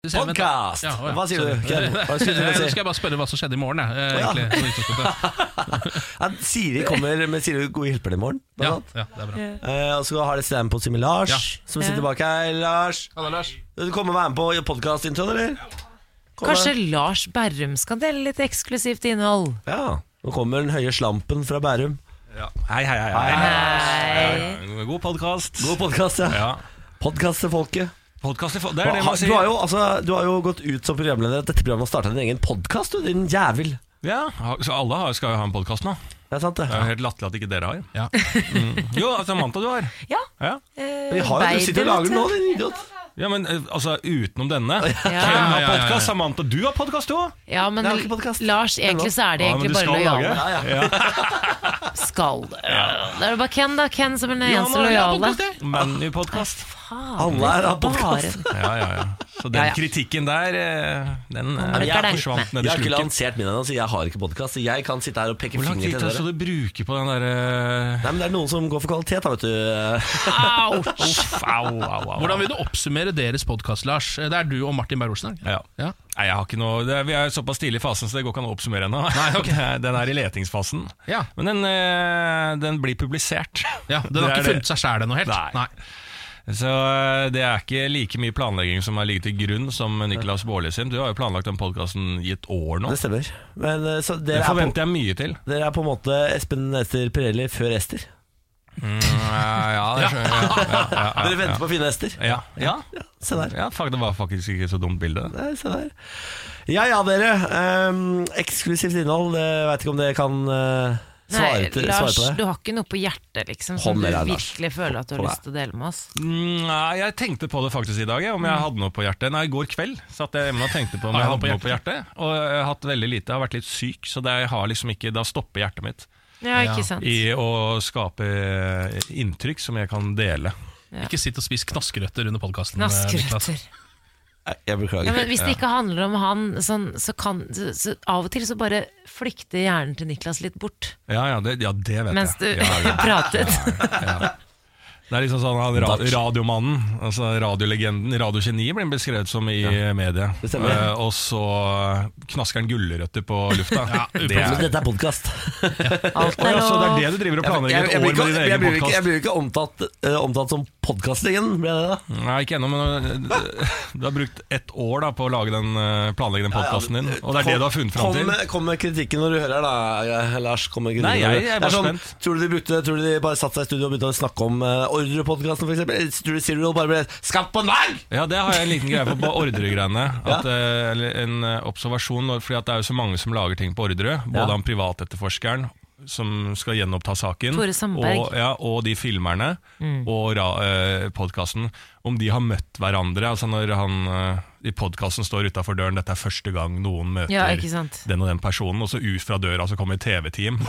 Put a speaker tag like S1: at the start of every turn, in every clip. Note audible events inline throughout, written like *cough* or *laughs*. S1: Skal vi se, vent da.
S2: Podcast!
S1: Ja, å, ja.
S2: Hva sier du?
S1: *laughs*
S2: Ken? Hva skulle du
S1: Nei, nå
S2: si?
S1: skal jeg bare spørre hva som skjedde i morgen. jeg, eh,
S2: Å, ja.
S1: egentlig, på utgangspunktet.
S2: Ja, Siri kommer med Siri og gode hjelper i morgen.
S1: ja,
S2: blant annet.
S1: ja, det er bra.
S2: Eh, og så har det standpunkt med Lars,
S1: Ja.
S2: som sitter bak her. Lars,
S1: Hallo, Lars.
S2: vil du komme og være med på podkastintroen, eller? Kom
S3: Kanskje
S2: med.
S3: Lars Berrum skal dele litt eksklusivt innhold?
S2: Ja. Nå kommer den høye slampen fra Bærum.
S4: Hei, hei, hei.
S3: Nei.
S4: God podkast.
S2: God podkast, ja.
S4: Ja.
S2: Podkast til folket.
S4: Podcast i fo-
S2: Du
S4: Det er det man
S2: har, du,
S4: sier.
S2: har jo, altså, du har jo gått ut som programleder at dette programmet har starta din egen podkast, du, din jævel.
S4: Ja, ha- så alle har- skal jo ha en podkast nå.
S2: Det er sant, det.
S4: Det er jo helt latterlig at ikke dere har.
S1: Ja.
S4: Mm. Jo, altså Amanda, du har.
S3: Ja.
S4: Ja,
S3: eh,
S2: Vi har jo, du sitter og lager den nå,
S3: Berrum, vet
S2: din idiot.
S4: ja men eh, altså utenom denne.
S3: du.
S4: Hvem
S3: Ja.
S4: har
S1: ja, ja, ja.
S4: podkast? Samantha, du har podkast, du òg!
S3: ja, men
S2: Det er jo ikke podcast.
S3: Lars, egentlig så er det
S4: Ja, men
S3: egentlig
S4: du
S3: bare
S4: skal lage.
S3: lojale.
S2: Ja, ja.
S3: Skal det Det er jo bare Ken, da. Ken som er den
S4: Ja,
S3: eneste
S4: men jeg har
S3: lojale.
S4: podcast, jeg. Men i podkast.
S2: Alle er av podkast.
S3: Bare
S4: Ja, ja, ja. Så den
S3: Ja, ja.
S4: kritikken der, eh, den eh,
S3: bruker den.
S4: forsvant ned
S2: Jeg
S4: i
S2: har ikke
S4: sluken.
S2: lansert min ennå, så jeg har ikke podkast. Jeg kan sitte her og peke
S4: Hvor lang
S2: finger
S4: tid
S2: til
S4: tar det så
S2: dere.
S4: du bruker på den eh, derre
S2: Nei, men Det er noen som går for kvalitet, da, vet du.
S3: Ouch!
S4: Au, au, au.
S1: Hvordan vil du oppsummere deres podkast, Lars? Eh, Det er du og Martin Beyer-Olsen. er det ikke?
S4: Ja.
S1: Ja.
S4: Nei, jeg har ikke noe det, er- Vi er såpass tidlig i fasen, så det går ikke an å oppsummere ennå. Det er- *laughs* Den er i letingsfasen.
S1: Ja.
S4: Men den, eh, den blir publisert.
S1: Ja, den
S4: Det
S1: har
S4: er
S1: ikke
S4: det.
S1: funnet seg sjæl ennå helt.
S4: Nei. *laughs* Så eh, det er ikke like mye planlegging som har ligget til grunn som Niklas Baarli sin. Du har jo planlagt den podkasten i et år nå.
S2: Det stemmer. Men eh, så
S4: Det
S2: dere, er på,
S4: forventer jeg mye til.
S2: dere er på en måte Espen Ester Pirelli før Ester.
S4: Ja, det skjønner jeg. *laughs* Ja, ja, ja,
S2: Dere venter på å finne Ester.
S4: ja. ja.
S2: Se der.
S4: ja fuck, det var faktisk ikke så dumt bilde.
S2: Nei, se der. Ja ja, dere. Ehm, eksklusivt innhold. Jeg veit ikke om dere kan eh, svare,
S3: Nei,
S2: til,
S3: Lars,
S2: svare på
S3: du
S2: det.
S3: har ikke noe på hjertet liksom, som
S2: Hånd
S3: du
S2: med deg, Lars.
S3: virkelig føler at du har
S2: Hånd med
S3: lyst til å dele med oss?
S4: Mm, Nei, jeg tenkte på det faktisk i dag, jeg, om jeg hadde noe på hjertet. Nei, i går kveld satt jeg hjemme og tenkte på om
S1: Har
S4: jeg
S1: jeg
S4: hadde
S1: noe
S4: noe på hjertet. Og jeg har hatt veldig lite, jeg har vært litt syk, så det har liksom ikke, da stopper hjertet mitt
S3: Ja, ikke sant?
S4: i å skape eh, inntrykk som jeg kan dele.
S1: Ikke sitt og spis knaskerøtter under eh, podkasten.
S3: Knaskrøtter.
S2: Nei, Jeg
S3: Ja,
S2: beklager.
S3: men hvis det ikke handler om han, sånn, så kan så, så Av og til så bare flykter hjernen til Niklas litt bort
S4: Ja, ja, det, ja, det vet
S3: mens du
S4: jeg. Ja,
S3: *laughs*
S4: ja.
S3: pratet.
S4: Det er liksom sånn han ra radiomannen, altså radiolegenden, radiogeniet blir beskrevet som i media.
S2: Det stemmer.
S4: Eh, og så knasker han gulrøtter på lufta. det
S2: Men
S4: er,
S2: dette er podkast.
S3: Alt
S4: Å,
S3: er
S4: ja, så det er det
S3: lov.
S4: du driver og
S2: Jeg, jeg,
S4: planlegger et
S2: jeg, blir
S4: år
S2: ikke-
S4: med din
S2: jeg,
S4: egen
S2: blir ikke-
S4: podkast?
S2: jeg blir ikke omtalt, eh, omtalt som podkastingen, ble det da?
S4: Nei, ikke ennå, men øh, du har brukt ett år da på å lage den, øh, planlegge den podkasten din. Og det er det du har funnet fram
S2: Kom-
S4: til.
S2: Kom, kom med kritikken når du hører her, da, eh, Lars. Kom med kritikken
S4: Nei, jeg-
S2: når du-
S4: jeg er
S2: Det
S4: bare
S2: sånn,
S4: spent.
S2: Tror du de brukte Tror du de bare satte seg i studio og begynte å snakke om uh, Ordrepodkasten, for eksempel? Eller Tror du Serial bare ble skapt på en vei?
S4: Ja, det har jeg en liten greie på på
S3: *laughs*
S4: Orderud-greiene. At, øh, eller En øh, observasjon, når- fordi at det er jo så mange som lager ting på Orderud. Både
S2: Ja.
S4: han privatetterforskeren som skal gjenoppta saken,
S3: Tore Sandberg. Mm.
S4: og, ja, og de filmerne og ra, øh, podkasten. Om de har møtt hverandre. Altså når han øh, i podkasten står utafor døren 'Dette er første gang noen møter
S3: Ja, ikke sant?
S4: den og den personen, og så ut fra døra så kommer et
S3: *laughs*
S4: TV-team. *laughs*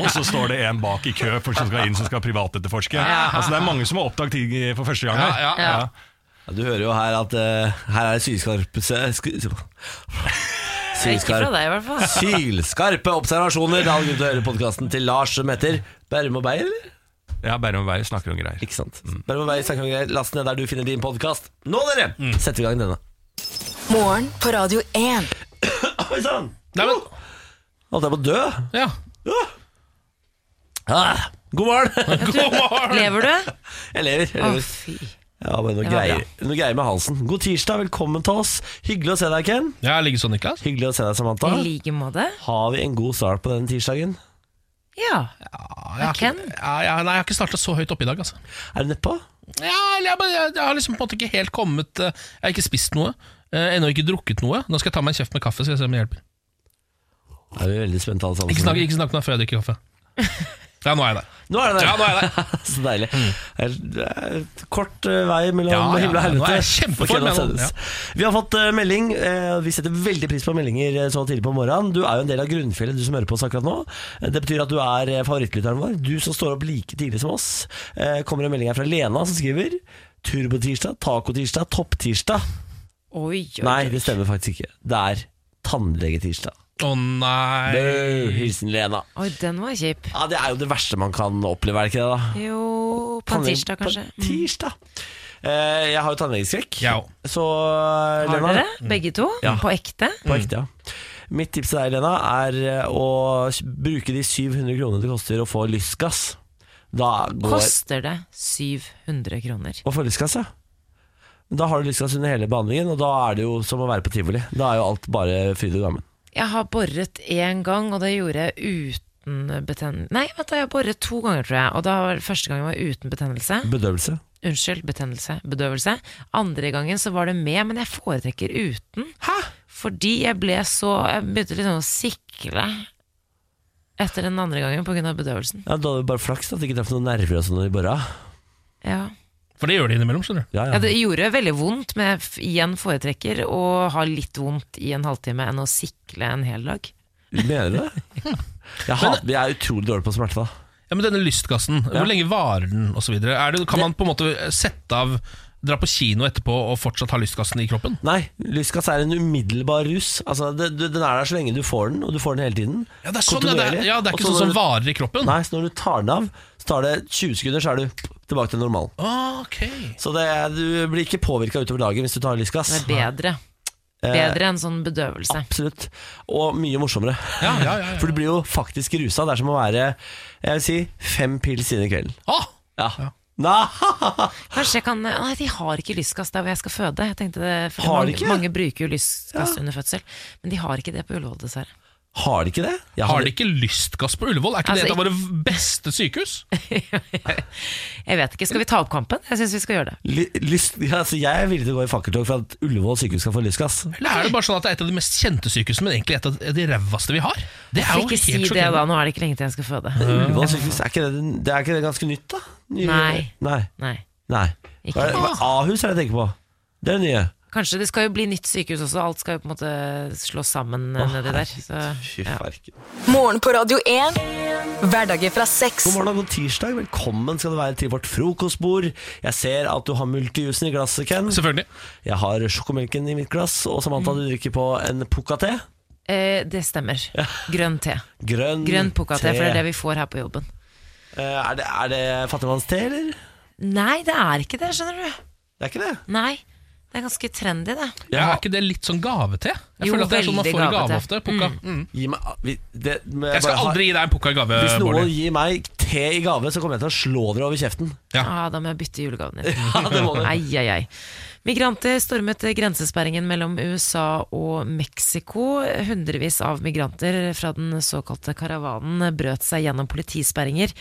S4: og så står det en bak i kø for som skal inn, som skal privatetterforske. Altså, det er mange som har oppdaget ting i- for første gang. her.
S1: Ja, ja,
S3: ja.
S2: Ja, du hører jo her at eh, her er det sylskarpe se- sk-
S3: Ikke
S2: *laughs*
S3: fra
S2: Sylskarpe
S3: deg, i hvert fall.
S2: Sylskarpe observasjoner. Det er all grunn til å høre podkasten til Lars som heter Bærum og Beyer, eller?
S4: Ja, Bærum og Beyer snakker om greier.
S2: Ikke sant? Bærum og Beyer snakker om greier. Last ned der du finner din podkast. Nå, dere! Setter vi i gang denne.
S5: Morgen på Radio 1.
S2: Oi sann!
S1: Nei, men,
S2: Holdt jeg på å dø?
S1: ja.
S2: Ah, god morgen!
S3: *laughs*
S1: *laughs* God morgen!
S3: Lever du?
S2: Jeg lever. Jeg
S3: Å,
S2: lever.
S3: fy.
S2: Ja, men noe
S3: Ah, Det var
S2: greier, noe greier med Hansen. God tirsdag, velkommen til oss. Hyggelig å se deg, Ken.
S1: Ja, ligger sånn, Niklas?
S2: Hyggelig å se deg, Samantha.
S3: I like måte.
S2: Har vi en god start på denne tirsdagen?
S3: Ja.
S1: Ja, jeg, har
S3: Ken?
S1: ikke- ja, ja, nei, jeg har ikke starta så høyt oppe i dag, altså.
S2: Er det nedpå?
S1: Ja, eller jeg, bare- jeg, jeg har liksom på en måte ikke helt kommet eh, Jeg har ikke spist noe. eh, Ennå ikke drukket noe. Nå skal jeg ta meg en kjeft med kaffe. Skal jeg se om det hjelper
S2: Er vi veldig spente alle sammen?
S1: Ikke snakk, ikke snakk med meg før jeg drikker kaffe. *laughs* Ja, nå er jeg der.
S2: Nå er det der.
S1: Ja, nå er jeg der.
S2: *laughs*
S1: Mm.
S2: Så deilig. Det er et Kort eh, vei mellom
S1: Ja, ja,
S2: himmel og
S1: ja. Nå
S2: helvete.
S1: er jeg kjempeform,
S2: Fortjener å
S1: jeg nå.
S2: sendes.
S1: Ja.
S2: Vi har fått eh, melding. eh, Vi setter veldig pris på meldinger eh, så tidlig på morgenen. Du er jo en del av grunnfjellet, du som hører på oss akkurat nå. Eh, Det betyr at du er eh, favorittlytteren vår. Du som står opp like tidlig som oss. Eh, Kommer en melding her fra Lena som skriver Turbotirsdag, tacotirsdag, topptirsdag.
S3: Oi, oi.
S2: Nei,
S3: oi.
S2: det stemmer faktisk ikke. Det er tannlegetirsdag.
S1: Å nei.
S2: Bø! Hilsen Lena.
S3: Oi, den var kjip.
S2: Ja, Det er jo det verste man kan oppleve, er det ikke det? da?
S3: Jo, på en tirsdag, kanskje. Mm.
S2: På en tirsdag. Eh, Jeg har jo tannlegeskrekk.
S1: Jeg òg.
S2: Så
S3: Mm. Har
S2: Lena
S3: dere begge to? På ekte?
S2: På ekte, ja. Mitt tips til deg, Lena, er eh, å s- bruke de 700 kronene det koster å få lystgass. Da går
S3: Koster det 700 kroner?
S2: Å få lystgass, ja. Da har du lystgass under hele behandlingen, og da er det jo som å være på tivoli. Da er jo alt bare fryd og gammen.
S3: Jeg har boret én gang, og det gjorde jeg uten betennelse Nei, vent, da, jeg har boret to ganger, tror jeg. Og da var første gangen var uten betennelse.
S2: Bedøvelse.
S3: Unnskyld, betennelse, bedøvelse. Andre gangen så var det med, men jeg foretrekker uten. Fordi jeg ble så Jeg begynte liksom å sikle etter den andre gangen pga. bedøvelsen.
S2: Ja, da er det bare flaks da, at det ikke traff noen nerver og sånn i borra.
S3: Ja.
S1: For det gjør det innimellom. skjønner du
S2: Ja,
S3: ja,
S2: ja.
S3: det gjorde veldig vondt, men jeg f- igjen foretrekker å ha litt vondt i en halvtime enn å sikle en hel dag.
S2: Mener
S3: *laughs*
S2: du det? Jeg, hat, jeg er utrolig dårlig på smerte, da.
S1: Ja, men Denne lystgassen, hvor lenge varer den? Og så videre? er det, kan man på en måte sette av Dra på kino etterpå og fortsatt ha lystgassen i kroppen?
S2: Nei, lystgass er en umiddelbar rus. Altså, det, du, den er der så lenge du får den, og du får den hele tiden.
S1: Ja, Det er sånn, ja, det er,
S2: Kontinuerlig.
S1: ja, det er
S2: Og
S1: ikke
S2: så
S1: sånn som
S2: når du-
S1: varer i kroppen?
S2: Nei, så når du tar den av, så tar det 20 sekunder, så er du tilbake til normalen.
S1: Ok
S2: Så det, du blir ikke påvirka utover dagen hvis du tar
S3: Det
S2: lystgass.
S3: er bedre.
S2: Eh,
S3: Bedre enn sånn
S2: ah.
S3: bedøvelse.
S2: Absolutt. Og mye morsommere.
S1: Ja, ja, ja, ja.
S2: For du blir jo faktisk rusa. Det er som å være jeg vil si, fem pils inn i kvelden.
S1: Ah,
S2: Ja. Nei, *laughs*
S3: Kanskje jeg kan Nei, de har ikke lystgass der hvor jeg skal føde. Jeg tenkte det, for
S2: Har de
S3: mange,
S2: ikke?
S3: mange bruker jo lystgass under fødsel, men de har ikke det på Ullevål, dessverre.
S2: Har de ikke det? Jeg
S1: har de
S2: hadde-
S1: ikke lystgass på Ullevål? Er ikke
S3: Altså,
S1: det et av våre beste sykehus?
S3: Jeg vet ikke. Skal vi ta opp kampen? Jeg syns vi skal gjøre det.
S2: Ly- Lyst, ja, altså jeg er villig til å gå i fakkeltog for at Ullevål sykehus skal få lystgass.
S1: Eller er det bare sånn at det er et av de mest kjente sykehusene, men egentlig et av de rævaste vi har? Det er
S3: Får
S1: jo
S3: ikke
S1: helt
S3: si det,
S1: sjokkerende.
S3: da. Nå er det ikke lenge til jeg skal føde.
S2: Ullevål sykehus, er ikke det, det er ikke det ganske nytt, da? Nye-
S3: Nei.
S2: Nei.
S3: Nei.
S2: Nei.
S3: Ikke.
S2: Hva er, hva, Ahus er det jeg tenker på. Det er det nye.
S3: Kanskje det skal jo bli nytt sykehus også. Alt skal jo på en måte slås sammen eh, nedi der. Så,
S2: Fy
S3: ja.
S2: farken.
S5: Morgen på Radio 1. Hverdager fra seks.
S2: God morgen og god tirsdag. Velkommen skal du være til vårt frokostbord. Jeg ser at du har multijusen i glasset, Ken.
S1: Selvfølgelig.
S2: Jeg har sjokomelken i mitt glass, og Samantha,
S3: Mm.
S2: du drikker på en pucca-te.
S3: Eh, det stemmer. Grønn te.
S2: Grønn,
S3: Grønn pucca-te, for det er det vi får her på jobben.
S2: Eh, Er det, er det fattigmannste, eller?
S3: Nei, det er ikke det, skjønner du.
S2: Det er ikke det.
S3: Nei. Det er ganske trendy, det.
S1: Ja, er ikke det litt sånn gavete? Jeg
S3: Jo,
S1: føler at det er sånn man
S3: veldig
S1: får i
S3: gavete.
S1: gave ofte. Pukka. Mm.
S2: Gi meg, ah, vi- det men
S1: Jeg
S2: bare
S1: skal
S2: har-
S1: aldri Eh, gi deg en pukka i gave,
S2: Hvis noen
S1: Bårdli.
S2: gir meg te i gave, så kommer jeg til å slå dere over
S3: *laughs*
S2: kjeften.
S1: Ja.
S3: Ah, da må jeg bytte julegaven din.
S2: Ja, det må dere.
S3: Ai, ai, ai. Migranter stormet grensesperringen mellom USA og Mexico. Hundrevis av migranter fra den såkalte karavanen brøt seg gjennom politisperringer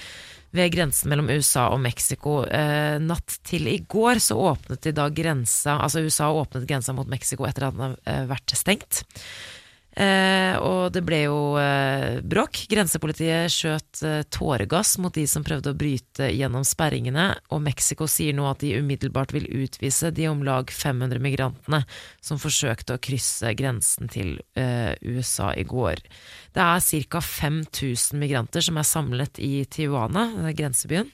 S3: ved grensen mellom USA og Mexico. Eh, natt til i går så åpnet de da grensa, altså USA åpnet grensa mot Mexico etter at den har eh, vært stengt. Eh, og det ble jo eh, bråk. Grensepolitiet skjøt eh, tåregass mot de som prøvde å bryte gjennom sperringene, og Mexico sier nå at de umiddelbart vil utvise de om lag 500 migrantene som forsøkte å krysse grensen til eh, USA i går. Det er ca. 5000 migranter som er samlet i Tijuana, denne grensebyen.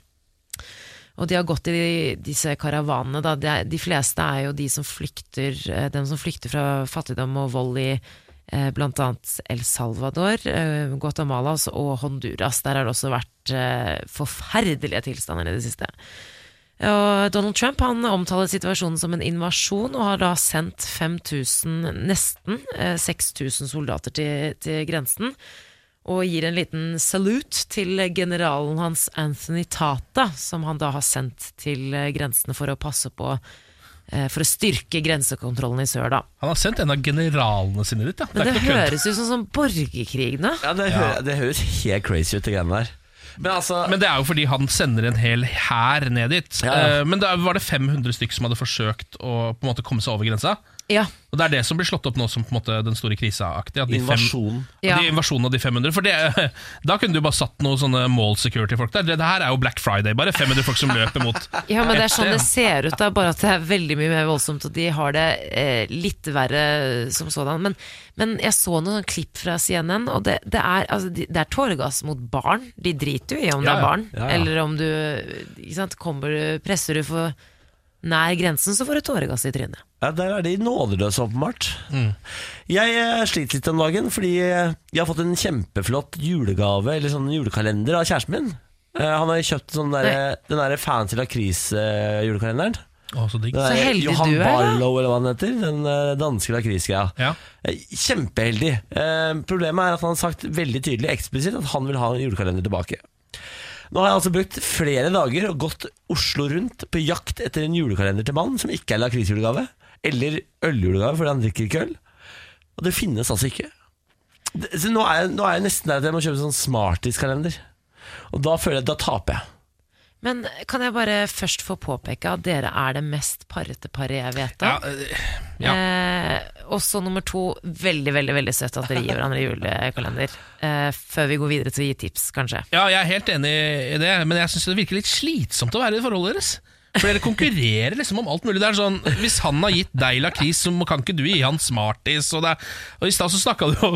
S3: Og de har gått i disse karavanene. Da. De, de fleste er jo de som flykter, eh, dem som flykter fra fattigdom og vold i eh, blant annet El Salvador, eh, Guatemala altså, og Honduras. Der har det også vært eh, forferdelige tilstander i det siste. Og Donald Trump han omtaler situasjonen som en invasjon, og har da sendt 5000, nesten eh, 6000 soldater til, til grensen. Og gir en liten salute til generalen hans Anthony Tata, som han da har sendt til eh, grensene for å passe på eh, For å styrke grensekontrollen i sør, da.
S1: Han har sendt en av generalene sine dit. Ja. Det
S3: Men
S1: er
S3: det
S1: ikke noe kødd.
S3: høres ut som sånn borgerkrig nå.
S2: Ja, det, hø- det høres helt crazy ut, de greiene der. Men altså
S1: Men det er jo fordi han sender en hel hær ned dit.
S2: Ja, ja.
S1: Eh, Men da var det 500 stykk som hadde forsøkt å på en måte komme seg over grensa.
S3: Ja.
S1: Og Det er det som blir slått opp nå som på en måte den store krisa-aktig. at de fem-
S2: Invasjonen.
S1: Ja.
S3: Ja.
S1: De invasjonen av de 500. For det, *laughs* Da kunne du bare satt noen sånne mall security-folk der. Det, det her er jo Black Friday, bare 500
S3: *laughs*
S1: folk som løper mot
S3: Ja, men det er
S1: et
S3: sånn det
S1: sted.
S3: ser ut, da, bare at det er veldig mye mer voldsomt, og de har det eh, litt verre som sådan. Men, men jeg så noen klipp fra CNN, og det, det er, altså, de- det er tåregass mot barn. De driter jo i
S1: Ja,
S3: om det
S1: ja.
S3: er barn,
S2: Ja, ja.
S3: eller om du ikke sant, kommer, du- presser du for nær grensen, så får du tåregass i trynet.
S2: Ja, Der er de nådeløse, åpenbart. Jeg eh, sliter litt om dagen fordi eh, jeg har fått en kjempeflott julegave, eller sånn julekalender, av kjæresten min. Eh, Han har kjøpt sånn der, den der fancy lakris-julekalenderen.
S1: Å, så digg.
S2: Den der
S3: heldig
S2: Johan
S3: du er, da.
S2: Barlow, eller hva han heter. Den eh, danske lakrisgreia.
S1: Ja.
S2: Eh, Kjempeheldig. Eh, Problemet er at han har sagt veldig tydelig eksplisitt at han vil ha en julekalender tilbake. Nå har jeg altså brukt flere dager og gått Oslo rundt på jakt etter en julekalender til mannen som ikke er lakrisjulegave, eller øljulegave fordi han drikker ikke øl. Og det finnes altså ikke. Det- Så nå er, jeg, nå er jeg nesten der at jeg må kjøpe sånn Smarties-kalender. Og da føler jeg at da taper jeg.
S3: Men kan jeg bare først få påpeke at dere er det mest parrete paret jeg vet
S1: Ja,
S3: om.
S1: eh, ja.
S3: Eh, også nummer to, veldig veldig, veldig søtt at dere gir hverandre julekalender. Eh, før vi går videre til å gi tips, kanskje.
S1: ja, jeg er helt enig i det, men jeg syns det virker litt slitsomt å være i forholdet deres. For dere konkurrerer liksom om alt mulig. Det er sånn, Hvis han har gitt deg lakris, så må- kan ikke du gi han Smarties. Og, det er, og I stad så snakka du om,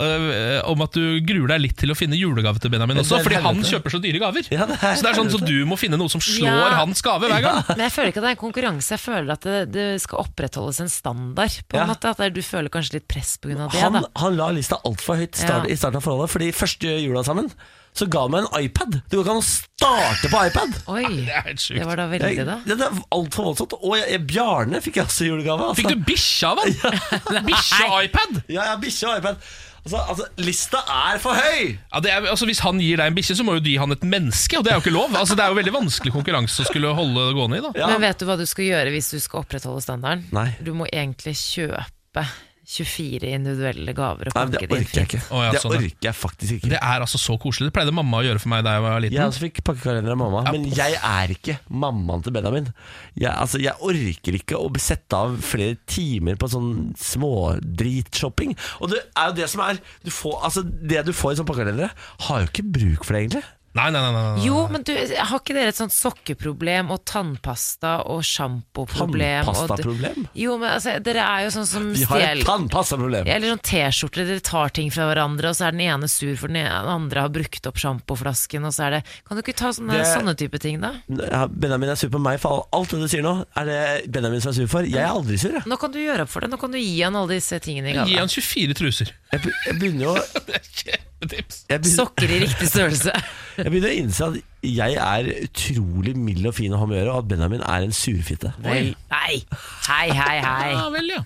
S1: øh, om at du gruer deg litt til å finne julegave til Benjamin også,
S2: Det er
S1: fordi han
S2: helvete.
S1: kjøper så dyre gaver.
S2: Ja, det er
S1: så det er sånn så du må finne noe som slår
S3: Ja.
S1: hans gave hver gang.
S3: Men jeg føler ikke at det er en konkurranse. Jeg føler at det, det skal opprettholdes en standard. På en
S2: Ja.
S3: måte, at det- Du føler kanskje litt press pga. det.
S2: Han,
S3: da.
S2: han la lista altfor høyt start,
S3: Ja.
S2: i starten av forholdet, fordi første jula sammen så ga han meg en iPad. Det går ikke an å starte på iPad!
S3: Oi,
S1: Det er helt sjukt.
S3: det var da veldig,
S2: Jeg,
S3: da.
S2: det er altfor voldsomt. Og jeg, jeg, Bjarne fikk jeg også i julegave. Altså.
S1: Fikk du bikkje av han? Bikkje-iPad?
S2: Ja, ja, bikkje og iPad. Altså, altså, lista er for høy!
S1: Ja, det er, altså Hvis han gir deg en bikkje, så må jo du gi han et menneske, og det er jo ikke lov. Altså Det er jo veldig vanskelig konkurranse å skulle holde det gående i. da
S2: Ja.
S3: Men vet du hva du skal gjøre hvis du skal opprettholde standarden?
S2: Nei.
S3: Du må egentlig kjøpe 24 individuelle gaver og
S2: Nei, men
S3: pakke
S2: det
S3: det inn
S2: orker jeg
S3: fint.
S2: ikke.
S1: Å, ja,
S2: det
S1: sånn, ja.
S2: orker jeg faktisk ikke.
S1: Det er altså så koselig. Det pleide mamma å gjøre for meg da jeg var liten.
S2: Jeg også fikk pakkekalender av mamma, men jeg er ikke mammaen til Benjamin. Jeg, altså, jeg orker ikke å sette av flere timer på sånn smådritshopping. Og det er jo det som er du får, altså, Det du får i sånn pakkekalender, har jo ikke bruk for det, egentlig.
S1: Nei, nei, nei, nei, nei.
S3: Jo, men du, har ikke dere et sånt sokkeproblem og tannpasta og sjampoproblem? og d-
S2: Tannpastaproblem?
S3: Jo, men altså, dere er jo sånn som
S2: Vi har et
S3: stjeler
S2: tannpastaproblem.
S3: Eller sånn T-skjorter, dere tar ting fra hverandre, og så er den ene sur for den ene- den andre har brukt opp sjampoflasken, og så er det Kan du ikke ta sånne,
S2: Det-
S3: sånne type ting, da?
S2: Ja, Benjamin er sur på meg for alt det du sier nå. Er det Benjamin som er sur for? Jeg er aldri sur. Jeg,
S3: Nå kan du gjøre opp for det, nå kan du gi han alle disse tingene i
S1: Gi
S3: gave.
S1: han 24 truser.
S2: jeg, be- jeg begynner jo jeg
S1: Det er Kjempetips.
S2: begynner,
S3: Sokker i riktig størrelse.
S2: jeg begynner å innse at jeg er utrolig mild og fin å ha med å gjøre, og at Benjamin er en surfitte.
S3: Vel, nei. Hei, hei, hei.
S1: Ja vel, ja.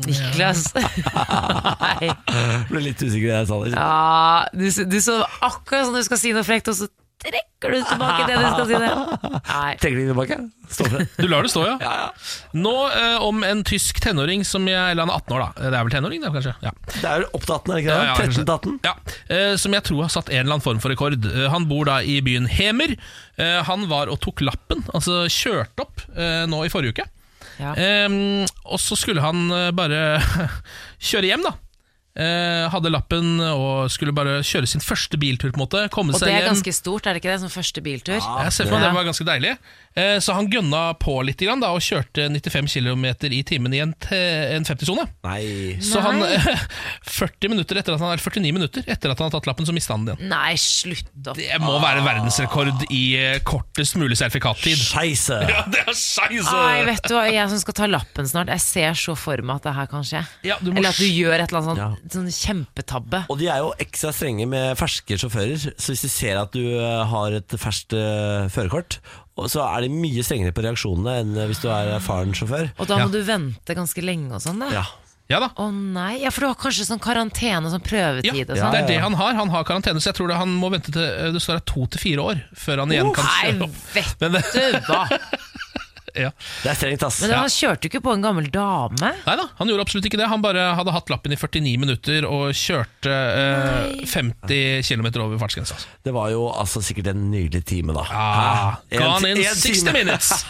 S2: *laughs*
S3: Niklas. Nei.
S2: Jeg ble litt usikker da jeg sa det.
S3: Ja, du, s- du så akkurat som du skal si noe frekt, og så trekker du tilbake det du skal si. Det. Nei.
S2: Trekker du den tilbake? Stå for det.
S1: Du lar det stå, *laughs* ja? Nå eh, om en tysk tenåring som jeg Eller han er 18 år, da. Det er vel tenåring, det, kanskje? Ja.
S2: Det er jo opp til 18, er det ikke
S1: Ja,
S2: det?
S1: ja,
S2: 13 til
S1: kanskje.
S2: 18?
S1: Ja, eh, som jeg tror har satt en eller annen form for rekord. Eh, han bor da i byen Hemer. Eh, han var og tok lappen, altså kjørte opp, eh, nå i forrige uke.
S3: Ja.
S1: Ehm, og så skulle han eh, bare *laughs* kjøre hjem, da. Eh, hadde lappen og skulle bare kjøre sin første biltur, på en måte. Komme
S3: Og
S1: seg
S3: det er
S1: hjem.
S3: ganske stort, er det ikke det? Som første biltur.
S1: Jeg ser for meg det var ganske deilig. Eh, Så han gønna på litt grann, da, og kjørte 95 km i timen i en, te- en 50-sone.
S2: Nei.
S1: Så han *laughs* 40 minutter etter at han, eller 49 minutter etter at han har tatt lappen, så mista han den igjen.
S3: Nei, slutt opp.
S1: Det må være verdensrekord i eh, kortest mulig sertifikattid.
S2: Scheisse.
S1: Ja, det er scheisse!
S3: Nei, vet du hva, jeg som skal ta lappen snart, jeg ser så for meg at det her kan skje.
S1: Ja, du må
S3: Eller at du
S1: sj-
S3: gjør et eller annet sånn, sånn kjempetabbe.
S2: Og de er jo ekstra strenge med ferske sjåfører, så hvis de ser at du eh, har et ferskt eh, førerkort, og- så er de mye strengere på reaksjonene enn eh, hvis du er erfaren sjåfør.
S3: Og da
S1: Ja.
S3: må du vente ganske lenge og sånn, da.
S2: Ja.
S1: Ja da.
S3: Å nei, ja, for du har kanskje sånn karantene og sånn
S1: Ja,
S3: prøvetid
S1: det
S3: og sånn.
S1: er det han har. Han har karantene, så jeg tror det han må vente til eh, det står her to til fire år før han igjen kan
S3: Nei,
S1: kjøre opp.
S3: vet
S1: Men,
S3: du hva!
S1: ja.
S2: Det er strengt, ass.
S3: Men han kjørte jo ikke på en gammel dame.
S1: *laughs* Nei da, han gjorde absolutt ikke det. Han bare hadde hatt lappen i 49 minutter og kjørte eh, 50 km over fartsgrensa. Altså.
S2: Det var jo altså sikkert en nydelig time, da.
S1: Ah,
S2: Hæ?
S1: gone
S2: ti-
S1: in 60 minutes!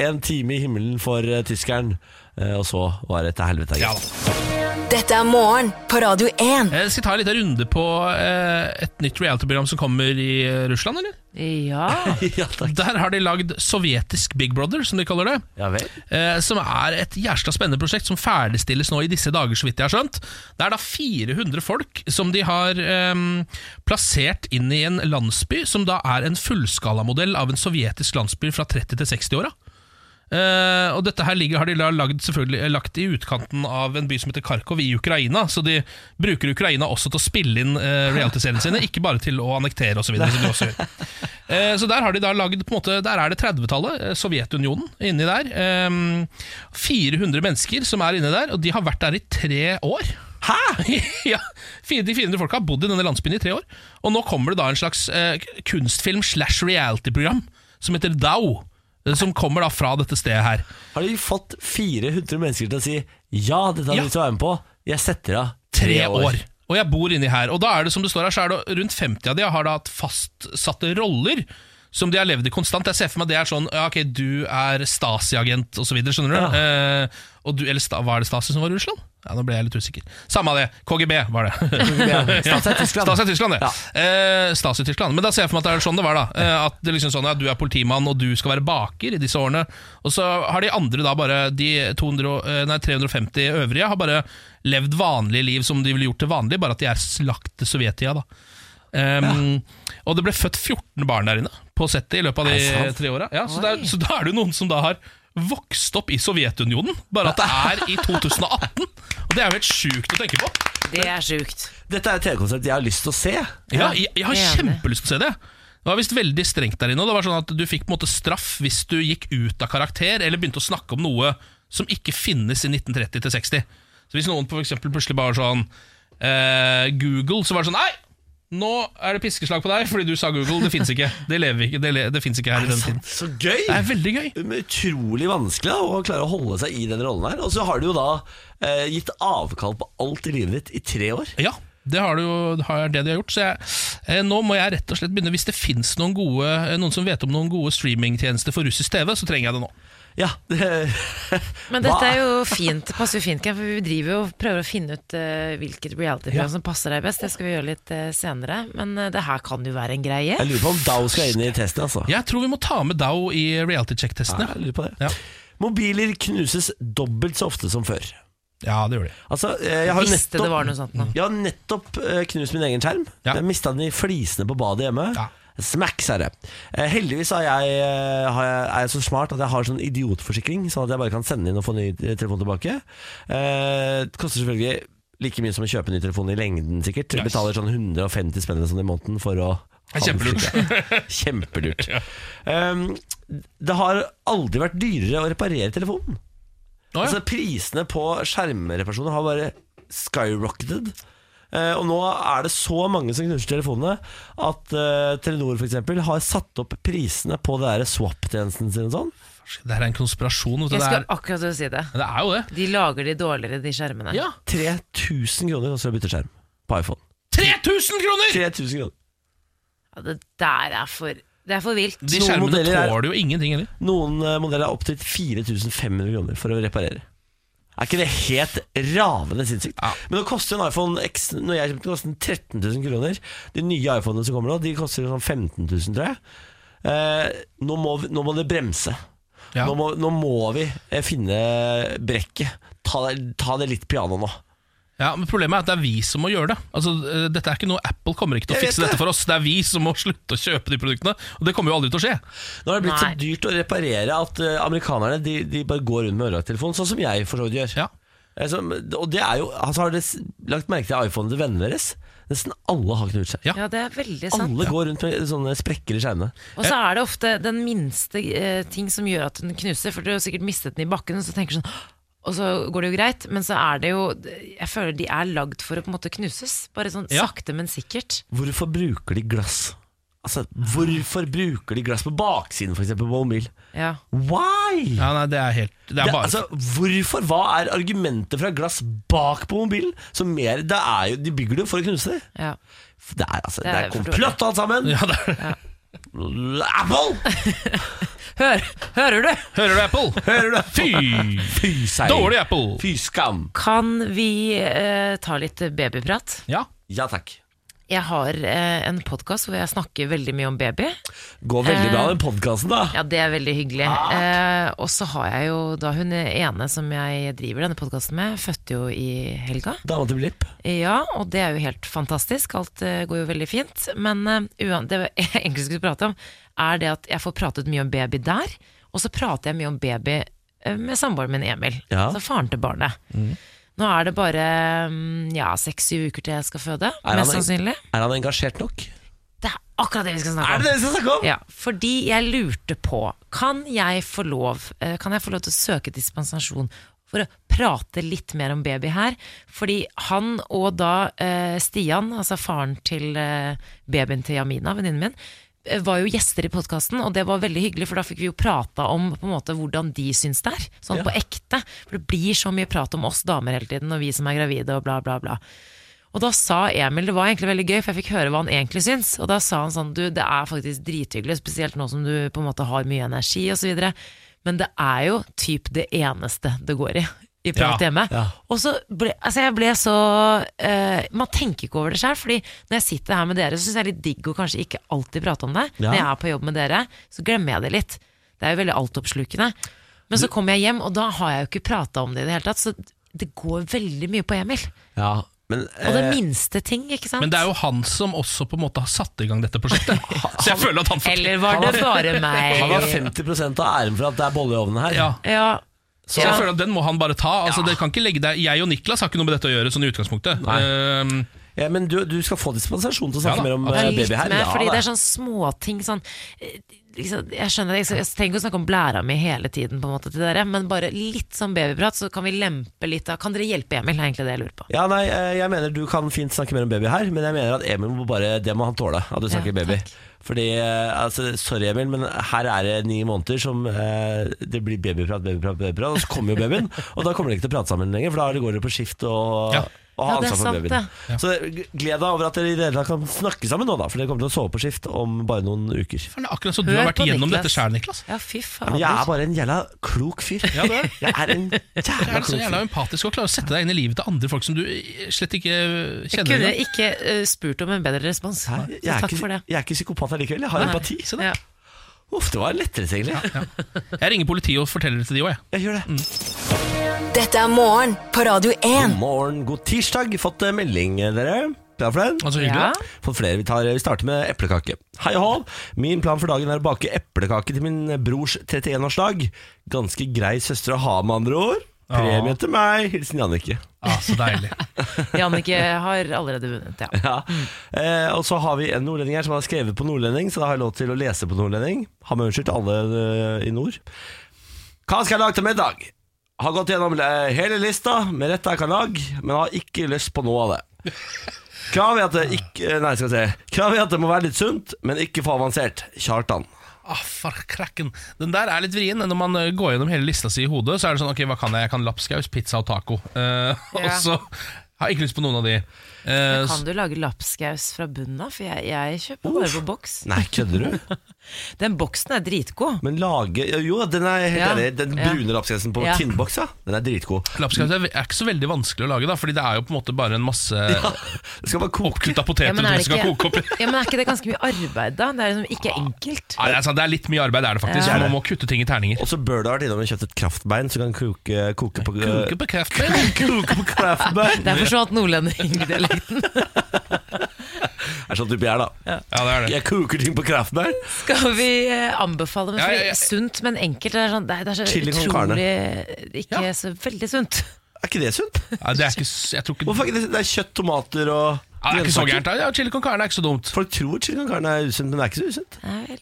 S2: *laughs* en time i himmelen for eh, tyskeren, eh, og så var det til helvete.
S1: Ja,
S2: Ja.
S1: da.
S5: Dette er morgen på Radio
S1: Jeg
S5: 1.
S1: Eh, skal ta en liten runde på eh, et nytt reality-program som kommer i eh, Russland, eller?
S3: Ja.
S2: *laughs* ja, takk.
S1: Der har de lagd sovjetisk Big Brother, som de kaller det.
S2: Ja vel.
S1: eh, Som er et jævla spennende prosjekt som ferdigstilles nå i disse dager, så vidt jeg har skjønt. Det er da 400 folk som de har eh, plassert inn i en landsby, som da er en fullskalamodell av en sovjetisk landsby fra 30- til 60-åra. Eh, og dette her ligger, har de da lagd, selvfølgelig, eh, lagt i utkanten av en by som heter Kharkov i Ukraina. Så de bruker Ukraina også til å spille inn eh, reality-seriene sine, ikke bare til å annektere osv. Så, videre, som de også gjør. Eh, så der har de da lagd på en måte, Der er det 30-tallet, eh, Sovjetunionen inni der. Eh, 400 mennesker som er inni der, og de har vært der i tre år. Hæ?! *laughs* ja, fire- De 400 folka har bodd i denne landsbyen i tre år. Og nå kommer det da en slags eh, kunstfilm slash reality-program som heter Dao. eh, Som kommer da fra dette stedet her.
S2: Har de fått 400 mennesker til å si ja, dette har
S1: Ja.
S2: jeg lyst til å være med på, jeg setter av
S1: Tre
S2: *laughs*
S1: år. Og jeg bor inni her. Og da er det som det står her, så er det rundt 50 av de har da hatt fastsatte roller. Som de har levd i konstant. Jeg ser for meg det er sånn ja, Ok, du er Stasi-agent osv. Skjønner du? Eh, og du, eller sta, var det Stasi som var i Russland? Ja, Nå ble jeg litt usikker. Samme av det. KGB var det. *laughs*
S2: Stats er Tyskland.
S1: Stasi er Tyskland, det.
S2: Ja.
S1: Eh, Stasi er Tyskland. Men da ser jeg for meg at det er sånn det var. da eh, At det liksom sånn, ja, Du er politimann, og du skal være baker i disse årene. Og så har de andre, da bare de 200, og- eh, nei, 350 øvrige, har bare levd vanlige liv som de ville gjort til vanlig, bare at de er slakt til Sovjettida. da Ehm, Og det ble født 14 barn der inne på settet i løpet av
S2: Er
S1: de
S2: det sant?
S1: tre åra. Ja, så, det er- så da er det jo noen som da har vokst opp i Sovjetunionen, bare at det er i 2018! Og Det er jo helt sjukt å tenke på.
S3: Det er sjukt.
S2: Dette er et TV-konsept jeg har lyst til å se.
S1: Ja, jeg, jeg har
S3: jeg er enig.
S1: kjempelyst til å se det. Det var visst veldig strengt der inne. og Det var sånn at Du fikk på en måte straff hvis du gikk ut av karakter eller begynte å snakke om noe som ikke finnes i 1930-60. Så Hvis noen for eksempel plutselig bare sånn eh, Google, så var det sånn Nei! Nå er det piskeslag på deg fordi du sa Google. Det fins ikke. Det lever vi ikke. Det, le, det finnes ikke her i den tiden.
S2: Så gøy!
S1: Det er veldig gøy.
S2: Utrolig vanskelig da, å klare å holde seg i den rollen her. Og så har du jo da eh, gitt avkall på alt i livet ditt i tre år.
S1: Ja, det har det, jo, det har det de har gjort. Så jeg, eh, nå må jeg rett og slett begynne. Hvis det fins noen, gode- eh, noen som vet om noen gode streamingtjenester for russisk TV, så trenger jeg det nå.
S2: Ja, det,
S3: *laughs* Men dette er jo fint, det passer jo fint, Ken, for vi driver jo og prøver å finne ut eh, hvilket reality-program som passer deg best. Det skal vi gjøre litt eh, senere. Men eh, det her kan jo være en greie.
S2: Jeg lurer på om Dow skal inn i testen, altså.
S1: Jeg tror vi må ta med Dow i reality
S2: Ja,
S1: check-testene.
S2: jeg lurer på det.
S1: Ja.
S2: Mobiler knuses dobbelt så ofte som før.
S1: Ja, det gjør de.
S2: Altså, eh, jeg har jo nettopp,
S3: Visste
S2: Mm.
S3: det var noe sånt nå.
S2: Jeg har nettopp eh, knust min egen skjerm.
S1: Ja.
S2: Jeg mista den i flisene på badet hjemme.
S1: Ja.
S2: Smacks er det. Eh, heldigvis er jeg, eh, har jeg, er jeg så smart at jeg har sånn idiotforsikring, sånn at jeg bare kan sende inn og få ny eh, telefon tilbake. Eh, det koster selvfølgelig like mye som å kjøpe ny telefon i lengden, sikkert.
S1: Nice.
S2: Betaler sånn 150 spenn eller sånn i måneden for å ha
S1: Det er kjempelurt. *laughs*
S2: forsikring. Kjempelurt. Ehm, det har aldri vært dyrere å reparere telefonen.
S1: Å, ja.
S2: Altså Prisene på skjermreparasjoner har bare skyrocketed. Eh, og nå er det så mange som knuser telefonene at eh, Telenor for eksempel, har satt opp prisene på det der swap-tjenesten sin. og sånn
S1: Det her er en konspirasjon. Vet du.
S3: Jeg
S1: Det,
S3: skal
S1: er,
S3: akkurat til å si det.
S1: det er jo det.
S3: De lager de dårligere, de skjermene.
S1: Ja.
S2: 3000 kroner koster det å bytte skjerm på iPhone.
S1: 3000 kroner!
S2: 3000 kroner
S3: Ja, det der er for Det er for vilt.
S1: De
S2: Noen
S1: skjermene
S2: modeller er-
S1: tåler jo ingenting heller.
S2: Noen eh, modeller er opptil 4500 kroner for å reparere. Er ikke det helt ravende sinnssykt?
S1: Ja.
S2: Men nå koster en iPhone X Når jeg kjøpte den, koster den 13 000 kroner. De nye iPhonene som kommer nå, de koster sånn 15 000, tror jeg. Eh, nå, må, vi- nå må det bremse.
S1: Ja.
S2: Nå, må, nå må vi eh, finne brekket. Ta, det- ta det litt piano nå.
S1: Ja, men Problemet er at det er vi som må gjøre det. Altså, eh, dette er ikke noe Apple kommer ikke til å
S2: Jeg vet
S1: fikse
S2: det.
S1: dette for oss. Det er vi som må slutte å kjøpe de produktene. Og det kommer jo aldri til å skje.
S2: Nå har det blitt
S3: Nei.
S2: så dyrt å reparere at eh, amerikanerne de, de bare går rundt med ødelagt telefon, sånn som jeg for så vidt gjør.
S1: Ja.
S2: Altså, og det er jo, altså Har dere s- lagt merke til iPhonen til vennene deres? Nesten alle har knut seg.
S1: Ja.
S3: Ja, det er veldig sant.
S2: Alle går rundt med sånne sprekker i skjermene.
S3: Og så er det ofte den minste eh, ting som gjør at den knuser, for du har sikkert mistet den i bakken, og så tenker du sånn «Åh!» og så går det jo greit, men så er det jo Jeg føler de er lagd for å på en måte knuses. Bare sånn
S1: Ja.
S3: sakte, men sikkert.
S2: Hvorfor bruker de glass? Altså, Hvorfor bruker de glass på baksiden for eksempel, på mobil?
S3: Ja.
S2: Why?
S1: Ja, nei, Det er helt Det
S2: Det,
S1: er bare
S2: altså, hvorfor, Hva er argumentet fra glass bak på mobilen? Som mer, det er jo, De bygger det jo for å knuse det.
S3: ja.
S2: Det er, altså,
S3: Det
S2: det
S3: er
S2: er
S3: for dårlig.
S2: komplott alt sammen!
S1: *laughs* ja, det er.
S2: Apple!
S3: Hør, hører du?
S1: Hører du, Apple?
S2: *laughs* Hører du?
S1: Fy!
S2: Fy seier.
S1: Dårlig Apple!
S2: Fy skam.
S3: Kan vi eh, ta litt babyprat?
S1: Ja.
S2: Ja takk.
S3: Jeg har eh, en podkast hvor jeg snakker veldig mye om baby.
S2: Går veldig
S3: Eh.
S2: bra den podkasten, da.
S3: Ja, det er veldig hyggelig. Eh, og så har jeg jo da hun ene som jeg driver denne podkasten med, fødte jo i helga.
S2: Dama til Blipp.
S3: Ja, og det er jo helt fantastisk. Alt eh, går jo veldig *laughs* fint. Men eh, uan, det jeg egentlig skulle prate om, er det at jeg får pratet mye om baby der. Og så prater jeg mye om baby eh, med samboeren min Emil,
S2: Ja. Mm.
S3: altså faren til barnet. Nå er det bare mm, ja, seks-syv uker til jeg skal føde,
S2: han
S3: mest
S2: en-
S3: sannsynlig.
S2: Er han engasjert nok?
S3: Det er akkurat det vi skal snakke om.
S2: Er det det vi skal snakke om?
S3: Ja, fordi jeg lurte på Kan jeg få lov eh, Kan jeg få lov til å søke dispensasjon For å prate litt mer om baby her Fordi han og da eh, Stian, altså faren til eh, babyen til Jamina, venninnen min eh, var jo gjester i podcasten Og det var veldig hyggelig For da fikk vi jo prate om på en måte, Hvordan de syns det er Sånn på ekte For det blir så mye prat om oss damer hele tiden Og vi som er gravide og bla bla bla og da sa Emil, det var egentlig veldig gøy, for jeg fikk høre hva han egentlig syns. Og da sa han sånn, du, det er faktisk drithyggelig, spesielt nå som du på en måte har mye energi og så videre. Men det er jo typ det eneste det går i. I prat
S1: Ja,
S3: hjemme.
S2: ja.
S3: Og så ble altså jeg ble så eh, Man tenker ikke over det sjøl, Fordi når jeg sitter her med dere, så syns jeg det er litt digg å kanskje ikke alltid prate om det.
S2: Ja.
S3: Når jeg er på jobb med dere, så glemmer jeg det litt. Det er jo veldig altoppslukende. Men så kommer jeg hjem, og da har jeg jo ikke prata om det i det hele tatt. Så det går veldig mye på Emil.
S2: Ja, men
S3: Og det
S2: eh,
S3: minste ting, ikke sant?
S1: Men det er jo han som også på en måte har satt i gang dette
S2: *laughs*
S1: prosjektet. Så jeg føler at han får
S3: Eller var det bare
S2: han har
S3: meg?
S2: 50 av æren for at det er bolle i ovnen her.
S1: ja.
S3: Ja,
S1: Så jeg føler at Den må han bare ta. Altså, det kan ikke legge deg Jeg og Niklas har ikke noe med dette å gjøre. Sånn i utgangspunktet Ehm,
S2: Ja, Eh, men du, du skal få dispensasjon til å snakke
S1: Ja da,
S2: mer om
S3: det
S2: eh,
S3: er litt
S2: baby her.
S3: med,
S2: Ja,
S3: fordi
S2: da.
S3: det er sånn småting sånn eh, liksom, Jeg skjønner det, jeg, skal- jeg trenger ikke å snakke om blæra mi hele tiden, på en måte til dere, men bare litt sånn babyprat, så kan vi lempe litt av Kan dere hjelpe Emil? Det er egentlig det jeg lurer på.
S2: Ja, nei, eh, jeg mener du kan fint snakke mer om baby her, men jeg mener at Emil må bare Det må han tåle, at du snakker baby.
S3: takk.
S2: Fordi, eh, altså, Sorry, Emil, men her er det ni måneder som eh, det blir babyprat, babyprat, babyprat, og så kommer jo babyen. og da kommer dere ikke til å prate sammen lenger, for da går dere på skift og,
S1: Ja.
S2: og har
S3: Ja, det er
S2: ansvar for
S3: sant,
S2: babyen. Så g- gled deg over at dere i det hele tatt kan snakke sammen nå, da, for dere kommer til å sove på skift om bare noen uker.
S1: for det er akkurat så du
S3: Hør
S1: har vært
S3: på
S1: igjennom
S3: Niklas.
S1: dette sjøl, Niklas.
S3: Ja, fy
S2: Men jeg er
S3: fader.
S2: bare en jævla klok fyr.
S1: Ja, du er.
S2: Jeg er en
S1: Du er
S2: jævla
S1: så
S2: klok
S1: jævla
S2: fyr.
S1: empatisk og klarer å sette deg inn i livet til andre folk som du slett ikke
S3: Jeg
S1: kjenner.
S3: kunne
S1: engang.
S3: ikke eh, spurt om en bedre respons.
S2: Nei,
S3: Så
S2: Jeg er,
S3: takk
S2: ikke,
S3: for det. Sånn,
S2: jeg er ikke psykopat allikevel, jeg har empati.
S1: Se der.
S3: Ja.
S2: Uff, det var lettere, egentlig.
S1: Jeg ringer politiet og forteller det til de òg, jeg.
S2: Jeg gjør det.
S5: Dette er morgen på Radio 1.
S2: God morgen, god tirsdag. Fått eh, melding, eh, dere. Klar for den?
S1: Altså, hyggelig,
S3: Ja.
S1: da.
S2: Fått flere. Vi, tar, eh, vi starter med eplekake. Hei og hå. Min plan for dagen er å bake eplekake til min eh, brors 31-årsdag. Ganske grei søster å ha, med andre ord. Premie til meg. Hilsen Jannicke.
S1: Ah, så deilig.
S3: Jannicke har allerede
S2: *laughs*
S3: vunnet, ja.
S2: Ja. Eh, og så har vi en nordlending her som har skrevet på nordlending, så da har jeg lov til å lese på nordlending. Har med unnskyld til alle eh, i nord. Hva skal jeg lage til middag? Har gått gjennom eh, hele lista med retter jeg kan lage, men har ikke lyst på noe av
S3: *laughs*
S2: det. Krav er at det ikke eh, Nei, skal vi se. Krav er at det må være litt sunt, men ikke for avansert. Kjartan.
S1: Ah, for krakken. Den der er litt vrien. Når man eh, går gjennom hele lista si i hodet, så er det sånn Ok, hva kan jeg? Jeg kan lapskaus, pizza og taco. Eh, *laughs*
S3: Ja.
S1: Og så har jeg ikke lyst på noen av de. Eh,
S3: Kan du lage lapskaus fra bunnen av? For jeg, jeg kjøper bare på boks.
S2: Nei, kødder
S3: *laughs*
S2: du?
S3: Den boksen er dritgod.
S2: Men lage Jo, den er helt
S3: Ja.
S2: enig. Den
S3: Ja.
S2: brune lapskausen på
S3: Ja.
S2: tinnboks, ja. Den er
S3: *laughs*
S2: dritgod.
S1: Lapskaus er, er ikke så veldig vanskelig å lage, da Fordi det er jo på en måte bare en masse
S2: Det skal bare koke.
S1: oppkutta poteter
S3: Ja, men
S1: som
S3: er
S1: du
S3: det
S1: skal
S3: ikke-
S1: koke opp i.
S3: Ja, men Er ikke det ganske mye arbeid, da? Det er liksom ikke enkelt.
S1: Nei, det, er sant, det er litt mye arbeid, det er det faktisk.
S3: Ja.
S1: Man må kutte ting i terninger.
S2: Og så bør du ha vært innom og kjøpt et kraftbein som kan koke, koke på
S1: Kuke på kreftbein.
S2: Kroke
S1: *laughs*
S2: på Kraftberg.
S3: Det er forstått nordlendingdialekten.
S2: Det er sånn type jeg er, da.
S1: Ja, det er det.
S2: Jeg koker ting på Kraftberg.
S3: Skal vi eh, anbefale, men
S1: Ja,
S3: fordi
S1: ja, ja.
S3: sunt, men enkelt. Det er, sånn, det er, det er så
S2: Chili con carne.
S3: utrolig eh, Ikke så veldig sunt.
S2: Er ikke det sunt?
S1: Ja, det er ikke, s- jeg tror ikke,
S2: Hvorfor er ikke det, det er kjøtt, tomater og
S1: ja, det er ikke så gærent. Ja, chili con carne er ikke så dumt.
S2: Folk tror chili con carne er usunt, men det er ikke så usunt.
S3: Nei vel.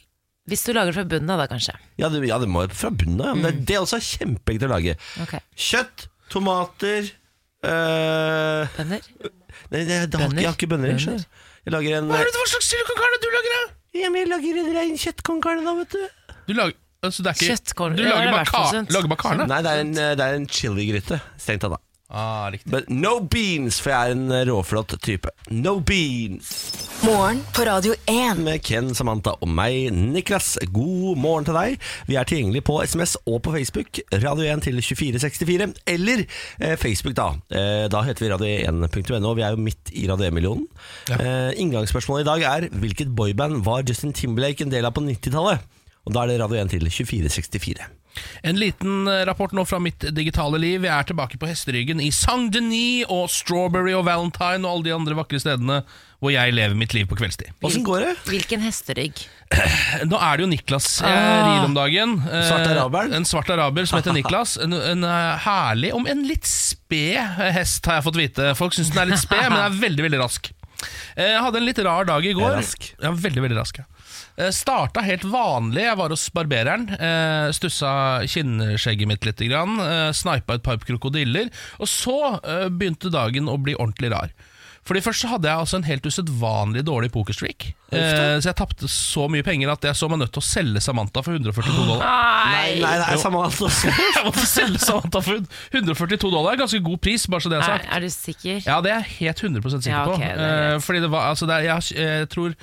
S3: Hvis du lager det fra bunnen av, da kanskje.
S2: Ja, det, ja, det må jo fra bunnen av. Ja. Men
S1: Mm.
S2: det, det er også kjempeenkelt å lage.
S3: Ok,
S2: Kjøtt, tomater øh,
S3: Bønner?
S2: Nei, det, det har ikke, jeg har ikke bønner i. skjønner du. Jeg lager en
S1: Hva er det for slags chili con carne du lager, da?
S2: Ja, men Jeg lager en rein kjøttcon carne, da, vet du.
S1: Du lager, altså, det er ikke,
S3: Kjøttkorn.
S1: Du
S3: Ja, det
S1: lager
S3: er
S1: bare,
S3: hvert
S1: ka,
S3: fall sunt.
S1: lager bare karne?
S2: Nei, det er en, eh, det er en chiligryte. Strengt tatt, da.
S1: Ah, riktig.
S2: But no beans, for jeg er en eh, råflott type. No beans.
S5: Morgen på Radio 1.
S2: med Ken, Samantha og meg, Niklas. God morgen til deg. Vi er tilgjengelig på SMS og på Facebook. Radio 1 til 2464. Eller eh, Facebook, da. Eh, da heter vi radio1.no. Vi er jo midt i Radio 1-millionen. Eh, inngangsspørsmålet i dag er hvilket boyband var Justin Timberlake en del av på 90-tallet? Og da er det Radio 1 til 2464.
S1: En liten eh, rapport nå fra mitt digitale liv. Jeg er tilbake på hesteryggen i Saint-Denis og Strawberry og Valentine og alle de andre vakre stedene hvor jeg lever mitt liv på kveldstid.
S2: Åssen går det?
S3: Hvilken hesterygg?
S1: Nå er det jo Niklas jeg
S3: Ah.
S1: rir om dagen. Eh,
S2: Svart araberen?
S1: En svart araber som heter Niklas. En, en eh, herlig, om en litt sped eh, hest, har jeg fått vite. Folk syns den er litt sped, men den er veldig, veldig rask. Eh, Jeg hadde en litt rar dag i går.
S2: Rask.
S1: Ja, veldig, veldig rask, ja. Eh, Starta helt vanlig. Jeg var hos barbereren. eh, Stussa kinnskjegget mitt litt. Grann, eh, Snipa et par krokodiller. Og så eh, begynte dagen å bli ordentlig rar. Fordi Først så hadde jeg altså en helt usedvanlig dårlig pokerstreak. Eh, Så jeg tapte så mye penger at jeg så meg nødt til å selge Samantha for 142 dollar.
S2: Nei, nei, det er samme altså. alt også.
S1: *laughs* Jeg måtte selge Samantha for 142 dollar, ganske god pris, bare så det er
S3: Er,
S1: sagt.
S3: er du sikker?
S1: Ja, det er jeg helt 100 sikker
S3: Ja,
S1: på.
S3: ok, det er
S1: Eh, fordi det var, altså det er, jeg, jeg tror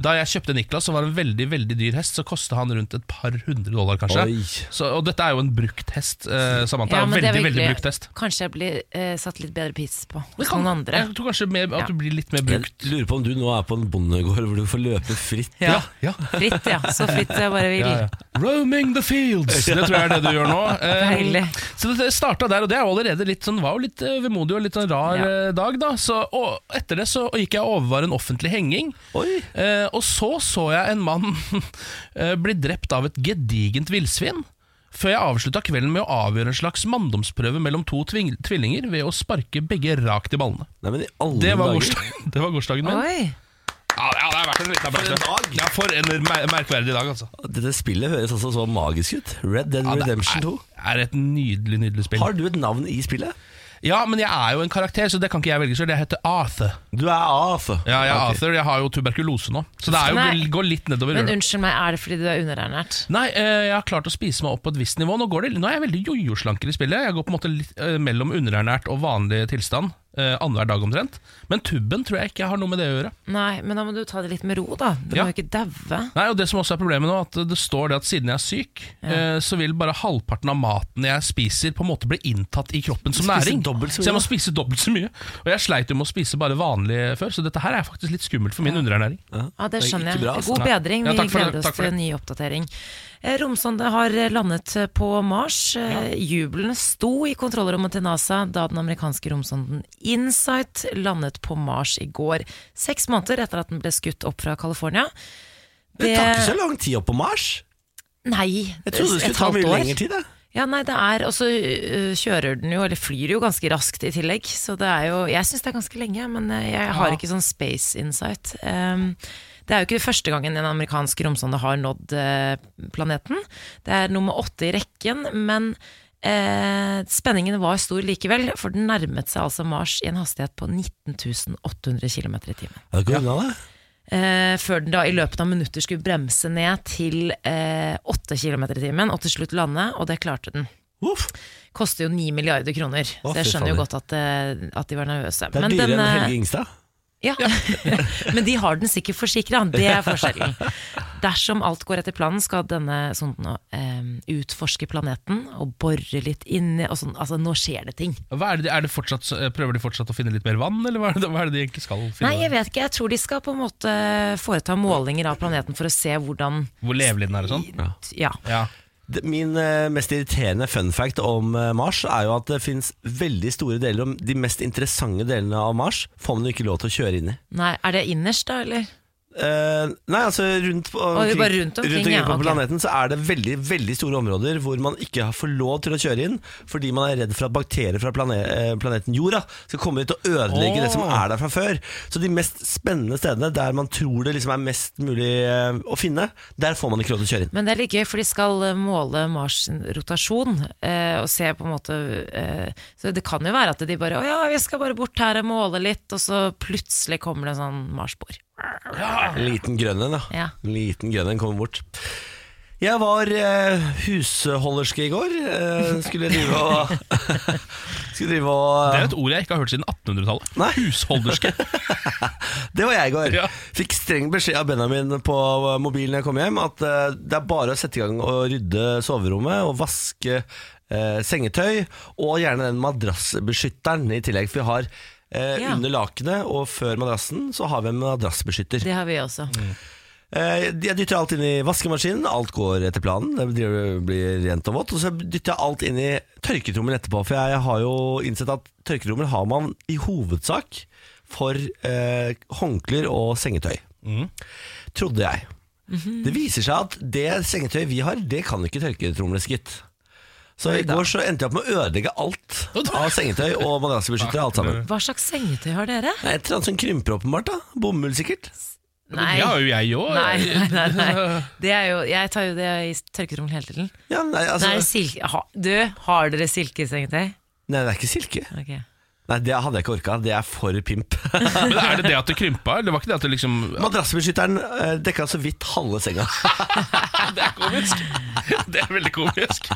S1: da jeg kjøpte Niklas, som var en veldig veldig dyr hest, så kosta han rundt et par hundre dollar, kanskje.
S2: Oi.
S1: Så, og dette er jo en brukt hest, eh, Samantha.
S3: Ja,
S1: en
S3: men
S1: veldig,
S3: det er
S1: veldig
S3: virkelig-
S1: brukt hest.
S3: Kanskje jeg blir eh, satt litt bedre pris på
S1: Det
S3: hos
S1: kan-
S3: noen andre.
S1: Jeg tror kanskje mer, at
S3: Ja.
S1: du blir litt mer brukt.
S2: Lurer på om du nå er på en bondegård hvor du får løpe fritt.
S1: ja.
S3: Fritt, ja. Så fritt jeg bare vil.
S1: Ja, ja. Roaming the fields! Det tror jeg er det du gjør nå. Eh,
S3: Deilig.
S1: så det starta der, og det er jo allerede litt sånn, var jo litt eh, vemodig og litt sånn rar
S3: Ja.
S1: eh, dag, da. Så, og etter det så gikk jeg og overvar en offentlig henging.
S2: Oi.
S1: Eh, og så så jeg en mann *laughs* eh, bli drept av et gedigent villsvin. Før jeg avslutta kvelden med å avgjøre en slags manndomsprøve mellom to tving tvillinger ved å sparke begge rakt i ballene.
S2: Nei, men i alle
S1: Det var,
S2: dager.
S1: gårsdagen, *laughs* det var gårsdagen min.
S3: Oi.
S1: Ja, ja, det er verdt en liten applaus.
S2: For en dag.
S1: Ja, for en mer merkverdig dag, altså.
S2: *laughs* Dette spillet høres altså så magisk ut. Red Dead
S1: Ja, det
S2: Redemption 2.
S1: er, er et nydelig, nydelig spill.
S2: Har du et navn i spillet?
S1: Ja, men jeg er jo en karakter, så det kan ikke jeg velge selv. Jeg heter Arthur.
S2: Du er Arthur.
S1: Ja, jeg er
S2: Ok.
S1: Arthur, jeg har jo tuberkulose nå, så det er jo
S3: Nei.
S1: går litt nedover.
S3: Men
S1: røret.
S3: unnskyld meg, er det fordi du er underernært?
S1: Nei, eh, jeg har klart å spise meg opp på et visst nivå. Nå, går det, nå er jeg veldig jojo-slankere i spillet. Jeg går på en måte litt, eh, mellom underernært og vanlig tilstand eh, annenhver dag omtrent. Men tubben tror jeg ikke har noe med det å gjøre.
S3: Nei, men da må du ta det litt med ro, da. Du
S1: Ja.
S3: må jo ikke daue.
S1: Nei, og Det som også er problemet nå, at det står det at siden jeg er syk, eh, så vil bare halvparten av maten jeg spiser, på en måte bli inntatt i kroppen som
S2: Spise
S1: næring.
S2: dobbelt så mye.
S1: Så jeg må spise dobbelt så mye. Og jeg sleit jo med å spise bare vanlig før, så dette her er faktisk litt skummelt for min underernæring.
S3: Ja, det
S2: Det er
S3: skjønner
S2: ikke
S3: jeg.
S2: bra, altså.
S3: God
S1: Nei.
S3: bedring.
S1: Ja,
S3: Vi
S1: takk for det,
S3: gleder
S1: takk
S3: oss
S1: for det.
S3: til en ny oppdatering. Eh, Romsonde har landet på Mars. Eh, Jubelen sto i kontrollrommet til NASA da den amerikanske romsonden Insight landet på Mars i går. Seks måneder etter at den ble skutt opp fra California.
S2: Det tar ikke så lang tid opp på Mars.
S3: Nei,
S2: Jeg trodde det
S3: et
S2: skulle ta
S3: halvt
S2: mye
S3: år.
S2: lengre tid. jeg.
S3: Ja, nei, det er, Og så øh, kjører den jo, eller flyr jo ganske raskt i tillegg. Så det er jo Jeg syns det er ganske lenge, men øh, jeg har ikke sånn space insight. Um, det er jo ikke første gangen en amerikansk romsonde har nådd øh, planeten. Det er nummer åtte i rekken, men eh, spenningen var stor likevel. For den nærmet seg altså Mars i en hastighet på 19.800 km i timen.
S2: Ja, det går unna, det.
S3: Eh, før den da i løpet av minutter skulle bremse ned til eh, 8 km i timen, og til slutt lande, og det klarte den.
S2: Uff.
S3: Koster jo 9 milliarder kroner, så jeg
S2: fy
S3: skjønner jo
S2: fader.
S3: godt at, eh, at de var nervøse.
S2: Det er
S3: Men
S2: dyrere
S3: den,
S2: enn
S3: eh,
S2: Helge Ingstad.
S3: ja. *laughs* Men de har den sikkert forsikra, det
S2: *laughs*
S3: er forskjellen. Dersom alt går etter planen, skal denne sonden nå, eh, utforske planeten og bore litt inni og sånn, Altså, nå skjer det ting.
S1: Hva er det, er det fortsatt, eh, prøver de fortsatt å finne litt mer vann, eller hva er det, hva er det de egentlig skal finne?
S3: Nei, jeg vet ikke. Jeg tror de skal på en måte foreta målinger av planeten for å se hvordan
S1: Hvor levelig den er og sånn?
S3: Ja.
S1: Ja.
S2: Det- Min eh, mest irriterende fun fact om eh, Mars er jo at det finnes veldig store deler om de mest interessante delene av Mars får man jo ikke lov til å kjøre inn i.
S3: Nei, Er det innerst, da, eller?
S2: Eh, nei, altså rundt, på,
S3: det er bare rundt omkring, ja,
S2: på
S3: ok.
S2: planeten så er det veldig veldig store områder hvor man ikke har- får lov til å kjøre inn fordi man er redd for at bakterier fra plane, eh, planeten jorda skal komme hit og ødelegge
S1: Åh.
S2: det som er der fra før. Så de mest spennende stedene der man tror det liksom er mest mulig eh, å finne, der får man ikke lov til å kjøre inn.
S3: Men det er litt gøy, for de skal eh, måle Mars sin rotasjon eh, og se på en måte eh, Så det kan jo være at de bare Å ja, vi skal bare bort her og måle litt, og så plutselig kommer det en sånn Mars-bord.
S2: En liten grønn en, da.
S3: Ja.
S2: En liten grønn en kommer bort. Jeg var eh, husholderske i går. Eh, skulle drive og *laughs* Skulle drive og
S1: Det er jo et ord jeg ikke har hørt siden 1800-tallet.
S2: Nei.
S1: Husholderske.
S2: Det var jeg i går.
S1: Ja.
S2: Fikk streng beskjed av Benjamin på mobilen jeg kom hjem, at eh, det er bare å sette i gang og rydde soverommet og vaske eh, sengetøy, og gjerne den madrassbeskytteren i tillegg. For vi har eh,
S3: Ja.
S2: under lakenet og før madrassen så har vi en madrassbeskytter.
S3: Det har vi også.
S2: Eh, Jeg dytter alt inn i vaskemaskinen, alt går etter planen. Det blir- blir rent og vått. Og så dytter jeg alt inn i tørketrommelen etterpå, for jeg har jo innsett at tørketrommel har man i hovedsak for eh, håndklær og sengetøy. Trodde jeg. Det viser seg at det sengetøyet vi har, det kan ikke tørketromles, gitt. Så i går så endte jeg opp med å ødelegge alt av sengetøy og madrassbeskyttere, alt sammen.
S3: Hva slags sengetøy har dere?
S2: Det er Et eller annet som krymper åpenbart, da. Bomull, sikkert.
S3: Nei.
S1: Det har jo jeg òg.
S3: Nei, nei, nei,
S2: *laughs*
S3: nei. Det er jo, jeg tar jo det i tørkerommet hele tiden.
S2: Ja, nei, altså,
S3: Nei, silke, ha, du, har dere silkesengetøy?
S2: nei, det er ikke silke.
S3: Ok.
S2: Nei, det hadde jeg ikke orka. Det er for *laughs* pimp.
S1: Men er det det at det krympa? Eller var ikke det at det liksom
S2: Madrassbeskytteren eh, dekka så vidt halve senga.
S1: Det er komisk! *laughs* Det er veldig komisk.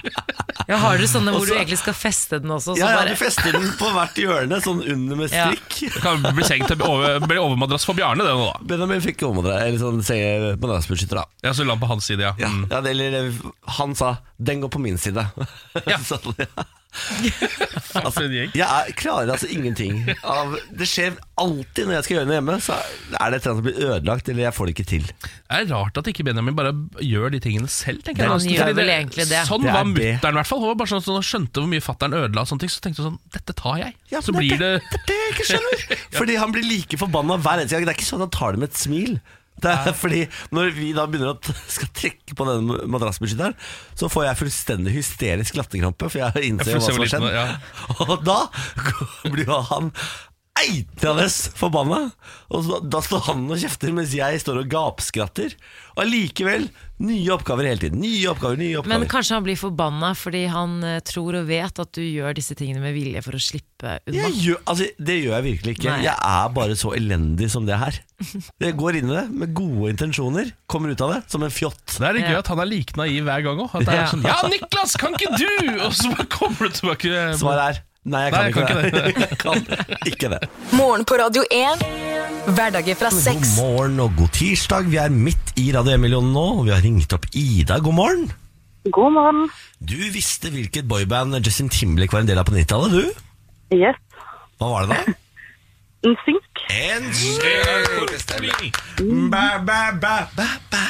S3: Ja, har dere sånne hvor
S2: Også-
S3: du egentlig skal feste den også? så
S2: Ja, ja,
S3: bare-
S2: du fester Altså, den på hvert hjørne, sånn under med
S3: Ja.
S2: strikk. *laughs*
S1: Det kan bli seng til over, bli overmadrass for Bjarne, det nå, da.
S2: Benjamin fikk jo omdre- eller sånn senge- madrassbeskytter, da.
S1: Ja, så la han på hans side, ja.
S2: Ja, ja, det- eller eh, han sa 'den går på min side'. *laughs*
S1: Ja.
S2: Sånn, ja.
S1: For
S2: altså,
S1: en gjeng.
S2: Jeg er, klarer altså ingenting *laughs* av Det skjer alltid når jeg skal gjøre noe hjemme, så er det et eller annet som blir ødelagt, eller jeg får det ikke til.
S1: Det er rart at ikke Benjamin bare gjør de tingene selv. tenker jeg
S3: Han
S1: nesten,
S3: gjør
S1: fordi
S3: vel egentlig det.
S1: Sånn
S2: Det er
S1: var
S2: det.
S1: mutter'n, i hvert fall. Hun var bare sånn, at hun skjønte hvor mye fatter'n ødela, og sånne ting, så tenkte hun sånn Dette tar jeg.
S2: Ja,
S1: så
S2: men
S1: blir
S2: det
S1: det
S2: er det, det er det jeg ikke
S1: *laughs*
S2: skjønner. Fordi han blir like forbanna hver eneste gang. Det er ikke sånn at han tar det med et smil. Det er fordi Når vi da begynner å t- skal trekke på denne madrassbeskytteren, så får jeg fullstendig hysterisk latterkrampe, for jeg innser
S1: Jeg får
S2: jo hva
S1: se
S2: som
S1: hvor
S2: har skjedd.
S1: liten- ja.
S2: *laughs* Og da blir jo han eitrende forbanna. Og så, da står han og kjefter, mens jeg står og gapskratter. Og allikevel nye oppgaver hele tiden. Nye oppgaver, nye oppgaver.
S3: Men kanskje han blir forbanna fordi han eh, tror og vet at du gjør disse tingene med vilje for å slippe unna.
S2: Jeg gjør, altså, det gjør jeg virkelig ikke.
S3: Nei.
S2: Jeg er bare så elendig som det her. Jeg går inn i det med gode intensjoner, kommer ut av det som en fjott.
S1: Det er litt gøy at
S3: Ja.
S1: han er like naiv hver gang òg. Ja.
S3: Ja.
S1: Sånn, ja, Niklas, kan ikke du?! Og så bare kommer du tilbake.
S2: Svaret er nei, jeg
S1: Nei,
S2: kan,
S1: jeg kan
S2: ikke,
S1: ikke
S2: det. *laughs* Jeg kan ikke det.
S5: Morgen på Radio 1. Hverdager fra
S2: God
S5: seks.
S2: morgen og god tirsdag. Vi er midt i Radio 1-millionen nå, og vi har ringt opp Ida. God morgen.
S6: God morgen.
S2: Du visste hvilket boyband Justin Timberlake var en del av på 90-tallet, du?
S6: Yes.
S2: Hva var det da?
S6: En synk.
S2: En Bæ, bæ, bæ, bæ, bæ.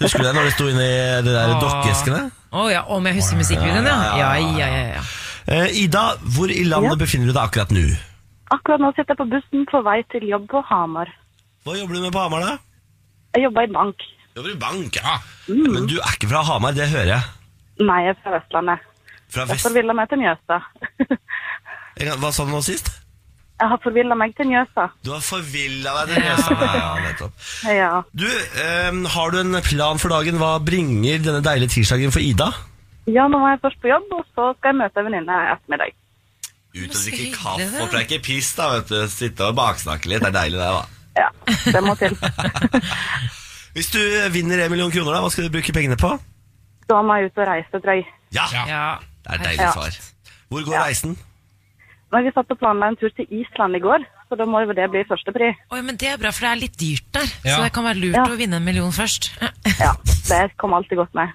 S2: Husker du det når du sto inne i de der dokkeskene?
S3: Å ja, om jeg husker musikkvideoen, ja. Ja, ja, ja, ja.
S2: Eh, Ida, hvor i landet befinner du deg akkurat nå?
S6: Akkurat nå sitter jeg på bussen på vei til jobb på Hamar.
S2: Hva jobber du med på Hamar, da?
S6: Jeg jobber i bank.
S2: Jobber i bank, ja. Men du er ikke fra Hamar, det hører jeg.
S6: Nei, jeg er fra Vestlandet.
S2: Fra
S6: Jeg
S2: vest...
S6: forvilla meg til Mjøsa.
S2: En gang- Hva sa du nå sist?
S6: *laughs* jeg har forvilla meg til Mjøsa.
S2: Du har forvilla deg til Mjøsa. Ja, ja, nettopp.
S6: Ja.
S2: Du, ehm, har du en plan for dagen? Hva bringer denne deilige tirsdagen for Ida?
S6: ja, nå må jeg først på jobb, og så skal jeg møte en venninne i ettermiddag.
S2: Ut
S3: og drikke kaffe og
S2: preike piss, da, vet du. Sitte og baksnakke litt. Det er deilig, det, da.
S6: Ja, det må til.
S2: Hvis du vinner en million kroner, da, hva skal du bruke pengene på?
S6: Da må jeg ut og reise, tror jeg.
S2: Ja,
S1: Ja.
S3: ja.
S2: det er et deilig
S6: Ja.
S2: svar. Hvor går reisen?
S6: Men vi satt og planla en tur til Island i går, så da må jo det bli førstepri.
S3: Oi, men det er bra, for det er litt dyrt der.
S1: Ja.
S3: Så det kan være lurt
S6: Ja.
S3: å vinne en million først. *laughs*
S6: Ja, det kom alltid godt med.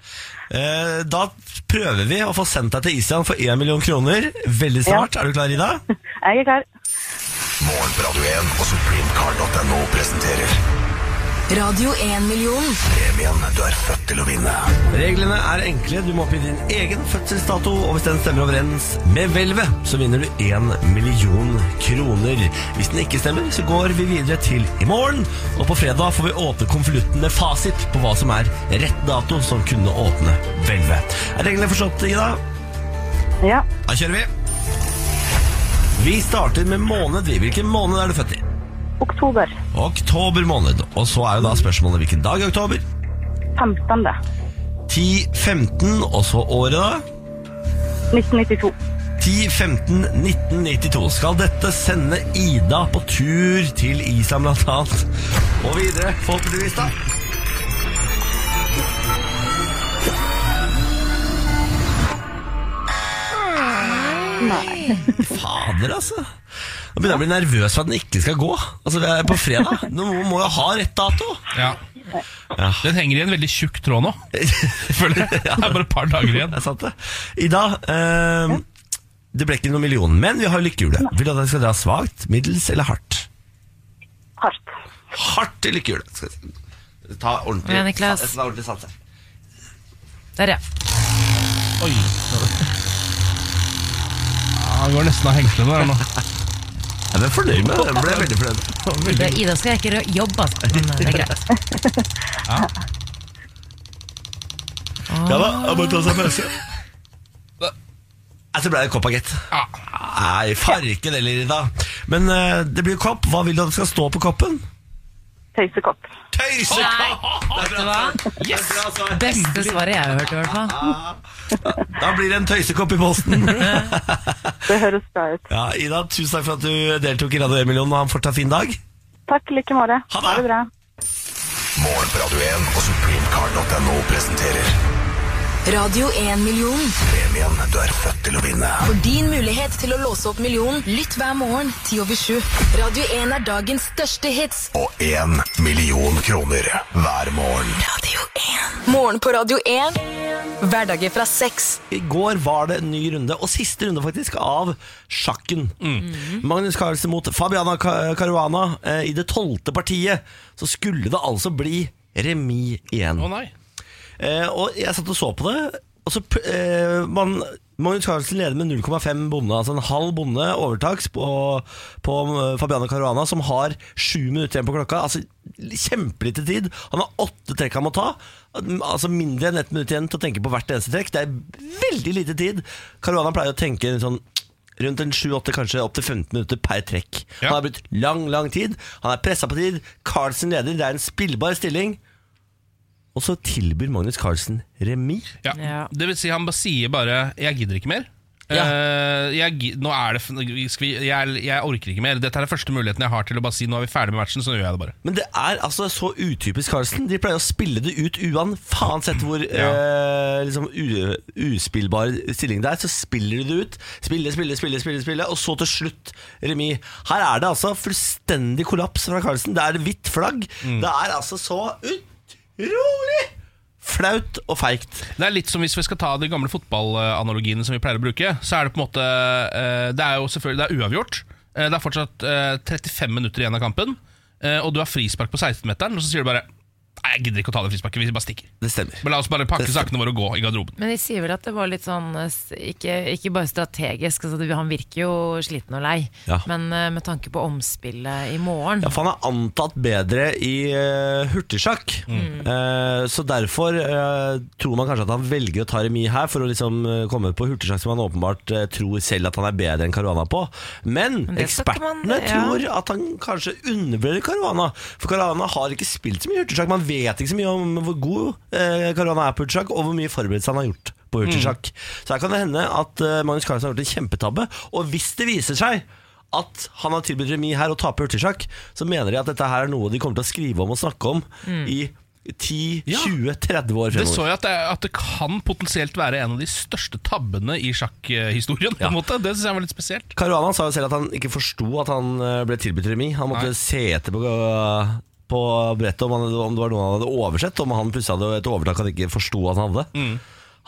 S2: Eh, da prøver vi å få sendt deg til Island for 1 million kroner. Veldig snart. Er du klar, Ida?
S6: Jeg er klar.
S7: Morgen på Radio 1 og supremecard.no presenterer
S5: Radio 1-million.
S7: premien du er født til å vinne.
S2: Reglene er enkle. Du må oppgi din egen fødselsdato, og hvis den stemmer overens med hvelvet, så vinner du 1 million kroner. Hvis den ikke stemmer, så går vi videre til i morgen. Og på fredag får vi åpne konvolutten med fasit på hva som er rett dato som kunne åpne hvelvet. Er reglene forstått, Ida?
S6: Ja.
S2: Da kjører vi. Vi starter med måned. vi. Hvilken måned er du født i?
S6: Oktober
S2: Oktober måned. Og så er jo da spørsmålet hvilken dag i oktober?
S6: 15.
S2: 10, 15, og så året da?
S6: 1992.
S2: 10, 15, 1992. Skal dette sende Ida på tur til Island blant annet? Og videre, forhåpentligvis da. Fader, altså. Nå begynner jeg å bli nervøs for at den ikke skal gå. Altså, vi er på fredag. Noen må jo ha rett dato.
S1: Ja.
S2: *laughs*
S1: Den henger i en veldig tjukk tråd nå. Føler jeg. Det er bare et par dager igjen.
S2: Det er sant, det. Ida, eh, det ble ikke noen million, men vi har lykkehjulet. Vil du at jeg skal dra svakt, middels eller hardt?
S6: Hardt.
S2: Hardt i lykkehjulet. skal jeg si.
S8: Ta ordentlig,
S3: Ja, Niklas.
S8: sa- ta ordentlig sats her.
S3: Der, ja.
S1: Oi. Ja, det går nesten av hengslene der nå.
S2: Jeg ble fornøyd med det.
S8: Jeg ble veldig fornøyd.
S3: Det, Ida skal jeg ikke jobbe, altså. Men det er greit. Ah.
S2: Ja da, jeg må ta seg en pause.
S8: Nei, Så ble det kopp agett. Nei, farken heller, da.
S2: Men eh, det blir kopp. Hva vil du at det skal stå på koppen?
S6: Tøysekopp.
S8: Tøysekopp!
S3: Vet du hva?
S8: Yes!
S3: Beste svaret jeg har hørt, i hvert fall.
S2: altså. Da blir det en tøysekopp i posten.
S3: *laughs*
S6: Det høres bra ut.
S2: Ja, Ida, tusen takk for at du deltok i Radio 1-millionen, og ha en fortsatt fin dag.
S6: Takk i like måte.
S2: Ha det.
S6: Ha det bra.
S7: Morgen på Radio 1 og supremecard.no presenterer
S5: Radio 1-million.
S7: premien du er født til å vinne.
S5: For din mulighet til å låse opp millionen, lytt hver morgen 10 over 7. Radio 1 er dagens største hits.
S7: Og én million kroner hver morgen.
S5: Radio 1. Morgen på Radio 1. Hverdager fra seks.
S2: I går var det en ny runde, og siste runde faktisk, av sjakken.
S1: Mhm.
S2: Magnus Carlsen mot Fabiana Ca- Caruana. Eh, I det tolvte partiet så skulle det altså bli remis igjen.
S1: Å nei.
S2: Eh, og jeg satt og så på det. Og så, pl- eh, man, Magnus Carlsen leder med 0,5 bonde, altså en halv bonde overtaks på, på eh, Fabiana Caruana, som har sju minutter igjen på klokka. Altså Kjempelite tid. Han har åtte trekk han må ta. Altså Mindre enn ett minutt igjen til å tenke på hvert eneste trekk. Det er veldig lite tid. Caruana pleier å tenke sånn rundt en 7-8, kanskje opp til 15 minutter per trekk.
S1: Ja.
S2: Han har brukt lang, lang tid. Han er pressa på tid. Carlsen leder. Det er en spillbar stilling. Og så tilbyr Magnus Carlsen remis.
S1: Ja.
S3: Ja.
S1: Det vil si, han bare sier bare 'jeg gidder ikke mer'.
S2: Ja.
S1: Eh, jeg, gi- nå er det, f- skal vi, jeg, jeg orker ikke mer. Dette er den første muligheten jeg har til å bare si 'nå er vi ferdig med matchen', så gjør jeg det bare.
S2: Men det er altså så utypisk Carlsen. De pleier å spille det ut uan faen sett hvor eh, liksom u, uspillbar stilling det er. Så spiller de det ut. Spille, spille, spille, spille, spille og så til slutt remis. Her er det altså fullstendig kollaps fra Carlsen. Det er hvitt flagg. Det er altså så utrolig flaut og feigt.
S1: Det er litt som hvis vi skal ta de gamle fotballanalogiene som vi pleier å bruke. Så er det på en måte eh, Det er jo selvfølgelig det er uavgjort. Eh, Det er fortsatt eh, 35 minutter igjen av kampen, eh, og du har frispark på 16-meteren, og så sier du bare Nei, jeg gidder ikke å ta det frisparket, vi bare stikker.
S2: Det stemmer.
S1: Men la oss bare pakke sakene våre og gå i garderoben.
S3: Men de sier vel at det var litt sånn eh, s- Ikke, ikke bare strategisk, altså, det- han virker jo sliten og lei,
S2: Ja.
S3: men eh, med tanke på omspillet i morgen
S2: Ja, for han er antatt bedre i eh, hurtigsjakk.
S3: Mm.
S2: Eh, så derfor eh, tror man kanskje at han velger å ta remis her, for å liksom eh, komme på hurtigsjakk som han åpenbart eh, tror selv at han er bedre enn Caruana på. Men,
S3: Men det skal ikke
S2: ekspertene
S3: man- ja.
S2: tror at han kanskje undervurderer Caruana. For Caruana har ikke spilt så mye hurtigsjakk. Man vet ikke så mye om hvor god eh, Caruana er på hurtigsjakk, og hvor mye forberedelse han har gjort
S1: Mm.
S2: på hurtigsjakk. Så her kan det hende at eh, Magnus Carlsen har gjort en kjempetabbe, og hvis det viser seg at han har tilbudt remis her og taper hurtigsjakk, så mener de at dette her er noe de kommer til å skrive om og snakke om i 10,
S1: Mm. Ja.
S2: 20, 30 år
S1: Det så
S2: fremover.
S1: jeg at det, at det kan potensielt være en av de største tabbene i sjakkhistorien. på en måte. Det syns jeg var litt spesielt.
S2: Caruana sa jo selv at han ikke forsto at han eh, ble tilbudt remis. Han måtte
S1: Nei.
S2: se etter på, eh, på brettet om, han, om det var noe han hadde oversett, om han plutselig hadde et overtak han ikke forsto at han hadde.
S1: Mm.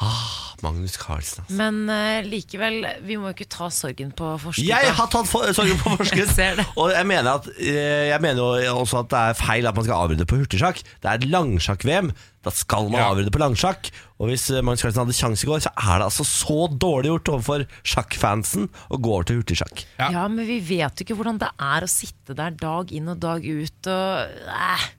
S2: Ah, Magnus Carlsen, altså.
S3: Men eh, likevel, vi må jo ikke ta sorgen på forskudd.
S2: Jeg har tatt for, sorgen
S1: *laughs*
S2: på forskudd.
S3: Jeg ser det.
S2: og jeg mener, at, eh, jeg mener jo også at det er feil at man skal avbryte på hurtigsjakk. Det er et langsjakk-VM. Da skal man
S1: Ja.
S2: avbryte på langsjakk. Og hvis eh, Magnus Carlsen hadde sjanse i går, så er det altså så dårlig gjort overfor sjakkfansen å gå over til hurtigsjakk.
S1: Ja.
S3: ja. men vi vet jo ikke hvordan det er å sitte der dag inn og dag ut og eh.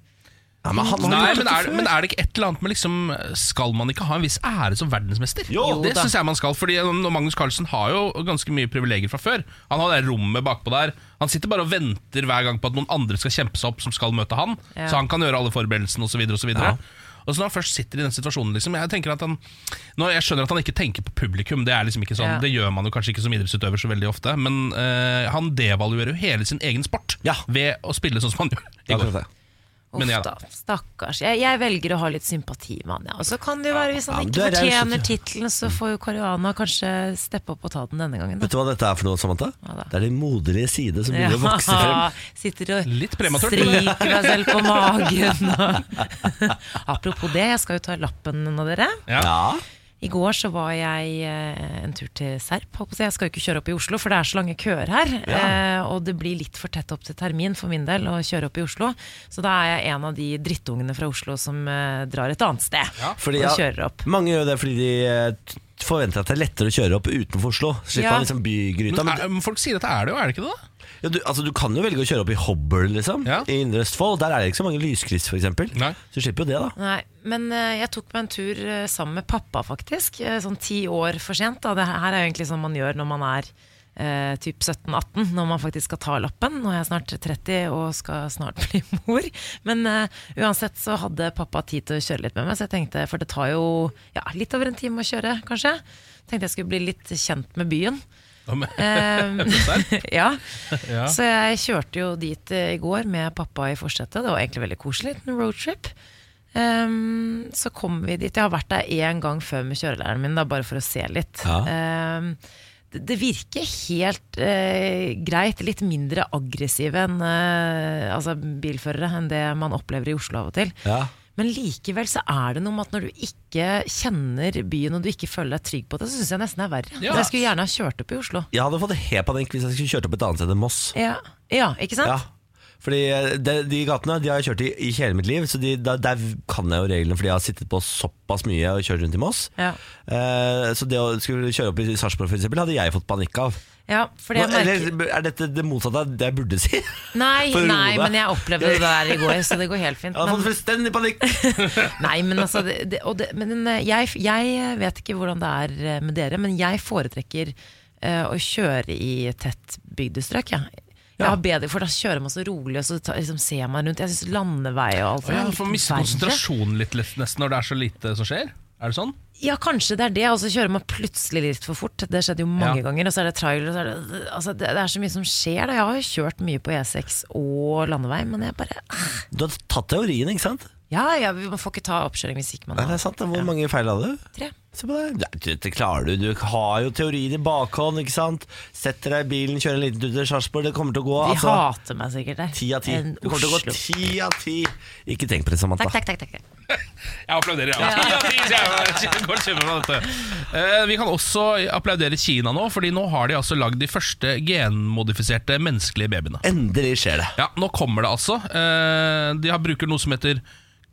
S2: Ja, men han har
S1: Nei,
S2: gjort
S1: men
S2: dette
S1: er,
S2: før.
S1: men er det ikke et eller annet med liksom Skal man ikke ha en viss ære som verdensmester?
S2: Jo,
S1: det
S3: da.
S1: syns jeg man skal. Fordi når Magnus Carlsen har jo ganske mye privilegier fra før. Han har det rommet bakpå der. Han sitter bare og venter hver gang på at noen andre skal kjempe seg opp som skal møte han.
S3: Ja.
S1: Så han kan gjøre alle forberedelsene osv. Og, så videre. og så når han først sitter i den situasjonen liksom, Jeg tenker at han nå, Jeg skjønner at han ikke tenker på publikum. Det er liksom ikke sånn
S3: Ja.
S1: Det gjør man jo kanskje ikke som idrettsutøver så veldig ofte. Men eh, han devaluerer jo hele sin egen sport
S2: Ja.
S1: ved å spille sånn som han gjør. i
S2: Ja,
S1: går.
S2: akkurat det.
S1: Men
S3: Uff
S1: ja da.
S3: da, stakkars. Jeg, jeg velger å ha litt sympati med han, ja. Og så kan det jo være, hvis
S2: Ja,
S3: han
S2: men du
S3: ikke
S2: er raus,
S3: fortjener
S2: vet
S3: tittelen, så får jo Caruana kanskje steppe opp og ta den denne gangen.
S2: Vet du
S3: Da.
S2: hva dette er for noe, Samantha?
S3: da.
S2: det er din moderlige side som begynner å vokse frem.
S3: *laughs* sitter og
S1: Litt prematurt, men-
S3: stryker deg selv på
S1: *laughs*
S3: *laughs* magen. Og. Apropos det, jeg skal jo ta lappen nå, dere.
S1: Ja.
S2: Ja,
S3: I går så var jeg eh, en tur til Serp. holdt på å si. Jeg skal jo ikke kjøre opp i Oslo, for det er så lange køer her. Eh, og det blir litt for tett opp til termin for min del å kjøre opp i Oslo. Så da er jeg en av de drittungene fra Oslo som eh, drar et annet sted
S2: Fordi,
S3: og
S2: ja,
S3: kjører opp.
S2: Mange gjør det fordi de eh, t- forventer at det er lettere å kjøre opp utenfor Oslo. Slipper
S3: Ja.
S2: man liksom bygryta.
S1: Men,
S2: Men,
S1: er, men folk sier at det er det jo, er det ikke det? da?
S2: ja, du, altså, du kan jo velge å kjøre opp i Hobøl, liksom.
S1: Ja.
S2: I Indre Østfold. Der er det ikke så mange lyskryss, f.eks.
S1: Nei.
S2: Så du slipper jo det, da.
S3: Nei, men eh, jeg tok meg en tur eh, sammen med pappa, faktisk. eh, sånn ti år for sent. Da. Det her er jo egentlig sånn man gjør når man er eh, typ 17-18, når man faktisk skal ta lappen. Nå er jeg snart 30 og skal snart *laughs* bli mor. Men eh, uansett så hadde pappa tid til å kjøre litt med meg, så jeg tenkte, for det tar jo ja, litt over en time å kjøre, kanskje. Tenkte jeg skulle bli litt kjent med byen.
S1: Ja, men-
S3: Ehm, *laughs* ja.
S1: Ja.
S3: Så jeg kjørte jo dit eh, i går med pappa i forsetet. Det var egentlig veldig koselig. En roadtrip. Ehm, så kom vi dit. Jeg har vært der én gang før med kjørelæreren min, da, bare for å se litt.
S2: Ja.
S3: Ehm, det, det virker helt eh, greit. Litt mindre aggressive enn eh, altså bilførere enn det man opplever i Oslo av og til.
S2: Ja.
S3: Men likevel så er det noe med at når du ikke kjenner byen og du ikke føler deg trygg på det, så syns jeg nesten det er
S1: Ja.
S3: verre. Så Jeg skulle gjerne ha kjørt opp i Oslo.
S2: Jeg hadde fått helt panikk hvis jeg skulle kjørt opp et annet sted enn Moss.
S3: Ja, ja ikke sant?
S2: Ja. Fordi eh, de, de gatene de har jeg kjørt i, i hele mitt liv, så de, der, der kan jeg jo reglene. Fordi jeg har sittet på såpass mye og kjørt rundt i Moss.
S3: Ja.
S2: Eh, så det å skulle kjøre opp i Sarpsborg for eksempel, hadde jeg fått panikk av.
S3: Ja, fordi jeg merker
S2: Eller er dette det motsatte av det jeg burde si? *laughs* Jeg
S3: Nei,
S2: for å roe
S3: nei,
S2: deg.
S3: men jeg opplevde det der i går, så det går helt fint.
S2: hadde fått
S3: Men,
S2: fullstendig panikk!
S3: nei, men altså det, det, og det, Men eh, jeg, jeg vet ikke hvordan det er eh, med dere, men jeg foretrekker eh, å kjøre i tett bygdestrøk, jeg. Jeg har bedre, for Da kjører man så rolig, og så ta, liksom, ser man rundt. Jeg syns landevei og
S1: Å,
S3: alt
S1: ja,
S3: sånt er
S1: får
S3: litt
S1: miste
S3: verre.
S1: konsentrasjonen litt litt nesten når det er så lite som skjer. Er det sånn?
S3: Ja, kanskje det er det. Og så kjører man plutselig litt for fort. Det skjedde jo mange
S1: Ja.
S3: ganger. Og så er det trailer, og så er det, altså, det, det er så mye som skjer. Da. Jeg har jo kjørt mye på E6 og landevei, men jeg bare ah,
S2: Du har tatt teorien, ikke sant?
S3: Ja, ja, vi- man får ikke ta oppkjøring hvis ikke man
S2: Nei, det
S3: har
S2: er sant. Hvor mange feil hadde du?
S3: tre.
S2: Se på deg. Nei, Dette klarer du. Du har jo teorien i bakhånd, ikke sant? Setter deg i bilen, kjører en liten tur til Sarpsborg. Det kommer til å gå.
S3: De
S2: altså,
S3: hater meg sikkert der.
S2: Ti av ti.
S3: En
S2: Du kommer til å
S3: Oslo.
S2: gå ti av ti. Ikke tenk på det, Samantha.
S3: Takk, takk, takk, takk.
S1: Jeg applauderer, *laughs* ja. Det går kjempebra, dette. Eh, Vi kan også applaudere Kina nå, Fordi nå har de altså lagd de første genmodifiserte menneskelige babyene.
S2: Endelig skjer det.
S1: Ja, nå kommer det altså. Eh, De har bruker noe som heter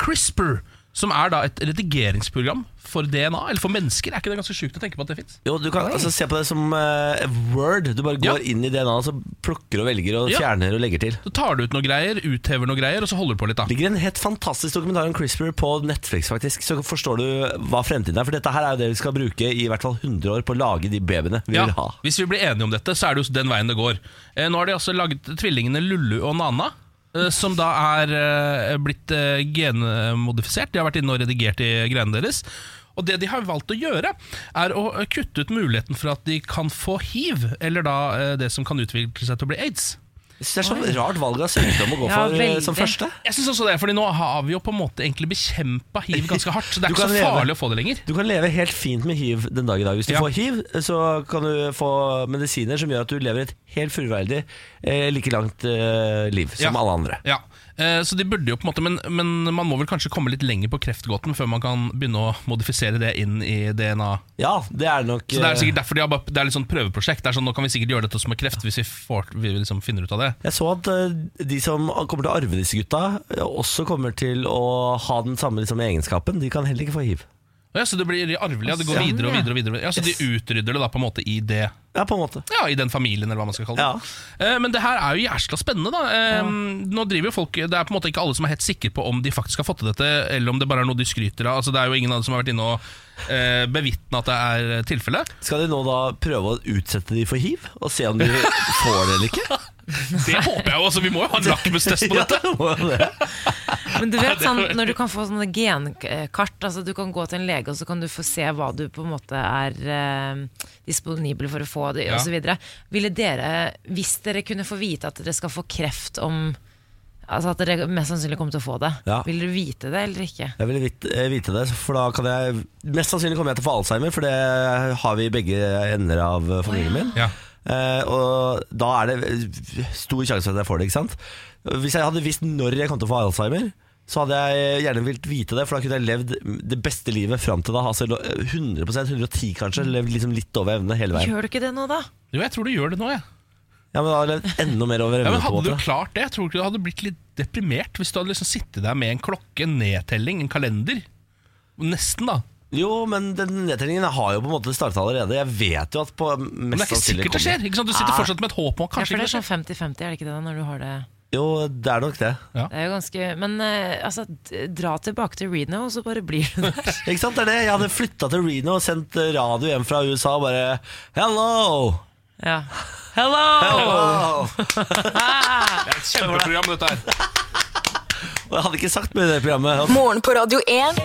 S1: CRISPR. Som er da et redigeringsprogram for DNA, eller for mennesker. Er ikke det ganske sjukt å tenke på at det fins?
S2: Jo, Du kan altså se på det som eh, Word. Du bare
S1: Ja.
S2: går inn i DNA og så plukker og velger og
S1: Ja.
S2: fjerner og legger til.
S1: Så tar du ut noe greier, uthever noe greier, og så holder du på litt, da.
S2: Det ligger en helt fantastisk dokumentar om CRISPR på Netflix, faktisk. Så forstår du hva fremtiden er. For dette her er jo det vi skal bruke i hvert fall 100 år på å lage de babyene vi
S1: Ja,
S2: vil ha.
S1: Hvis vi blir enige om dette, så er det jo den veien det går. Eh, nå har de altså laget tvillingene Lullu og Nana, eh, som da er eh, blitt eh, genmodifisert. De har vært inne og redigert i greiene deres. Og det de har valgt å gjøre, er å eh, kutte ut muligheten for at de kan få hiv, eller da eh, det som kan utvikle seg til å bli aids.
S2: Jeg synes det er så rart valg av sykdom å gå
S3: Ja,
S2: for eh,
S3: veldig.
S2: som første.
S1: Jeg synes også det, fordi Nå har vi jo på en måte egentlig bekjempa hiv ganske hardt. Så det er
S2: Du
S1: ikke
S2: kan
S1: så
S2: leve.
S1: farlig å få det lenger.
S2: Du kan leve helt fint med hiv den dag i dag. Hvis du
S1: Ja.
S2: får hiv, så kan du få medisiner som gjør at du lever et helt fullverdig, eh, like langt eh, liv som
S1: Ja.
S2: alle andre.
S1: Ja, eh, så de burde jo på en måte men, men man må vel kanskje komme litt lenger på kreftgåten før man kan begynne å modifisere det inn i DNA.
S2: Ja, det er nok
S1: Så Det er
S2: eh,
S1: sikkert derfor de har bare, Det er litt sånn prøveprosjekt. Det er sånn, Nå kan vi sikkert gjøre dette som med kreft, hvis vi, får, vi liksom finner ut av det.
S2: Jeg så at eh, de som kommer til å arve disse gutta, eh, også kommer til å ha den samme liksom, egenskapen. De kan heller ikke få hiv.
S1: Og Ja, så det blir arvelig, ja. Det går
S3: Sånn,
S1: videre og
S3: ja.
S1: videre. og videre Ja, Så de utrydder det da på en måte i det
S2: Ja, på en måte.
S1: Ja, i den familien, eller hva man skal kalle det. Eh, Men det her er jo jævla spennende, da. Eh, Nå driver jo folk Det er på en måte ikke alle som er helt sikre på om de faktisk har fått til dette, eller om det bare er noe de skryter av. Altså, det er jo ingen av dem som har vært inne og eh, bevitna at det er eh, tilfelle.
S2: Skal de nå da prøve å utsette de for hiv, og se
S1: *laughs*
S2: om de får det eller ikke?
S1: Det håper jeg jo, altså. Vi må jo ha en lakmustest på dette.
S2: Ja, må jo det.
S3: Men du vet sånn, når du kan få sånne genkart, altså du kan gå til en lege og så kan du få se hva du på en måte er eh, disponibel for å få det,
S1: Ja.
S3: og så videre. Ville dere, hvis dere kunne få vite at dere skal få kreft om Altså at dere mest sannsynlig kommer til å få det.
S2: Ja.
S3: Vil dere vite det eller ikke?
S2: Jeg vil vite, eh, vite det, for da kan jeg Mest sannsynlig kommer jeg til å få Alzheimer, for det har vi i begge ender av eh, familien min.
S1: Ja.
S2: Eh, og da er det eh, stor sjanse for at jeg får det, ikke sant? Hvis jeg hadde visst når jeg kom til å få Alzheimer, så hadde jeg gjerne villet vite det, for da kunne jeg levd det beste livet fram til da. Altså 100 110 kanskje. Levd liksom litt over evne hele veien.
S3: Gjør du ikke det nå, da?
S1: Jo, jeg tror du gjør det nå, jeg.
S2: Ja, men da hadde jeg levd enda mer over
S1: Ja,
S2: evne.
S1: men
S2: på en
S1: hadde du
S2: måte.
S1: klart det, jeg tror ikke du hadde blitt litt deprimert hvis du hadde liksom sittet der med en klokke, en nedtelling, en kalender. Nesten, da.
S2: Jo, men den nedtellingen har jo på en måte starta allerede. Jeg vet jo at på mest
S1: Men det er ikke sikkert
S2: sannsynlig
S1: det
S2: kommer-
S1: skjer. ikke sant? Du sitter fortsatt med et håp om at
S3: Ah. Ja, for
S1: kanskje
S3: det
S1: ikke
S3: er
S1: det skjer.
S3: sånn 50-50, er det ikke det? da, Når du har det
S2: Jo, det er nok det.
S3: Det er jo ganske Men eh, altså, d- dra tilbake til Reno, og så bare blir
S2: *laughs*
S3: du der.
S2: Ikke sant, det er det. Jeg hadde flytta til Reno og sendt radio hjem fra USA og bare Hello!
S3: Ja. Hello!
S2: Hello!
S1: Det er et kjempeprogram, dette her.
S2: Og jeg hadde ikke sagt mye i det programmet.
S5: Morgen på Radio 1.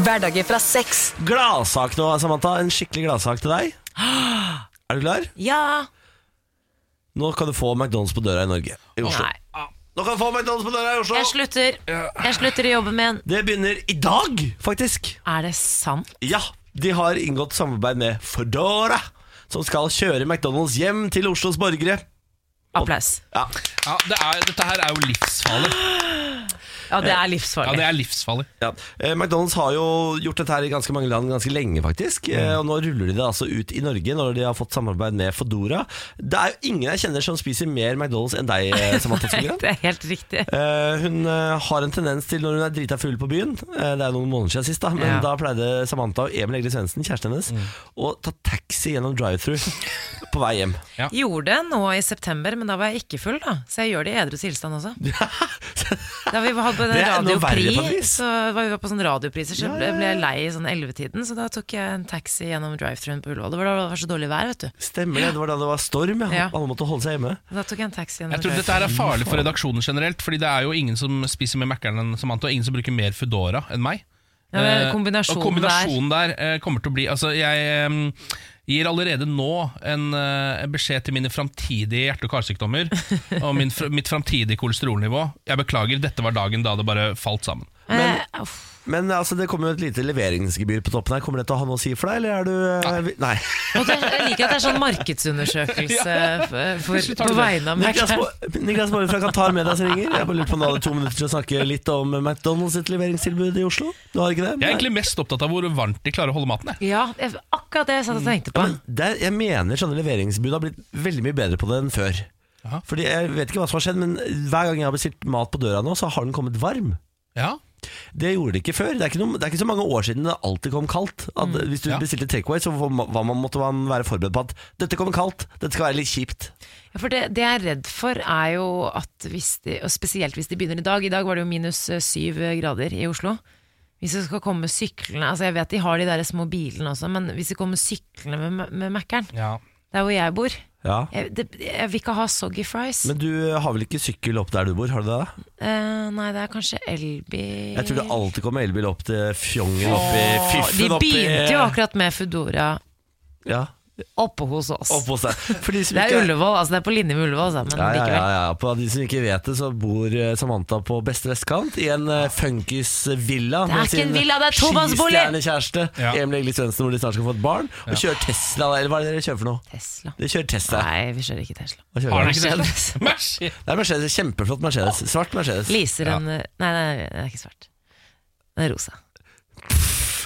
S5: Hverdager fra seks.
S2: Gladsak nå, Samantha. En skikkelig gladsak til deg. Er du klar?
S3: Ja!
S2: Nå kan du få McDonald's på døra i Norge. I Oslo.
S3: Nei.
S2: Nå kan du få McDonald's på døra i
S3: Jeg
S2: Oslo!
S3: slutter. Jeg slutter å jobbe med en
S2: Det begynner i dag, faktisk.
S3: Er det sant?
S2: Ja, de har inngått samarbeid med Foodora, som skal kjøre McDonald's hjem til Oslos borgere.
S3: Applaus.
S2: Ja,
S3: sånn.
S1: Ja, det er, dette her er jo livsfarlig.
S3: Ja, det er
S1: Ja,
S3: livsfarlig.
S1: det er livsfarlig.
S2: ja. Eh, McDonald's har jo gjort dette her i ganske mange land ganske lenge, faktisk. Eh, og nå ruller de det altså ut i Norge når de har fått samarbeid med Foodora. Det er jo ingen jeg kjenner som spiser mer McDonald's enn deg, eh, Samantha Skogran.
S3: *laughs* Det er helt riktig.
S2: Eh, hun eh, har en tendens til når hun er drita full på byen eh, Det er noen måneder siden sist, da men
S3: Ja.
S2: da pleide Samantha og Emil Egil Svendsen, kjæresten hennes, å ta taxi gjennom drive-thru på vei hjem.
S3: Gjorde det nå i september, men da var jeg ikke full, da. Så jeg gjør det i edru tilstand også. Da vi var på den
S2: Det er enda verre på et
S3: radiopris,
S2: vis.
S3: så var vi på sånn radiopriser, så ble ble jeg lei i sånn 11-tiden, så da tok jeg en taxi gjennom drive-thruen på Ullevål. Det var da det var så dårlig vær, vet du.
S2: Stemmer det, det var da det var storm. Ja.
S3: Ja.
S2: Alle måtte holde seg hjemme.
S3: Da tok jeg en taxi gjennom
S1: Jeg tror dette her er farlig for redaksjonen generelt, Fordi det er jo ingen som spiser med Mækkern enn Samantha, og ingen som bruker mer Foodora enn meg.
S3: Ja, men
S1: Eh,
S3: kombinasjonen
S1: og kombinasjonen der, eh, kommer til å bli Altså, jeg em, gir allerede nå en eh, beskjed til mine framtidige hjerte- og karsykdommer
S3: *laughs*
S1: og min, fr- mitt framtidige kolesterolnivå. Jeg beklager, dette var dagen da det bare falt sammen.
S3: Men, eh, uff.
S2: Men altså, det kommer jo et lite leveringsgebyr på toppen her. Kommer det til å ha noe å si for deg, eller er du eh, vi- Nei.
S3: Og det- jeg liker at det er sånn markedsundersøkelse f- for,
S1: Plutselig tar
S3: på
S1: du det.
S3: vegne av
S2: Niklas,
S3: Mækkern.
S2: Bo- Niklas Baarli fra Qatar Medias ringer. Jeg bare lurer på om du hadde to minutter til å snakke litt om McDonald's sitt leveringstilbud i Oslo? Du har ikke det?
S1: Jeg er
S2: Nei.
S1: egentlig mest opptatt av hvor varmt de klarer å holde maten. jeg.
S3: Ja, jeg- akkurat det jeg
S2: Mm.
S3: satt og tenkte på.
S2: det, er- jeg mener sånne leveringsbud har blitt veldig mye bedre på det enn før.
S1: Aha.
S2: Fordi Jeg vet ikke hva som har skjedd, men hver gang jeg har bestilt mat på døra nå, så har den kommet varm.
S1: Ja,
S2: Det gjorde det ikke før. Det er ikke, noe, det er ikke så mange år siden det alltid kom kaldt. At Hvis du
S1: Ja.
S2: bestilte takeaway, så var man, måtte man være forberedt på at dette kommer kaldt, dette skal være litt kjipt.
S3: Ja, For det, det jeg er redd for er jo at hvis de, og spesielt hvis de begynner i dag, i dag var det jo minus eh, syv grader i Oslo. Hvis det skal komme syklene, altså jeg vet de har de der små bilene også, men hvis det kommer syklene med, med- med Mækkern,
S1: ja.
S3: det er hvor jeg bor,
S2: Ja.
S3: jeg, det, jeg vil ikke ha soggy fries.
S2: Men du har vel ikke sykkel opp der du bor, har du det? da?
S3: Eh, nei, det er kanskje elbil.
S2: Jeg tror det alltid kommer elbil opp til fjongen oppi
S3: De
S2: fiffen oppi
S3: begynte jo akkurat med Foodora
S2: ja,
S3: oppe hos oss.
S2: opp hos deg. For de som
S3: Det er
S2: ikke-
S3: Ullevål, altså det er på linje med Ullevål, altså, men
S2: Ja, ja,
S3: likevel.
S2: ja, ja. På de som ikke vet det, så bor eh, Samantha på beste vestkant i en eh, funkisvilla.
S3: Det er
S2: med
S3: ikke
S2: sin
S3: en villa, det er tomannsbolig!
S2: Skistjernekjæreste
S1: Ja.
S2: Emil Egil Svendsen, hvor de snart skal få et barn. Og kjører Tesla, eller hva er det dere kjører for noe?
S3: Tesla.
S2: De kjører Tesla.
S3: Nei, vi kjører ikke Tesla.
S1: Har
S2: Hva kjører
S1: de
S2: de?
S1: ikke det?
S3: *laughs*
S1: Mersi!
S2: Det er Mercedes, kjempeflott Mercedes. Svart Mercedes.
S3: Leaser
S1: Ja.
S3: en eh, Nei, nei, den er ikke svart. Den er rosa.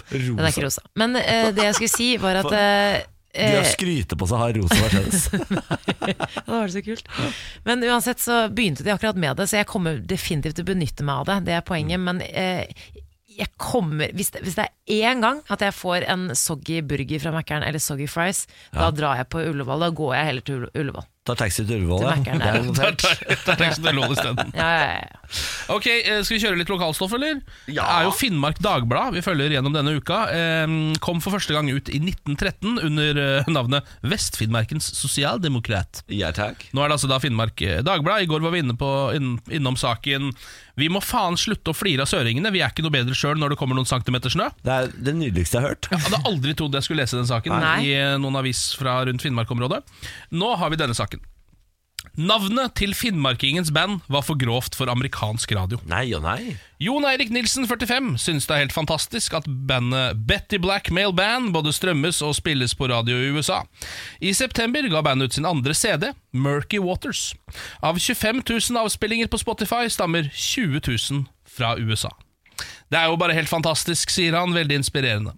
S3: Den er
S2: Rosa.
S3: ikke rosa. Men eh, det jeg skulle si,
S2: *laughs*
S3: var at eh,
S2: De har
S3: eh,
S2: skryte på seg å ha rosa Mercedes.
S3: *laughs* Det eh, var så kult. Men uansett så begynte de akkurat med det, så jeg kommer definitivt til å benytte meg av det. Det er
S2: Mm.
S3: poenget. Men eh, jeg kommer hvis det, hvis det er én gang at jeg får en soggy burger fra Mækkern eller soggy fries, da drar jeg på Ullevål. Da går jeg heller til Ulle- Ullevål.
S2: Tar taxi til Ullevål,
S3: Til
S2: ja.
S3: Mækkern,
S2: Det er
S3: ja.
S1: Der
S2: notert.
S1: tar der tar jeg ikke det lån isteden.
S3: Ja, ja, ja.
S1: Ok, eh, Skal vi kjøre litt lokalstoff, eller? Ja. Det er jo Finnmark Dagblad vi følger gjennom denne uka. Eh, Kom for første gang ut i 1913 under eh, navnet Vest-Finnmarkens sosialdemokrat.
S2: Ja, takk.
S1: Nå er det altså da Finnmark eh, Dagblad. I går var vi inne på, inn, innom saken Vi må faen slutte å flire av søringene. Vi er ikke noe bedre sjøl når det kommer noen centimeter snø.
S2: Det er det nydeligste jeg har hørt.
S1: Jeg hadde aldri trodd jeg skulle lese den saken
S3: Nei.
S1: i eh, noen avis fra rundt Finnmark-området. Nå har vi denne saken. Navnet til finnmarkingens band var for grovt for amerikansk radio.
S2: Nei og nei.
S1: Jon Eirik Nilsen, 45, syns det er helt fantastisk at bandet Betty Black Male Band både strømmes og spilles på radio i USA. I september ga bandet ut sin andre CD, Murky Waters. Av 25 000 avspillinger på Spotify stammer 20 000 fra USA. Det er jo bare helt fantastisk, sier han, veldig inspirerende.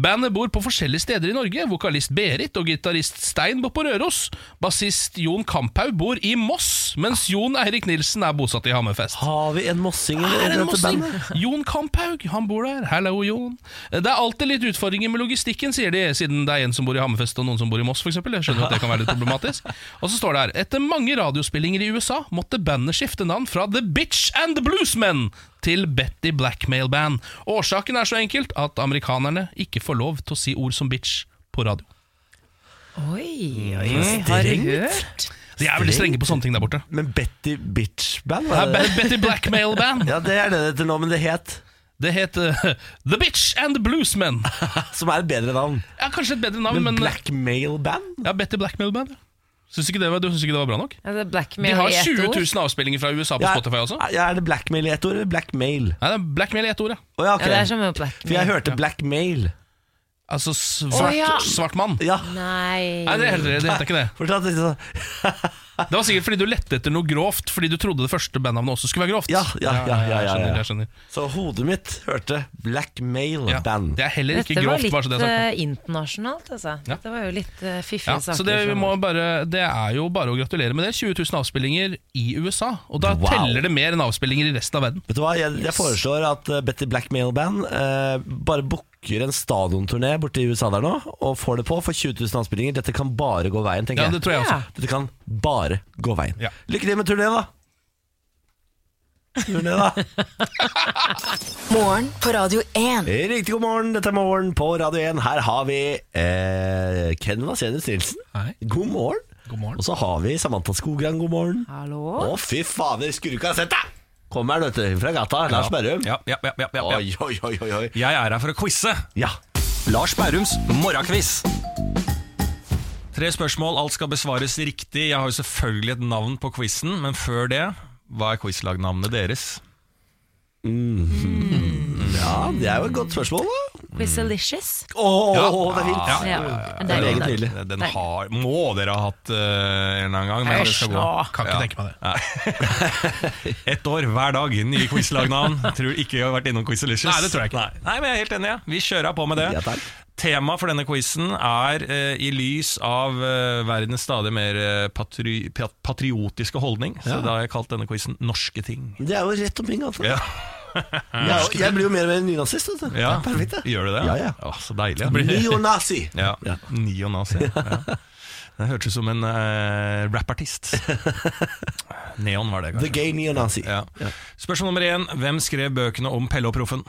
S1: Bandet bor på forskjellige steder i Norge. Vokalist Berit og gitarist Stein bor på Røros. Bassist Jon Kamphaug bor i Moss, mens Jon Eirik Nilsen er bosatt i Hammerfest.
S2: Har vi en mossing i
S1: Er det
S2: dette
S1: noe sting?
S2: bandet?
S1: Jon Kamphaug, han bor der. Hallo, Jon. Det er alltid litt utfordringer med logistikken, sier de, siden det er en som bor i Hammerfest og noen som bor i Moss, f.eks. Jeg skjønner at det kan være litt problematisk. Og så står det her Etter mange radiospillinger i USA måtte bandet skifte navn fra The Bitch and the Bluesmen til Betty Blackmail Band. Årsaken er så enkelt at amerikanerne ikke får lov til å si ord som bitch på radio.
S3: Oi, oi, oi. Har du hørt?
S1: De er veldig strenge på sånne ting der borte.
S2: Men Betty Bitch Band?
S1: Det
S2: hva
S1: er
S2: er det?
S1: Be- Betty Blackmail Band.
S2: *laughs* Ja, det er det det heter nå, men det het
S1: Det heter The Bitch and the Bluesmen.
S2: Som er et bedre navn.
S1: Ja, kanskje et bedre navn,
S2: Men
S1: men
S2: Blackmail Band?
S1: Ja, Betty Blackmail Band. ja. Syns ikke det var, du syns ikke det var bra nok?
S3: Ja, det
S1: De
S3: er blackmail
S1: har
S3: i ett
S1: 20
S3: ord.
S1: 000 avspillinger fra USA på
S2: Ja,
S1: Spotify også. Nei,
S2: Ja, er det blackmail i ett ord, eller blackmail?
S1: det er Blackmail i ett ord, ja.
S2: Å, ja, ok.
S3: Ja, det er som en
S2: For jeg
S3: blackmail.
S2: hørte blackmail.
S1: Altså svart,
S3: Å, ja.
S1: svart mann.
S2: Ja.
S3: Nei.
S1: Nei, det heter, det heter ikke det.
S2: Fortsatt, liksom.
S1: Det var sikkert fordi du lette etter noe grovt, fordi du trodde det første bandnavnet også skulle være grovt.
S2: Ja, ja, ja, ja,
S1: jeg
S2: ja, ja.
S1: skjønner, jeg skjønner.
S2: Så hodet mitt hørte blackmail
S1: Ja.
S2: band.
S1: Det er heller ikke
S3: Dette var
S1: grovt,
S3: litt
S1: bare så det er sagt.
S3: eh, internasjonalt, altså.
S1: Ja.
S3: Dette var jo litt eh, fiffige
S1: Ja,
S3: saker.
S1: så det, vi
S3: som-
S1: må bare, det er jo bare å gratulere med det. 20 000 avspillinger i USA. Og da
S2: Wow.
S1: teller det mer enn avspillinger i resten av verden.
S2: Vet du hva, jeg, jeg foreslår at eh, Betty Blackmail Band eh, bare booker en stadionturné borte i USA der nå, og får det på for 20 000 anspillinger. Dette kan bare gå veien, tenker
S1: Ja, det
S2: jeg.
S1: tror jeg også.
S2: Dette kan bare gå veien.
S1: Ja.
S2: Lykke til med turneen, da. Turné,
S4: *laughs*
S2: da.
S5: Morgen på Radio 1.
S2: Riktig god morgen, dette er Morgen på Radio 1. Her har vi eh, Ken Vasenius Nilsen.
S1: Hei.
S2: God morgen.
S1: God morgen.
S2: Og så har vi Samantha Skogran, god morgen. Å,
S3: Hallo?
S2: fy fader, skulle du ikke ha sett deg! Kommer her, vet du, fra gata. Lars Berrum.
S4: Ja, ja, ja, ja, ja, ja.
S2: Oi, oi, oi, oi, oi.
S4: Jeg er her for å quize.
S2: Ja.
S4: Lars Bærums morgenkviss. Tre spørsmål, alt skal besvares riktig. Jeg har jo selvfølgelig et navn på quizen, men før det, hva er quizlagnavnet deres?
S2: Ja, det er jo et godt spørsmål, da.
S3: Quizelicious?
S2: Åh, det er fint.
S3: Ja,
S2: Det er
S3: deilig
S2: meget
S3: dag.
S2: nydelig.
S4: Den har, må dere ha hatt eh, en eller annen gang. men det skal gå.
S1: Kan ikke
S4: Ja.
S1: tenke meg det.
S4: Ett år hver dag, nye
S1: *laughs*
S4: quizlagnavn. Tror ikke jeg har vært innom Quizalicious.
S1: Nei, det tror jeg ikke.
S4: Nei, Nei, men jeg er helt enig. Ja. Vi kjører på med det.
S2: Ja, takk.
S4: Temaet for denne quizen er, eh, i lys av eh, verdens stadig mer eh, patri pat- patriotiske holdning, så da har jeg kalt denne quizen 'Norske ting'.
S2: Det er jo rett omkring, altså.
S4: Ja.
S2: Jeg, er jo- jeg blir jo mer og mer nynazist, vet du.
S4: Ja.
S2: Perfekt,
S4: *laughs*
S2: det.
S4: Gjør du det?
S2: Ja, ja.
S4: Å, så deilig.
S2: Neonazi.
S4: Ja. ja. Neonazi. Ja. Det hørtes ut som en eh,
S2: *laughs*
S4: rappartist. Neon var det,
S2: The
S4: kanskje.
S2: gay neonazi.
S4: Ja. Spørsmål nummer én. Hvem skrev bøkene om Pelle og Proffen?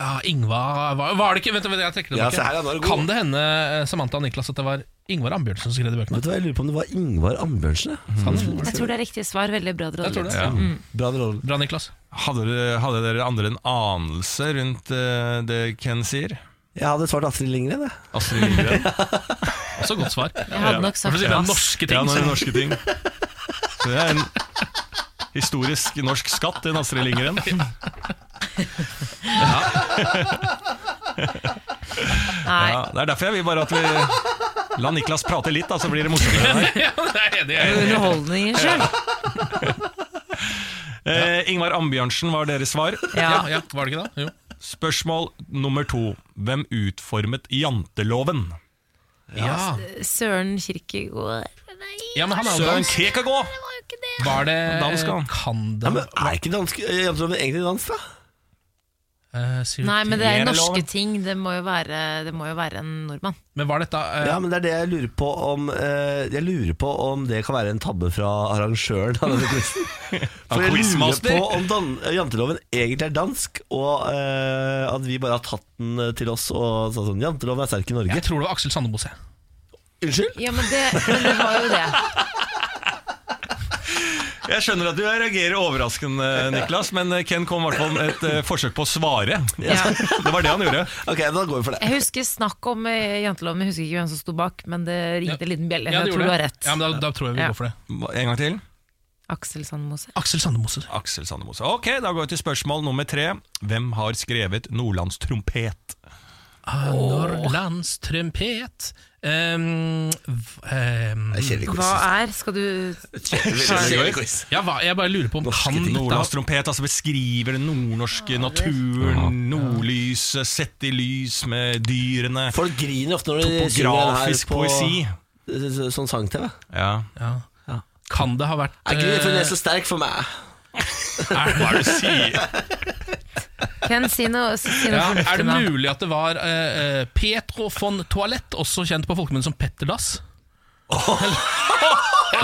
S1: Ja, Ingvar var, var det ikke Vent, vent, jeg trekker det
S2: Ja,
S1: tilbake.
S2: se her, ja, nå er det god.
S1: kan det hende eh, Samantha og Niklas at det var Ingvar Ambjørnsen som skrev de bøkene?
S2: Vet du hva, Jeg lurer på om det var Ingvar Ambjørnsen. jeg.
S3: Jeg tror det er riktig svar. Veldig bra,
S1: Jeg tror
S3: Drodde.
S1: det.
S2: Bra rolle.
S1: Bra, Niklas.
S4: Hadde dere, hadde dere andre en anelse rundt eh, det Ken sier?
S2: Jeg hadde svart Astrid Lindgren. jeg.
S4: Astrid Lindgren?
S1: Også godt svar.
S3: *laughs* Jeg hadde nok sagt
S1: Hvorfor sier du
S3: Ass-
S1: norske
S4: *laughs* ja,
S1: ting?
S4: når det er norske ting. Så det er en historisk norsk skatt, den Astrid Lindgren.
S1: *laughs*
S3: Nei.
S4: Ja, det er derfor jeg vil bare at vi La Niklas prate litt, da, så blir det morsommere.
S1: *laughs* Ja, det er enig, jeg er enig.
S3: Underholdningen sjøl.
S4: Eh, Ingvar Ambjørnsen var deres svar.
S1: Ja,
S3: Ja.
S1: ja, var det ikke det? Jo.
S4: Spørsmål nummer to. Hvem utformet janteloven?
S1: Ja.
S3: Søren Kirkegård
S1: ja, men han er jo
S4: Søren
S1: dansk.
S4: Kierkegaard!
S1: Var det
S4: Dansk, han.
S1: Kan
S2: Ja,
S1: det
S2: men er ikke dansk eh, Jeg tror det er egentlig dansk, da?
S1: Eh, sier du-
S3: Nei, men det er norske
S4: Teleloven.
S3: ting. Det må jo være, det må jo være en nordmann.
S1: Men var dette eh,
S2: Ja, men det er det jeg lurer på om eh, Jeg lurer på om det kan være en tabbe fra arrangøren av denne quizen. For jeg lurer
S4: quizmaster.
S2: på om dan janteloven egentlig er dansk, og eh, at vi bare har tatt den eh, til oss og sa sånn Janteloven er sterk i Norge.
S1: Jeg tror det var Aksel Sandebos. jeg.
S2: Unnskyld?
S3: Ja, men det, men det var jo det.
S4: Jeg skjønner at du reagerer overraskende, Niklas, men eh, Ken kom i hvert fall med et eh, forsøk på å svare.
S3: Ja.
S4: *laughs* Det var det han gjorde.
S2: Ok, men da går vi for det.
S3: Jeg husker snakk om eh, janteloven, jeg husker ikke hvem som sto bak, men det ringte en liten bjelle.
S1: Ja, det
S3: jeg
S1: gjorde
S3: tror du har
S1: det.
S3: rett.
S1: Ja, men da, da tror jeg vi
S3: Ja.
S1: går for det.
S4: En gang til.
S3: Aksel Sandmose.
S1: Aksel Sandemose.
S4: Aksel Sandemose. Ok, da går vi til spørsmål nummer tre. Hvem har skrevet 'Nordlands trompet'?
S1: Norrlands trompet um, um,
S8: Kjedelig quiz.
S3: Hva er Skal du
S8: Kjedelig quiz.
S1: ja, hva, Jeg bare lurer på om han
S4: Nordlands trompet altså beskriver den nordnorske naturen, nordlyset, sett i lys med dyrene.
S2: Folk griner ofte når de synger den her
S4: Topografisk
S2: på
S4: poesi.
S2: eh, sånn sang-TV.
S4: Ja.
S1: ja. Kan det ha vært
S2: Er ikke det for den
S1: eh,
S2: er så sterk for meg?
S4: Hva er det du sier?
S3: Ken, si noe, si noe
S1: ja, Er
S3: fornuftig
S1: det
S3: nå.
S1: mulig at det var eh, eh, Petro von Toalett, også kjent på folkemunne som Petter Dass?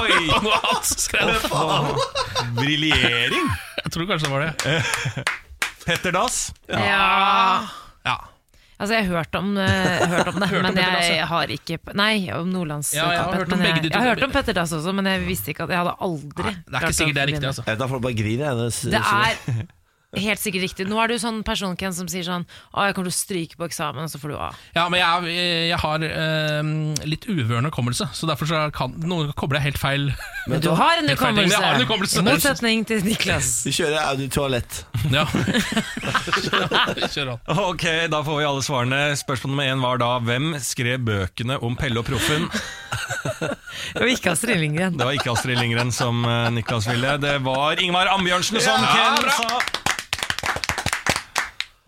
S4: Oi,
S1: Det var han som skrev det.
S4: briljering!
S1: Jeg tror kanskje det var det.
S4: Petter Dass.
S3: Ja.
S1: Ja,
S3: Altså, jeg har hørt om, eh, hørt om det,
S1: Hørt om
S3: men
S1: Petter Dass,
S3: jeg
S1: ja.
S3: har ikke Nei, om Nordlands
S1: Ja, jeg har hørt om
S3: men
S1: begge de
S3: jeg,
S1: to.
S3: jeg har hørt om Petter Dass også, men jeg visste ikke at Jeg hadde aldri
S1: Det er ikke sikkert det er riktig, altså.
S2: Jeg vet da, folk bare griner. jeg, når de
S3: Det
S2: synger.
S3: er helt sikkert riktig. Nå er du sånn person, Ken, som sier sånn Å, jeg kommer til å stryke på eksamen, og så får du A.
S1: Ja, men jeg, er- jeg har eh, litt uvørende hukommelse, så derfor så kan, noen kobler jeg helt feil. *laughs*
S3: Men du har en
S1: Helt feil ting, men jeg har en
S3: hukommelse!
S1: hukommelse.
S3: I motsetning til
S1: *laughs*
S3: Niklas.
S2: Vi kjører Audi toalett.
S1: Ja. Kjør an.
S4: Ok, da får vi alle svarene. Spørsmål nummer én var da hvem skrev bøkene om Pelle og Proffen?
S3: Og ikke Astrid Lindgren.
S4: Det var ikke Astrid Lindgren som eh, Niklas ville. Det var Ingvar Ambjørnsen som Ken sa.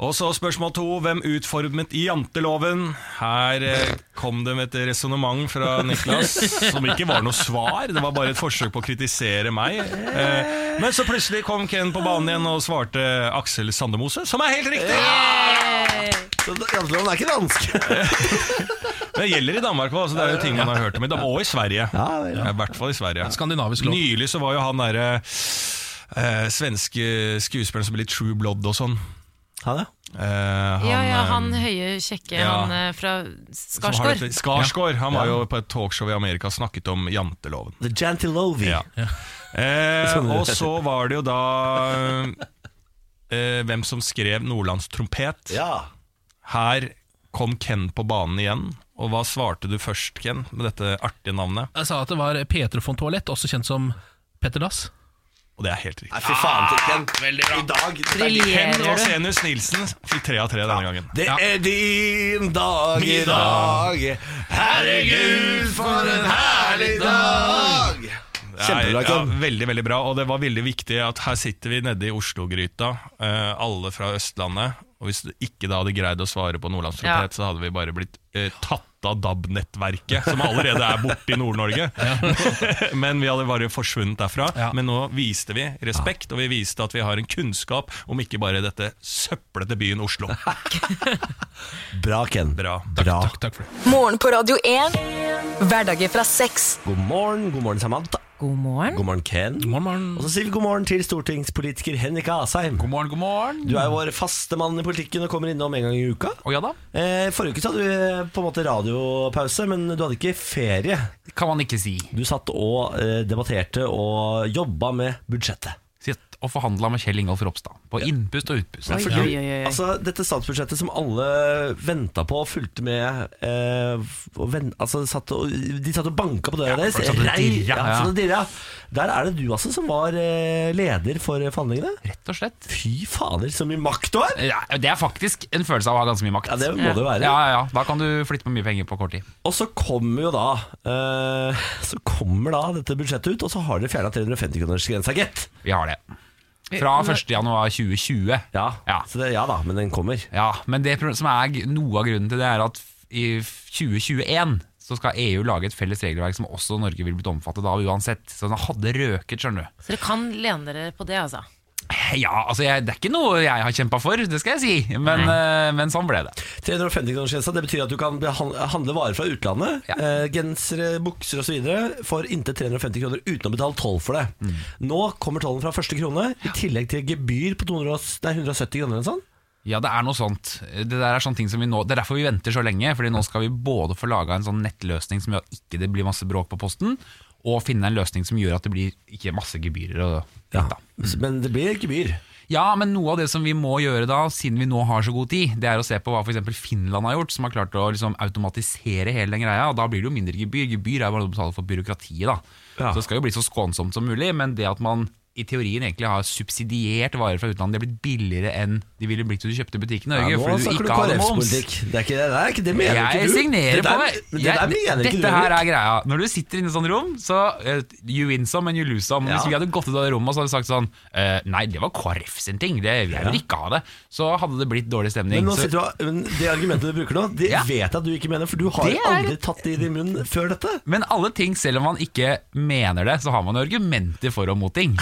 S4: Og så spørsmål to. Hvem utformet janteloven? Her eh, kom det med et resonnement fra Niklas som ikke var noe svar. Det var bare et forsøk på å kritisere meg. Eh, men så plutselig kom Ken på banen igjen og svarte Aksel Sandemose, som er helt riktig!
S2: Så det- Janteloven er ikke dansk.
S4: Det gjelder i Danmark òg, det er jo ting man har hørt om i Danmark. Og i Sverige.
S2: Ja, vel, ja.
S4: I hvert fall i Sverige.
S1: Skandinavisk lov.
S4: Nylig så var jo han derre eh, svenske skuespilleren som ble i True Blood og sånn.
S2: Ha det.
S4: Eh, han,
S3: Ja, ja,
S4: eh,
S3: han høye, kjekke
S4: ja.
S3: han eh, fra
S4: som har
S3: Skarsgård.
S4: dette- Skarsgård. Han var jo på et talkshow i Amerika og snakket om janteloven.
S2: The Jantilovi.
S4: Ja.
S2: *laughs*
S4: Eh, og så var det jo da eh, hvem som skrev 'Nordlands trompet'.
S2: Ja.
S4: Her kom Ken på banen igjen. Og hva svarte du først, Ken, med dette artige navnet?
S1: Jeg sa at det var Petro von Toalett, også kjent som Petter Dass.
S4: Og det er helt riktig.
S2: Nei, fy faen. Ken. I dag
S4: Ken
S3: Briljerer du?
S4: Vasenius Nilsen fikk tre av tre denne gangen.
S2: Det
S1: Ja.
S2: er din dag i
S4: Min dag.
S2: dag. Herregud, for en herlig dag. Kjempebra,
S4: ja,
S2: Ken.
S4: veldig, veldig bra. Og det var veldig viktig at her sitter vi nede i Oslo-gryta, eh, alle fra Østlandet. Og hvis du ikke da hadde greid å svare
S3: Ja.
S4: på nordlandstrompet, så hadde vi bare blitt eh, tatt av DAB-nettverket, som allerede er borte i Nord-Norge. *laughs* Men vi hadde bare forsvunnet derfra.
S1: Ja.
S4: Men nå viste vi respekt, og vi viste at vi har en kunnskap om ikke bare dette søplete byen Oslo.
S2: Bra, Ken.
S4: Bra.
S2: Bra.
S1: Takk, takk for det.
S5: Morgen på Radio 1. Hverdager fra seks.
S2: God morgen, god morgen, Samantha.
S3: God morgen.
S2: God morgen, Ken.
S1: Morgen, morgen.
S2: Og så sier vi god morgen til stortingspolitiker Henrik Asheim.
S9: God morgen, god morgen.
S2: Du er jo vår faste mann i politikken og kommer innom en gang i uka.
S9: Å ja da.
S2: Eh, forrige uke så hadde du eh, på en måte radiopause, men du hadde ikke ferie.
S9: Det kan man ikke si.
S2: Du satt og eh, debatterte og jobba med budsjettet.
S9: Sitt og forhandla med Kjell Ingolf Ropstad. På innpust og utpust.
S3: Oi,
S2: For
S3: oi,
S2: du-
S3: oi, oi.
S2: Altså, dette statsbudsjettet som alle venta på og fulgte med eh, og ven, altså, satt og, De satt og banka på døra deres.
S9: folk satt og
S2: Rei-
S9: dirra,
S2: ja,
S9: ja.
S2: satt og dirra. Der er det du altså som var eh, leder for forhandlingene.
S9: Rett og slett.
S2: Fy fader, så mye makt du har!
S9: Ja, det er faktisk en følelse av å ha ganske mye makt.
S2: Ja, det må det jo være.
S9: Ja, ja, ja. Da kan du flytte på mye penger på kort tid.
S2: Og så kommer jo da eh, Så kommer da dette budsjettet ut, og så har dere fjerna 350-kronersgrensa, gitt.
S9: Vi har det. Fra 1.1.2020.
S2: Ja,
S9: Ja.
S2: Så det, ja da, men den kommer.
S9: Ja, men det pro- som er g- noe av grunnen til det er at f- i f- 2021 så skal EU lage et felles regelverk som også Norge vil blitt omfattet av uansett. Så den hadde røket, skjønner du.
S3: Så dere kan lene dere på det, altså.
S9: Ja, altså jeg, det er ikke noe jeg har kjempa for, det skal jeg si, men, eh, men sånn ble det.
S2: 350-kronersgrensa det betyr at du kan behan- handle varer fra utlandet.
S9: Ja.
S2: Eh, gensere, bukser osv. for inntil 350 kroner uten å betale toll for det.
S9: Mm.
S2: Nå kommer tollen fra første krone, i tillegg til gebyr på 200, og s- nei, 170 kroner. eller noe sånt.
S9: Ja, det er noe sånt. Det der er sånne ting som vi nå Det er derfor vi venter så lenge, Fordi nå skal vi både få laga en sånn nettløsning som gjør at ikke det blir masse bråk på posten, og finne en løsning som gjør at det blir ikke masse gebyrer. Og,
S2: Ja. Men det blir gebyr.
S9: ja, men noe av det som vi må gjøre da, siden vi nå har så god tid, det er å se på hva f.eks. Finland har gjort, som har klart å liksom automatisere hele den greia. Og da blir det jo mindre gebyr. Gebyr er jo bare noe du betaler for byråkratiet, da.
S2: Ja.
S9: Så det skal jo bli så skånsomt som mulig, men det at man i teorien egentlig har subsidiert varer fra utlandet, det er blitt billigere enn de ville blitt hvis du kjøpte i butikk i Norge,
S2: Ja, nå
S9: fordi du
S2: snakker du
S9: ikke hadde moms.
S2: KrF-politikk. Det er ikke det, det, er ikke, det mener ikke
S9: Jeg
S2: du.
S9: signerer
S2: det der,
S9: på det.
S2: men Det
S9: Jeg-
S2: der mener ikke du.
S9: dette her er greia. Når du sitter inne i sånn rom, så eh, you win some and you lose some.
S2: Ja.
S9: Hvis vi hadde gått ut av det rommet så hadde vi sagt sånn eh, Nei, det var KrF sin ting. Det, jeg vil ikke ha det. Så hadde det blitt dårlig stemning.
S2: Men, nå
S9: Så-
S2: sitter du, og- men Det argumentet du bruker nå, det
S9: Ja.
S2: vet jeg at du ikke mener, for du har
S9: Det er-
S2: aldri tatt det i din munn før dette.
S9: Men alle ting, selv om man ikke mener det, så har man jo argumenter for og mot ting.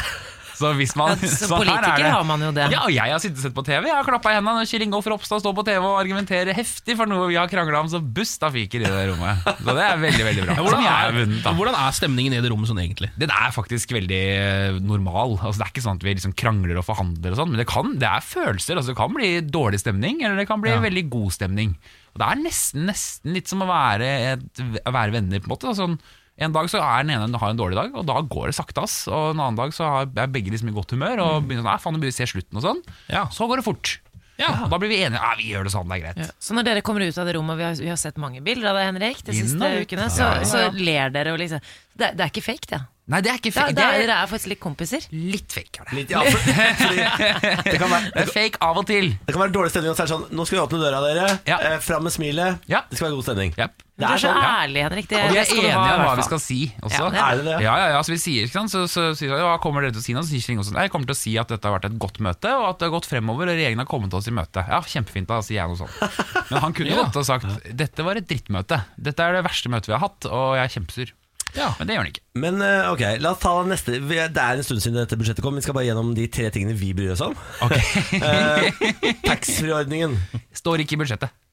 S9: Så hvis man,
S3: *laughs* Ja, som
S9: så her er
S3: politiker har man jo det.
S9: Ja, og jeg har sittet og sett på TV. Jeg har klappa i hendene når Kjell Ingolf Ropstad står på TV og argumenterer heftig for noe vi har krangla om så busta fiker i det rommet. Så det er veldig,
S3: *laughs*
S9: veldig bra.
S1: Ja,
S9: Så
S1: hvordan,
S9: jeg har
S1: er,
S9: vunnet, da.
S1: hvordan er stemningen i det rommet sånn egentlig?
S9: Den er faktisk veldig eh, normal. Altså, det er ikke sånn at vi liksom krangler og forhandler, og sånn, men det, kan, det er følelser. Altså, det kan bli dårlig stemning, eller det kan bli veldig god stemning. Og det er nesten, nesten litt som å være, et, å være venner, på en måte. da. Sånn, en dag så er den ene har en dårlig dag, og da går det sakte. ass. Og en annen dag så har- er begge liksom i godt humør og begynner sånn, nei, faen, nå bør vi se slutten og sånn.
S1: Ja.
S9: Så går det fort. Og da blir vi enige. Ja, vi gjør det sånn, det er greit.
S3: Så når dere kommer ut av det rommet, og vi har, vi har sett mange bilder av deg, Henrik, de siste
S9: Innom.
S3: ukene, så,
S9: Ja, ja, ja.
S3: så ler dere og liksom Det, det er ikke fake, det.
S9: Nei, det er ikke
S3: det,
S9: fe-
S3: det er,
S9: det
S3: dere er faktisk litt kompiser.
S9: er litt fake. Er det.
S2: Litt, ja, for, *laughs* fordi det, kan være,
S9: *laughs* det er fake av og til.
S2: det kan være dårlig stemning, og så er det sånn Nå skal vi åpne døra, dere.
S9: Ja.
S2: Eh, fram med smilet.
S9: Ja.
S2: Det skal være god stemning.
S9: Yep.
S3: Du
S2: Det
S3: er
S2: er
S3: så
S2: sånn.
S3: ærlig, Henrik. Det,
S9: Og vi
S3: det
S9: er
S3: skal du
S9: enige
S3: ha, i
S9: om
S3: hvert
S9: hva vi
S3: fall.
S9: skal si også.
S3: Ja, det
S2: Er det det?
S9: Ja, ja, ja, så vi sier, ikke sant? Så, så sier han, ja, kommer dere til å si noe? Så sier Kjell Ingolfsen, «Nei, jeg kommer til å si at dette har vært et godt møte, og at det har gått fremover, og regjeringen har kommet oss i møte. Ja, kjempefint da, sier jeg noe sånt. Men
S3: *laughs*
S9: han kunne
S1: Ja.
S9: godt ha sagt, dette var et drittmøte. Dette er det verste møtet vi har hatt, og jeg er kjempesur.
S1: Ja.
S9: Men det gjør han ikke.
S2: Men eh, ok, la oss ta neste. Vi- Det er en stund siden dette budsjettet kom. Vi skal bare gjennom de tre tingene vi bryr oss om. *laughs* Eh, Taxfree-ordningen.
S9: Står ikke i budsjettet.
S2: Hn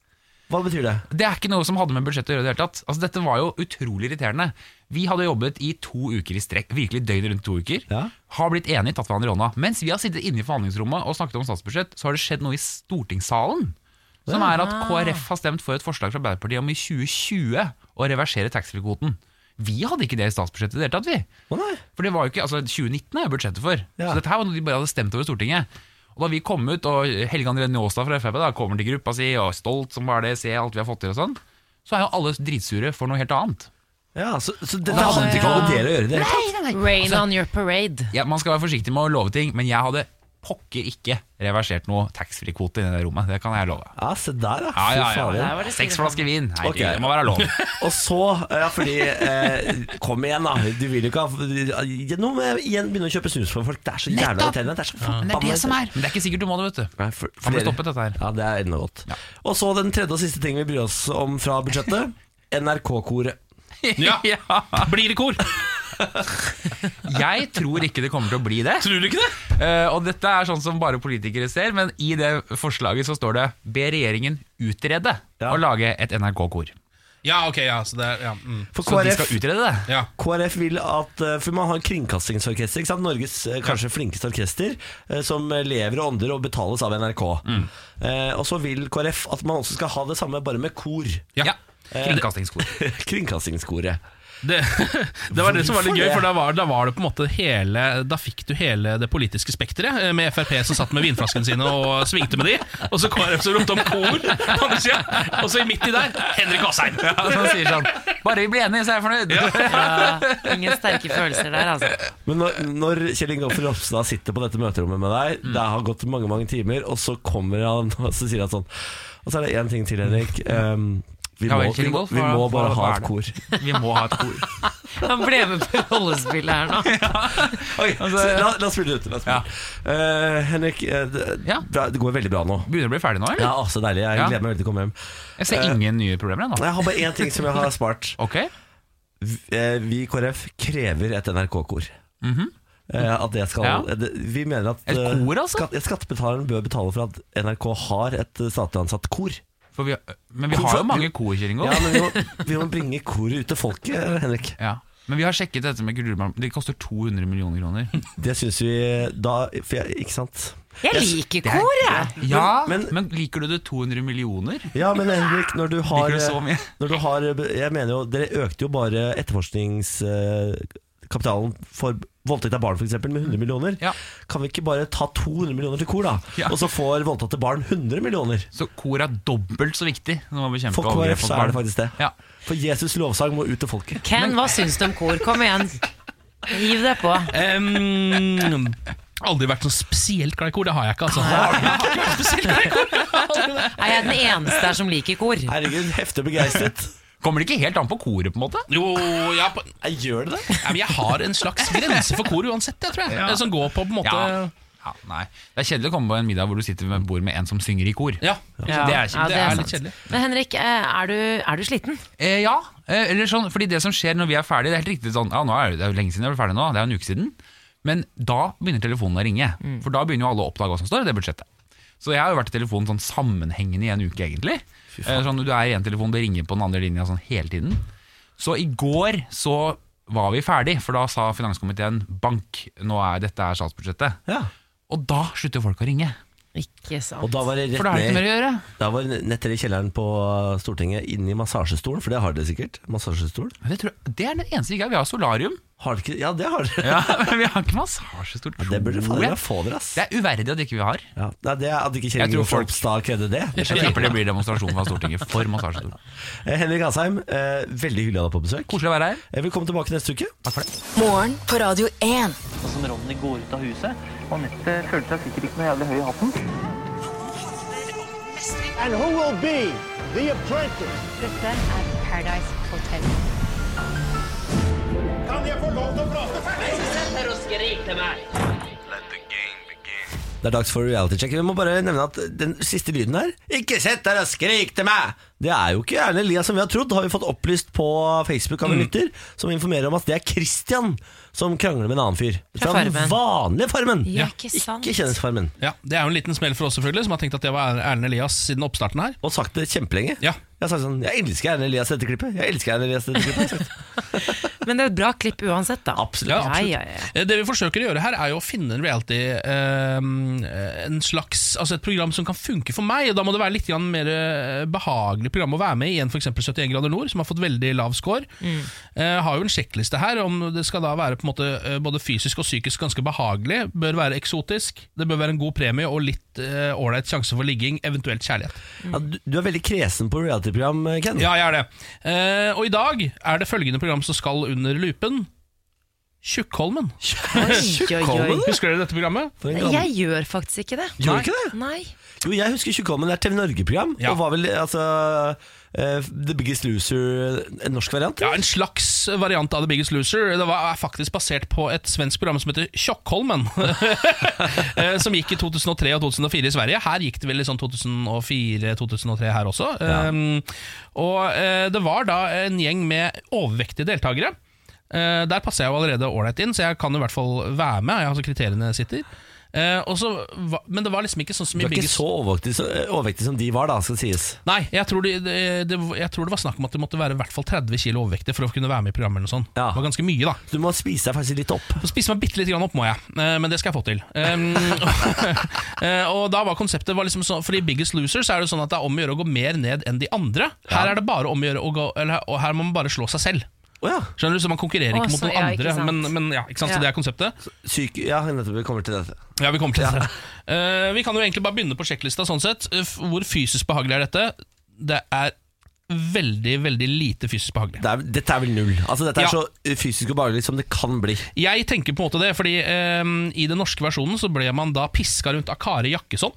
S2: Hva betyr det?
S9: Det er ikke noe som hadde med budsjettet å gjøre i det hele tatt. Altså, dette var jo utrolig irriterende. Vi hadde jobbet i to uker i strekk, virkelig døgnet rundt to uker.
S2: Ja.
S9: Har blitt enige, tatt hverandre i hånda. Mens vi har sittet inne i forhandlingsrommet og snakket om statsbudsjett, så har det skjedd noe i stortingssalen. Som er at KrF har stemt for et forslag fra Arbeiderpartiet om i 2020 å reversere taxfree-kvoten. Vi hadde ikke det i statsbudsjettet i det hele tatt, vi.
S2: Å nei.
S9: For det var jo ikke, altså 2019 er jo budsjettet for
S2: Ja.
S9: Så dette her var noe de bare hadde stemt over i Stortinget Og da vi kom ut, og Helge André Njåstad fra FB da Kommer til gruppa si, og er stolt som bare det Se alt vi har fått til og sånn Så er jo alle dritsure for noe helt annet
S2: Ja, så, så dette
S9: Å,
S2: hadde ikke noe med dere å gjøre. i Det. hele tatt.
S3: Rain
S9: Altså-
S3: on your
S9: *laughs*
S3: parade.
S9: ja, Man skal være forsiktig med å love ting Men jeg hadde pokker ikke reversert noe Taxfree-kvote i det rommet, det kan jeg love
S2: Ja, se der, da.
S9: Ja, ja,
S2: Fy faen.
S9: ja,
S3: var det
S9: Seks
S3: fire
S9: flasker vin, Nei,
S2: Ok.
S9: det må være lov
S2: Og så, ja fordi eh, Kom igjen da, du vil jo ikke ha Nå må jeg igjen begynne å kjøpe snus for folk Det er så jævla
S9: Nettopp!
S2: irriterende Det er så
S9: Men det er det som er, men det er ikke sikkert du må det, vet du
S2: Nei, for-
S9: Kan bli
S2: flere.
S9: stoppet, dette her.
S2: Ja, det er enda godt Og så den tredje og siste ting vi bryr oss om fra
S9: *laughs*
S2: budsjettet NRK-koret
S1: *laughs* Ja. Blir det kor?
S9: *laughs* Jeg tror ikke det kommer til å bli det
S1: Tror du ikke det?
S9: Eh, og dette er sånn som bare politikere ser, men i det forslaget så står det Be regjeringen utrede
S2: Ja.
S9: og lage et NRK-kor.
S1: Ja, ok, ja. Så det er, ja. Mm.
S2: For
S9: Så de
S2: KrF,
S9: skal utrede det.
S1: ja.
S2: KrF vil at eh, For man har kringkastingsorkester ikke sant? Norges eh, kanskje flinkeste orkester eh, Som lever og ånder og betales av NRK
S9: Mm.
S2: eh, Og så vil KrF at man også skal ha det samme Bare med kor *laughs*
S1: Ja.
S9: Ja.
S2: Eh,
S9: Kringkastingskor.
S2: Kringkastingskoret
S1: Det, *laughs* det var det som var litt
S2: Hvorfor
S1: gøy,
S2: det?
S1: for da var, da var det på en måte hele Da fikk du hele det politiske spekteret, eh, med Frp som satt med vinflaskene sine og svingte med de, og så KrF som ropte om kor, på andre siden, og så midt i der Henrik Asheim!
S9: Ja, *laughs* som sier sånn Bare vi blir enige, så er jeg *laughs* fornøyd.
S3: Ja, ingen sterke følelser der, altså.
S2: Men når, når Kjell Ingolf Ropstad sitter på dette møterommet med deg,
S9: Mm.
S2: det har gått mange mange timer, og så kommer han *laughs* og så sier han sånn Og så er det én ting til, Henrik. Ehm, vi,
S9: Ja
S2: må,
S9: vel, Kjell
S2: vi, må,
S9: Ingolf,
S2: vi
S9: hva-
S2: må bare
S9: hva-
S2: ha
S9: hva er
S2: et
S9: det?
S2: kor.
S9: *laughs* Vi må ha
S1: *laughs*
S9: et kor.
S3: Han ble med på rollespillet her nå.
S2: *laughs*
S9: altså,
S2: Så la, la oss spille det ut. La oss spille. Eh, Henrik, eh, det,
S9: Ja.
S2: bra, det går veldig bra nå.
S9: Begynner å bli ferdig nå, eller?
S2: Ja, Eh. å, så deilig. Jeg
S9: Ja.
S2: gleder meg veldig til å komme hjem.
S9: Jeg ser ingen nye problemer ennå.
S2: Jeg har bare én ting som jeg har
S9: *laughs*
S2: spart.
S9: Ok?
S2: V- eh, Vi i KrF krever et NRK-kor. Eh, At det skal
S9: Mhm. Ja.
S2: det- Vi mener at
S9: Et
S2: eh,
S9: kor, altså?
S2: skatt- skattebetaleren bør betale for at NRK har et eh, statlig ansatt kor.
S9: For vi, men vi har jo mange kor, Kjell
S2: Ja,
S9: Ingolf. *laughs*
S2: men vi må, vi må bringe koret ut til folket, Henrik.
S9: Ja. Men vi har sjekket dette med kulturbarn. Det koster 200
S2: *laughs*
S9: millioner kroner.
S2: Det syns vi da for jeg, Ikke sant?
S3: Jeg liker kor, jeg!
S9: Ja, men,
S2: men-
S9: liker du det 200 millioner?
S2: Ja, men Henrik, når du har, eh,
S9: Liker du så mye?
S2: Når du har Jeg mener jo, dere økte jo bare etterforskningskapitalen for voldtekt av barn for eksempel, med 100 millioner.
S9: Ja.
S2: Kan vi ikke bare ta 200 millioner til kor, da?
S9: Ja.
S2: Og så får voldtatte barn 100 millioner?
S9: Så kor er dobbelt så viktig som å bekjempe
S2: For
S9: overgrep
S2: KrF
S9: mot
S2: så er det
S9: barn.
S2: faktisk det.
S9: Ja.
S2: For Jesus' lovsang må ut til folket.
S3: Ken, hva syns du om kor? Kom igjen. Hiv deg
S9: *laughs*
S3: på.
S1: Em, aldri vært så spesielt glad i kor. Det har jeg ikke, altså. Jeg har ikke vært spesielt glad i kor.
S3: Er jeg den eneste her som liker kor?
S2: Herregud, heftig begeistret.
S9: Kommer det ikke helt an på koret, på en måte?
S1: Jo, jeg, har på- ja,
S2: Jeg gjør det det?
S1: men jeg har en slags grense for kor uansett, jeg tror jeg.
S9: Ja.
S1: Det Som går på på en måte
S9: Ja. eh, ja. Nei. Det er kjedelig å komme på en middag hvor du sitter ved et bord med en som synger i kor.
S1: Ja. Det er,
S3: Ja,
S1: kjedelig. det er
S3: sant.
S1: litt kjedelig.
S3: Men Henrik, eh, er du, er du sliten?
S9: Eh, ja, eh, eller sånn, fordi det som skjer når vi er ferdige Det er helt riktig sånn, ja nå er det, det er jo lenge siden jeg ble ferdig nå Det er jo en uke siden Men da begynner telefonen å ringe
S2: Mm.
S9: For da begynner jo alle å oppdage hva som står i det budsjettet Så jeg har jo vært i telefonen sånn sammenhengende i en uke egentlig eh, Sånn du er i en telefon, det ringer på den andre linja sånn hele tiden Så i går så var vi ferdig For da sa finanskomiteen Bank, nå er dette er statsbudsjettet
S2: Ja.
S9: Og da slutter folk å ringe
S3: Ikke
S2: Og
S3: sant.
S2: da var det
S9: For da
S2: rett
S9: er det ikke mer
S2: ned
S9: å gjøre
S2: Da var det nett nede i kjelleren på Stortinget, inne i massasjestolen, for det har dere sikkert. Massasjestol.
S9: Men det, tror, jeg- det er det eneste vi ikke har Vi har solarium
S2: Har dere ikke Ja, det har dere.
S9: ja, *laughs* men vi har ikke massasjestol
S2: Det burde
S9: tror
S2: faen
S9: jeg.
S2: meg få dere, ass.
S9: Det er uverdig at ikke vi har.
S2: Ja. Nei, det er at ikke Kjell
S9: Jeg tror
S2: Ingolf
S9: folk-
S2: Ropstad krevde det. det
S9: Jeg tipper det blir demonstrasjon fra Stortinget for massasjestol.
S2: Eh, Henrik Asheim, eh, veldig hyggelig å ha deg på besøk.
S9: Koselig å være her.
S2: Eh, Velkommen tilbake neste uke. Takk for det.
S5: Morgen på Radio 1.
S10: Og som Ronny går ut av huset. Anette følte seg sikkert ikke noe jævlig høy i hatten.
S2: Det er dags for reality check. Vi må bare nevne at den siste lyden her Ikke sett deg og skrik til meg! Det er jo ikke Erlend Elias som vi har trodd, har vi fått opplyst på Facebook
S1: Mm.
S2: av en lytter, som informerer om at det er Christian som krangler med en annen fyr.
S3: Fra Farmen.
S2: den vanlige Farmen!
S3: Ja, ikke sant.
S2: Ikke kjendisfarmen.
S1: Ja, det er jo en liten smell for oss, selvfølgelig, som har tenkt at det var Erlend Elias siden oppstarten her.
S2: Og sagt det kjempelenge.
S1: Ja.
S2: Jeg har sagt sånn Jeg elsker Erlend Elias i dette klippet. Jeg elsker Erlend Elias i dette klippet. har
S1: *laughs*
S2: jeg sagt.
S3: Men det er et bra klipp uansett, da.
S2: Absolutt.
S1: Ja, absolutt.
S3: Ja,
S1: *laughs*
S3: ja, ja.
S1: Eh, Det vi forsøker å gjøre her, er jo å finne en reality eh, En slags, altså Et program som kan funke for meg. Og Da må det være litt grann mer eh, behagelig program å være med i enn f.eks. 71 grader nord, som har fått veldig lav score.
S10: Mm.
S1: Eh, har jo en sjekkliste her. Om det skal da være på en måte eh, både fysisk og psykisk ganske behagelig. Bør være eksotisk. Det bør være en god premie og litt eh, ålreit sjanse for ligging, eventuelt kjærlighet.
S2: Ja, du, du er veldig kresen på reality-program, Ken.
S1: Mm. Ja, jeg er det. Eh, og i dag er det følgende program som skal under lupen. Tjukkholmen.
S3: Oi, oi, oi.
S1: Husker dere dette programmet?
S2: For en gammel-
S3: Jeg gjør faktisk ikke det.
S2: Gjør du ikke det?
S3: Nei.
S2: Jo, jeg husker Tjukkholmen. Det er TV Norge-program.
S1: Ja.
S2: Og var vel altså eh, The Biggest Loser en norsk variant?
S1: Ja, En slags variant av The Biggest Loser. Det var, er faktisk basert på et svensk program som heter Tjokkholmen. *laughs* Eh, som gikk i 2003 og 2004 i Sverige. Her gikk det vel i sånn 2004-2003 her også. Um, og eh, det var da en gjeng med overvektige deltakere. Eh, der passer jeg jo allerede ålreit inn, så jeg kan i hvert fall være med. Jeg har så kriteriene sitter. Eh, og så va- men det var liksom ikke sånn som
S2: Du
S1: i
S2: er ikke
S1: Biggest
S2: så overvektig, så eh, overvektig som de var, da, skal sies.
S1: Nei, jeg tror, de, det, det, jeg tror det var snakk om at det måtte være i hvert fall 30 kilo overvektig for å kunne være med i programmet. eller noe sånt.
S2: Ja.
S1: Det var ganske mye, da.
S2: Du må spise deg faktisk litt opp.
S1: Så spise meg bitte litt grann opp, må jeg. Eh, Men det skal jeg få til. Um, *laughs* eh, og da var konseptet var liksom sånn For i Biggest Loser så er det jo sånn at det er om å gjøre å gå mer ned enn de andre. Her er det bare om å gjøre å gå eller, Og her må man bare slå seg selv.
S2: Å ja.
S1: Skjønner du, så Man konkurrerer ikke
S3: Å,
S1: mot
S3: så-
S1: noen
S3: ja, ikke
S1: andre.
S3: sant.
S1: men, men ja, ikke sant,
S3: Ja.
S1: Så det er konseptet.
S2: Syk Ja, nettopp. Vi kommer til dette.
S1: Ja, Vi kommer til det. Eh, vi kan jo egentlig bare begynne på sjekklista. sånn sett Eh, f- Hvor fysisk behagelig er dette? Det er veldig, veldig lite fysisk behagelig.
S2: Det er, dette er vel null. Altså, dette er
S1: Ja.
S2: så fysisk og behagelig som det kan bli.
S1: Jeg tenker på en måte det, fordi ehm, i den norske versjonen så ble man da piska rundt av Kari Jakkesson.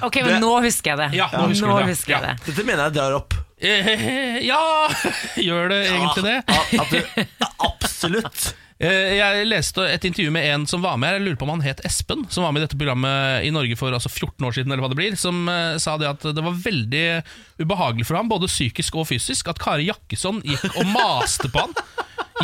S3: Ok, men nå husker jeg det.
S1: Ja, nå husker du det. Ja.
S3: jeg det.
S2: Dette mener jeg drar opp.
S1: Eh, ja, *laughs* gjør det egentlig det?
S2: Ja, at du, ja, absolutt.
S1: Eh, jeg leste et intervju med en som var med her, jeg lurer på om han het Espen, som var med i dette programmet i Norge for altså 14 år siden, eller hva det blir, som eh, sa det at det var veldig ubehagelig for ham, både psykisk og fysisk, at Kari Jakkesson gikk og maste på han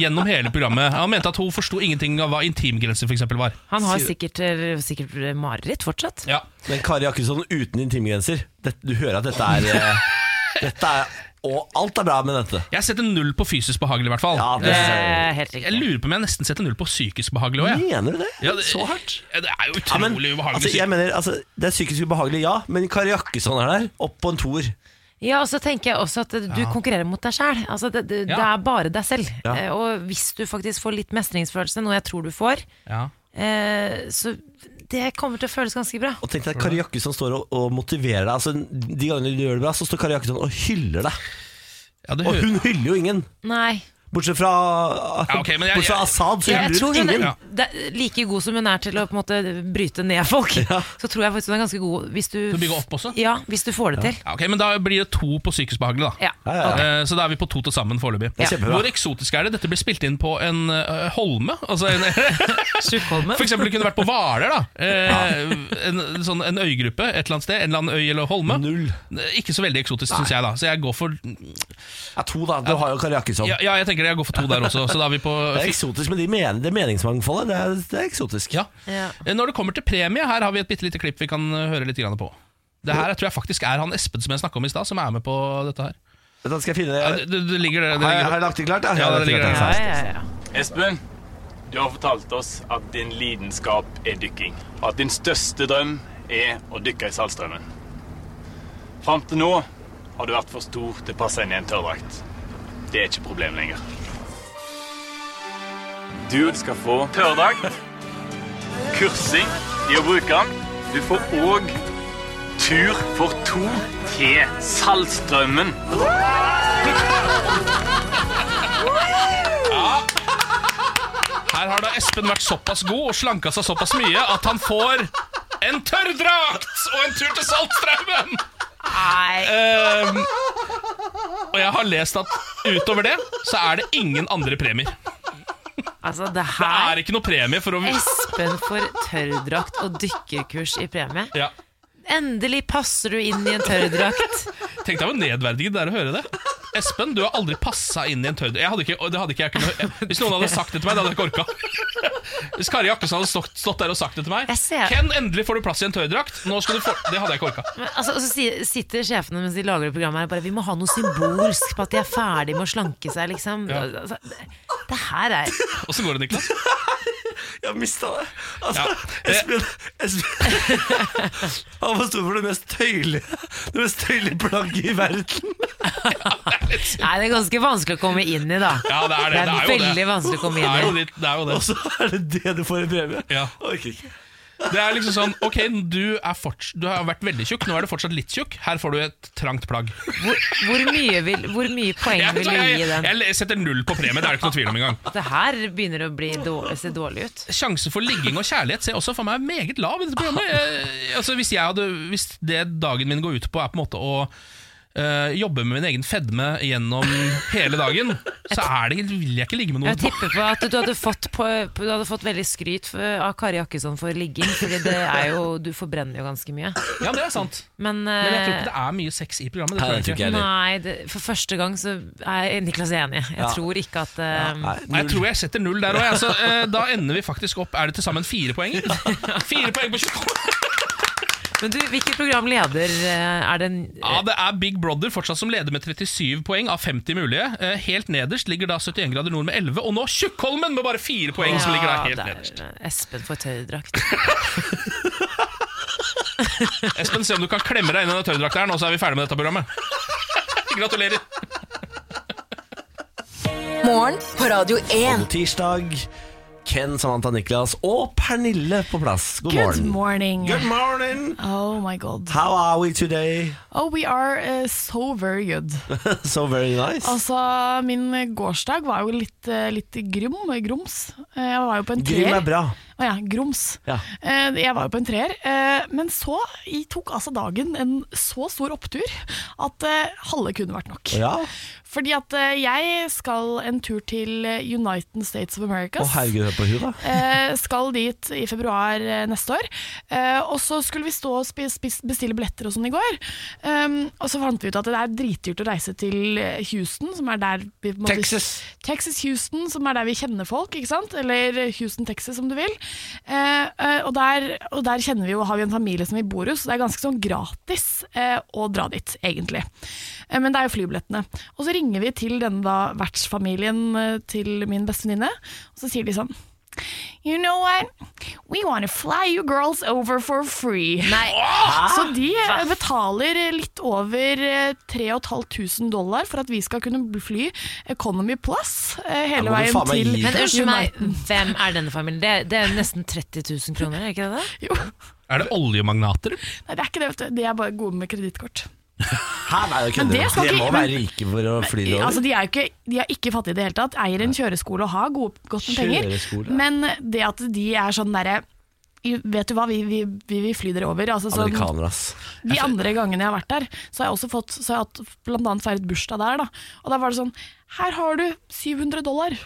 S1: gjennom hele programmet. Han mente at hun forsto ingenting av hva intimgrenser for eksempel var.
S3: Han har sikkert, eh, sikkert mareritt fortsatt.
S1: Ja.
S2: Men Kari Jakkesson uten intimgrenser. Dette- Du hører at dette er eh, Dette er Og alt er bra med dette.
S1: Jeg setter null på fysisk behagelig, i hvert fall.
S2: det synes jeg.
S3: Det er helt riktig.
S1: jeg lurer på om jeg nesten setter null på psykisk behagelig òg.
S2: Mener du det? Så hardt?
S1: Det er jo
S2: Ja, men,
S1: utrolig ubehagelig.
S2: altså, jeg mener, altså, det er psykisk ubehagelig, ja, men Kari Jakkesson er der, opp på en toer.
S3: Ja, og så tenker jeg også at du konkurrerer mot deg sjæl. Altså, det, det, det er bare deg selv.
S2: Ja.
S3: Eh, Og hvis du faktisk får litt mestringsfølelse, noe jeg tror du får,
S1: Ja.
S3: eh, så det kommer til å føles ganske bra.
S2: Og tenk deg Kari Jakkesson står og, og motiverer deg. Altså, de gangene du gjør det bra, så står Kari Jakkesson og hyller deg.
S1: Ja, det
S2: Og
S1: hø-
S2: hun hyller jo ingen.
S3: Nei.
S2: Bortsett fra,
S1: Ja, ok, men jeg-
S2: bortsett fra Assad, så
S3: Jeg, jeg
S2: hyller
S3: tror
S2: hun
S3: hun
S2: ingen.
S3: er, det er like god som hun er til å på en måte bryte ned folk, så tror jeg faktisk hun er ganske god hvis du,
S1: Skal du bygge opp også?
S3: ja, hvis du får det til.
S1: Ja, ok, Men da blir det to på psykisk behagelig, da.
S3: Ja.
S2: Ja, ja, ja.
S1: Eh, Så da er vi på to til sammen foreløpig.
S3: Ja.
S2: Kjempebra.
S1: Hvor eksotisk er det? Dette ble spilt inn på en eh, holme. Altså
S2: *laughs*
S1: en,
S3: Sjukholmen.
S1: for eksempel kunne det vært på Hvaler. da. Eh, en, sånn, en øygruppe et eller annet sted. En eller annen øy eller holme. Eh,
S2: Null.
S1: Ikke så veldig eksotisk, syns jeg. da Så jeg går for
S2: Ja, to, da. Du har jo Kari Jakkesson.
S1: ja, ja, jeg tenker jeg går for to der også. Så da er vi på
S2: *laughs* Det er eksotisk, men de men, det meningsmangfoldet, det er, det er eksotisk.
S1: ja.
S3: Ja.
S1: Eh, Når det kommer til premie, her har vi et bitte lite klipp vi kan eh, høre litt grann på. Det her tror jeg faktisk er han Espen som jeg snakka om i stad, som er med på dette her.
S2: Vent, da skal jeg finne
S1: Ja, det, det, det ligger det, det
S2: Har jeg- har
S1: ligger.
S2: jeg lagt det klart? da?
S1: Ja,
S2: Jeg har
S1: det
S2: lagt
S1: ligger
S2: klart, da.
S3: Ja, ja, ja.
S11: Espen, du har fortalt oss at din lidenskap er dykking. Og at din største drøm er å dykke i Saltstraumen. Fram til nå har du vært for stor til å passe inn i en tørrdrakt. Det er ikke et problem lenger. Du skal få tørrdrakt, kursing i å bruke den. Du får òg tur for to til Saltstraumen.
S1: Her har da Espen vært såpass god og slanka seg såpass mye at han får en tørrdrakt og en tur til Saltstraumen!
S3: Nei.
S1: Ehm, og jeg har lest at utover det så er det ingen andre premier.
S3: Altså, det
S1: Det
S3: her
S1: er ikke noe premie for å
S3: Espen får tørrdrakt og dykkerkurs i premie.
S1: ja.
S3: Endelig passer du inn i en tørrdrakt.
S1: Tenk deg hvor nedverdigende det er å høre det. Espen, du har aldri passa inn i en tørrdrakt. Jeg hadde ikke- Det hadde ikke jeg kunnet Hvis noen hadde sagt det til meg, det hadde jeg ikke orka. Hvis Kari Jakkesson hadde stått, stått der og sagt det til meg
S3: Jeg ser-
S1: Ken, endelig får du plass i en tørrdrakt. Nå skal du få Det hadde jeg ikke orka.
S3: Men, altså, og så si- sitter sjefene mens de lager det programmet her og bare Vi må ha noe symbolsk på at de er ferdig med å slanke seg, liksom.
S1: Ja.
S3: Altså, det, det her er
S1: Åssen går det, Niklas?
S2: Jeg mista det. Altså,
S1: Ja.
S2: *laughs* Espen, Espen *laughs* Han var stor for det mest tøylige Det mest tøylige plagget i verden. *laughs*
S3: Nei, det er ganske vanskelig å komme inn i, da.
S1: Ja, det er det. Det er jo det.
S3: veldig vanskelig å komme
S1: Det er jo
S3: inn i.
S1: det. Det er, jo
S2: Og
S1: det.
S2: så er det det du får i premie.
S1: Ja.
S2: Orker ikke.
S1: det er liksom sånn Ok, du, er forts du har vært veldig tjukk, nå er du fortsatt litt tjukk. Her får du et trangt plagg.
S3: Hvor, hvor, mye, vil, hvor mye poeng
S1: Jeg,
S3: vil du
S1: jeg,
S3: gi den?
S1: jeg, jeg setter null på premie, det er det ikke noe tvil om engang.
S3: Det her begynner å bli dårlig, se dårlig ut.
S1: Sjansen for ligging og kjærlighet ser også for meg meget lav i dette programmet. Jeg, altså, hvis, jeg hadde, hvis det dagen min går ut på, er på en måte å eh, jobbe med min egen fedme gjennom hele
S3: *laughs*
S1: dagen, så er det, vil jeg ikke ligge med
S3: Jeg
S1: noen.
S3: tipper på at du hadde fått, på, du hadde fått veldig skryt for, av Kari Jakkesson for ligging, Fordi det er jo, du forbrenner jo ganske mye.
S1: Ja, det er sant.
S3: Men, eh,
S1: Men jeg tror ikke det er mye sex i programmet. Det tror jeg ikke.
S3: Nei, det, for første gang så er Niklas enig. Jeg tror ikke at eh,
S1: Nei, jeg tror jeg setter null der òg. Altså, eh, da ender vi faktisk opp Er det til sammen fire *laughs* poenger? Fire poeng på 20
S3: Men du, hvilken programleder eh, er den
S1: Ja, Det er Big Brother fortsatt som leder med 37 poeng av 50 mulige. Eh, Helt nederst ligger da 71 grader nord med 11, og nå Tjukkholmen med bare fire poeng! som ligger der helt
S3: Ja,
S1: nederst
S3: der, Espen får tøydrakt.
S1: Espen, se om du kan klemme deg inn i den tørrdrakteren, og så er vi ferdig med dette *laughs* programmet. Gratulerer.
S5: Morgen på Radio 1.
S2: God tirsdag. Ken, Samantha, Niklas og Pernille på plass. God morgen.
S11: morning.
S2: Good morning.
S11: Oh my god.
S2: How are we today?
S11: Oh, we are eh, so very good.
S2: *laughs* So very nice.
S11: Altså, min gårsdag var jo litt, eh, litt grum, grums. Eh, Jeg var jo på en
S2: Grim er
S11: treer.
S2: bra.
S11: Å ja, grums.
S2: Ja.
S11: Eh, Jeg var jo på en treer. eh, Men så i- tok altså dagen en så stor opptur at eh, halve kunne vært nok.
S2: Ja.
S11: Fordi at eh, jeg skal en tur til eh, United States of America.
S2: Å herregud, hør på hun da.
S11: Eh, skal dit i februar eh, neste år. Eh, og så skulle vi stå og spis, spis, bestille billetter og sånn i går. Um, og så fant vi ut at det er dritdyrt å reise til eh, Houston, som er der vi på en måte-
S2: Texas.
S11: Texas Houston, som er der vi kjenner folk, ikke sant? Eller Houston, Texas, om du vil.
S9: Eh, eh, og, der, og der kjenner vi jo, har vi en familie som vi bor hos, så det er ganske sånn gratis eh, å dra dit, egentlig. Eh, men det er jo flybillettene. Og så ringer vi til denne da vertsfamilien eh, til min bestevenninne, og så sier de sånn You know what? We want to fly you girls over for free.
S12: Hæ?
S9: *laughs* Så de eh, betaler eh, litt over eh, 3500 dollar for at vi skal kunne fly Economy Plus eh, hele veien til
S3: Men unnskyld meg,
S9: Uniten.
S3: hvem er denne familien? Det, det er nesten 30 000 kroner, er ikke det det?
S9: *laughs* Jo.
S1: Er det oljemagnater?
S9: Nei, det er ikke det, vet du. De er bare gode med kredittkort.
S2: Hæ, nei, det
S9: Men
S2: kødder
S9: det
S2: du.
S9: skal
S2: De
S9: ikke-
S2: må
S9: men-
S2: være rike for å fly det over.
S9: Altså, de, er jo ikke, de er ikke fattige i det hele tatt. Eier en kjøreskole og har gode, godt med
S2: Kjøreskole,
S9: penger.
S2: ja.
S9: Men det at de er sånn derre Vet du hva, vi, vi, vi, vi flyr dere over. Altså, sånn-
S2: Amerikaner, ass.
S9: De andre gangene jeg har vært der, så har jeg også fått Så har jeg hatt blant annet feiret bursdag der, da. Og da var det sånn Her har du 700 dollar.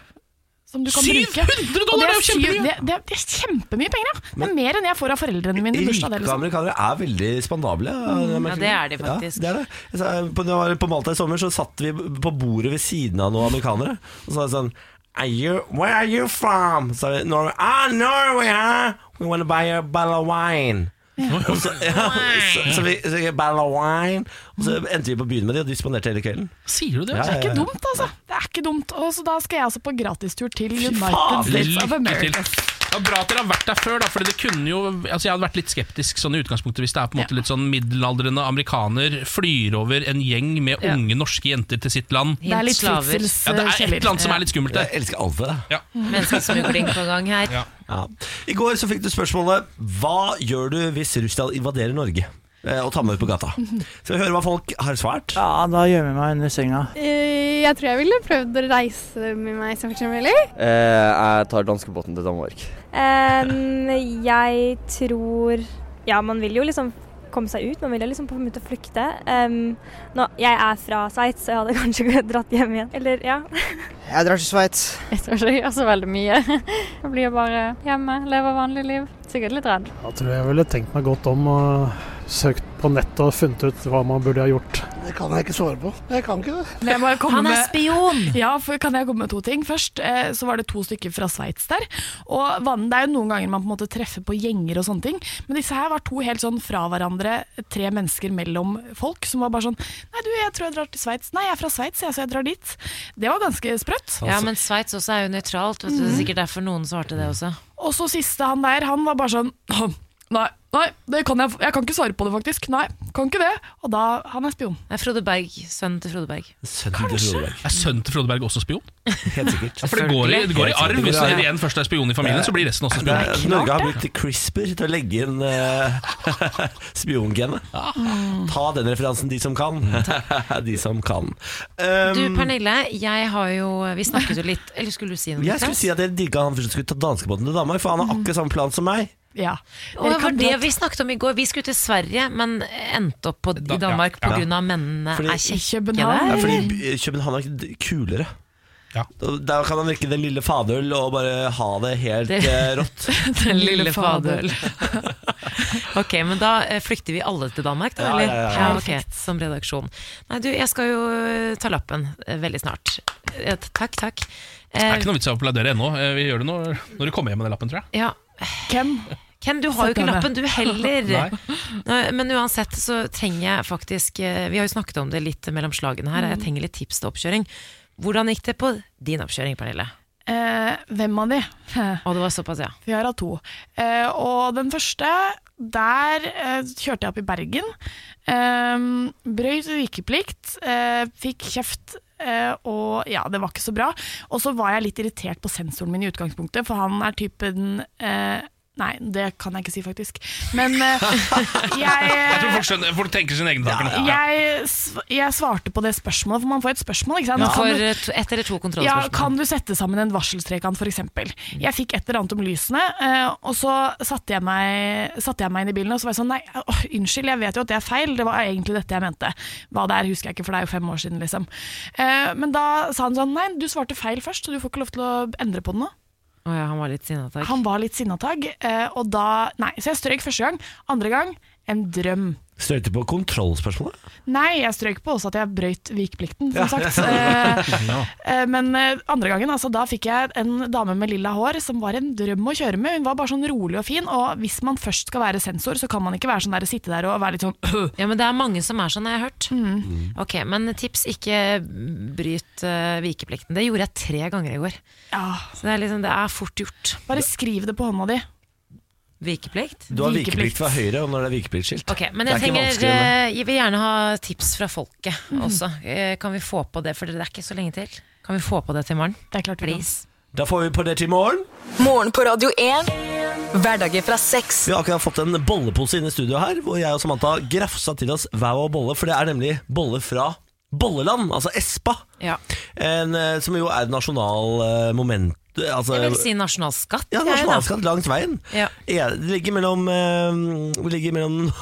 S9: Som du kan
S1: 700
S9: bruke.
S1: dollar er
S9: Og
S1: jo
S9: syv-
S1: kjempemye!
S9: Det, det, er- det er kjempemye penger, ja. Det er mer enn jeg får av foreldrene mine i bursdag.
S2: Rike
S9: Det, liksom.
S2: amerikanere er veldig spandable.
S9: Mm, ja, det er de faktisk.
S2: Ja, det er det. Jeg sa, på, når jeg var på Malta i sommer så satt vi på bordet ved siden av noen amerikanere. Og så var det sånn are you, Where are you from? Så sa vi Norway. Ah, Norway, huh? We want to buy a bottle of wine. Og så, *laughs* ja, så, så vi så vi, bottle of wine Og så endte vi på byen med de, og de spanderte hele kvelden.
S1: Sier du
S9: det er ikke
S1: Eh.
S9: dumt, altså. Det er ikke dumt. Og så da skal jeg altså på gratistur til
S1: faen,
S9: United States of
S1: lykke til.
S9: America.
S1: Det er bra at dere har vært der før, da, Fordi det kunne jo Altså Jeg hadde vært litt skeptisk sånn i utgangspunktet hvis det er på en måte litt sånn middelaldrende amerikaner flyr over en gjeng med
S9: Ja.
S1: unge norske jenter til sitt land.
S3: Det er litt
S1: ja,
S3: slaver.
S1: Det er et eller annet som er litt skummelt der.
S2: Jeg elsker alt ved det.
S1: Ja.
S3: Menneskesmugling på gang her.
S2: Ja. I går så fikk du spørsmålet Hva gjør du hvis Russland invaderer Norge eh, og tar med ut på gata? Skal vi høre hva folk har svart?
S6: Ja, da gjemmer jeg meg under senga.
S5: Eh, Jeg tror jeg ville prøvd å reise med meg som forsamling.
S12: jeg tar danskebåten til Danmark.
S5: jeg tror Ja, man vil jo liksom komme seg ut. Man vil jo liksom på en måte flykte. Em, nå, jeg er fra Sveits, så jeg hadde *laughs* kanskje dratt hjem igjen. Eller, ja.
S6: Jeg drar til Sveits.
S13: Jeg tror ikke jeg gjør så veldig mye. Jeg blir bare hjemme, lever vanlig liv. Sikkert litt redd.
S7: Jeg tror jeg ville tenkt meg godt om og søkt på nettet og funnet ut hva man burde ha gjort.
S6: Det kan jeg ikke svare på. Jeg kan ikke det.
S9: Men jeg må jo komme
S6: Han er
S9: med- Ja, for kan jeg komme med to ting? Først eh, så var det to stykker fra Sveits der. Og vann- Det er jo noen ganger man på en måte treffer på gjenger og sånne ting, men disse her var to helt sånn fra hverandre, tre mennesker mellom folk, som var bare sånn Nei, du, jeg tror jeg drar til Sveits. Nei, jeg er fra Sveits, jeg, så jeg drar dit. Det var ganske sprøtt. Mm.
S3: Ja, men Sveits også er jo nøytralt. Vet du. Det er sikkert derfor noen svarte det også.
S9: Og så siste han der, han var bare sånn Nei, nei det kan jeg, jeg kan ikke svare på det, faktisk. Nei, kan ikke det. Og da Han er spion.
S3: Det er Frode Berg, sønnen til Frode Berg.
S2: Sønnen
S1: til Frode Berg. Er sønnen til Frode Berg også spion?
S2: Helt sikkert.
S1: Ja, for det går i, det går i arv. Hvis det er en først er spion i familien, så blir resten også
S2: Det er-
S1: spion.
S2: Eh, Norge har brukt CRISPR til å legge inn uh, *laughs* spiongenet. Ta den referansen, de som kan. *laughs* de som kan. Um,
S3: Du Pernille, jeg har jo Vi snakket jo litt Eller skulle du si noe?
S2: jeg skulle si at jeg digga han først skulle ta danskebåten til Danmark, for han har akkurat samme plan som meg.
S9: Ja.
S3: Og det var det vi snakket om i går. Vi skulle til Sverige, men endte opp på, i Danmark
S2: ja.
S3: pga. av mennene
S2: Fordi-
S3: er kjekke
S2: Ja,
S3: der.
S2: fordi by- København er ikke kulere. Og Der kan han drikke den lille fadøl og bare ha det helt
S3: Det-
S2: eh, rått.
S3: *laughs* Den lille fadøl. *laughs* ok, men da eh, flykter vi alle til Danmark,
S2: Ja,
S3: da? Eller?
S2: ja, ja, ja.
S3: ok, Som redaksjon. Nei, du, jeg skal jo eh, ta lappen eh, veldig snart. Eh, Takk, takk.
S1: Det er ikke noe vits i å applaudere ennå. Eh, Vi gjør det når, når du kommer hjem med den lappen, tror jeg.
S3: Ja.
S9: Hvem?
S3: Ken, du har jo ikke
S1: Sett deg
S3: lappen
S1: ned.
S3: du heller.
S1: Nei.
S3: Nei, Men uansett så trenger jeg faktisk eh, Vi har jo snakket om det litt mellom slagene her. Jeg trenger litt tips til oppkjøring. Hvordan gikk det på din oppkjøring, Pernille?
S9: Eh, hvem av de? *laughs*
S3: Og det var såpass, ja.
S9: Vi har hatt to. Eh, og den første, der eh, kjørte jeg opp i Bergen. Eh, brøyt vikeplikt, eh, fikk kjeft. eh, og ja, det var ikke så bra. Og så var jeg litt irritert på sensoren min i utgangspunktet, for han er typen eh, Nei, det kan jeg ikke si, faktisk. Men eh, *laughs* jeg eh,
S1: Jeg tror folk, skjønner, folk tenker sine egne tanker nå.
S9: jeg, sv- jeg svarte på det spørsmålet, for man får et spørsmål. Ikke sant?
S3: Du
S9: Kan
S3: får
S9: du-
S3: eh, to- ett eller to
S9: ja,
S3: kontrollspørsmål.
S9: kan du sette sammen en varseltrekant f.eks.? Jeg fikk et eller annet om lysene, eh, og så satte jeg, meg, satte jeg meg inn i bilen og så var jeg sånn Nei, åh, unnskyld, jeg vet jo at det er feil, det var egentlig dette jeg mente. Hva det er, husker jeg ikke, for det er jo fem år siden, liksom. Eh, Men da sa han sånn Nei, du svarte feil først, så du får ikke lov til å endre på det nå.
S3: Å ja, han var litt sinna, takk.
S9: Han var litt sinnatagg, eh, og da Nei, så jeg strøyk første gang. Andre gang
S14: en drøm.
S2: Strøyte på kontrollspørsmålet?
S14: Nei, jeg strøk på også at jeg brøyt vikeplikten, som
S2: Ja.
S14: sagt. Eh, eh, Men eh, andre gangen, altså, da fikk jeg en dame med lilla hår som var en drøm å kjøre med. Hun var bare sånn rolig og fin, og hvis man først skal være sensor, så kan man ikke være sånn der, sitte der og være litt sånn
S3: Ja, men det er mange som er sånn, har jeg hørt. Ok, Men tips, ikke bryt eh, vikeplikten. Det gjorde jeg tre ganger i går. Så det er, liksom, det er fort gjort.
S14: Bare skriv det på hånda di.
S3: Vikeplikt?
S2: Du har vikeplikt fra høyre, og når det er vikepliktskilt.
S3: Ok, Men
S2: Det er
S3: jeg,
S2: ikke
S3: trenger,
S2: vanskeligere enn det.
S3: eh, jeg vil gjerne ha tips fra folket
S14: Mhm.
S3: også. Eh, Kan vi få på det, for det er ikke så lenge til. Kan vi få på det til i morgen?
S14: Det er klart
S3: vi Please.
S2: Da får vi på det til i morgen.
S5: Morgen på Radio 1. Hverdager fra seks.
S2: Vi har akkurat fått en bollepose inne i studio her, hvor jeg og Samantha grafsa til oss hver vår bolle, for det er nemlig bolle fra Bolleland, altså Espa,
S3: Ja.
S2: en, eh, som jo er et nasjonal eh, moment. Altså,
S3: Jeg vil si nasjonalskatt.
S2: Ja,
S3: jeg, da.
S2: nasjonalskatt langs veien.
S3: Ja.
S2: Ja, det ligger mellom, eh, det ligger mellom *laughs*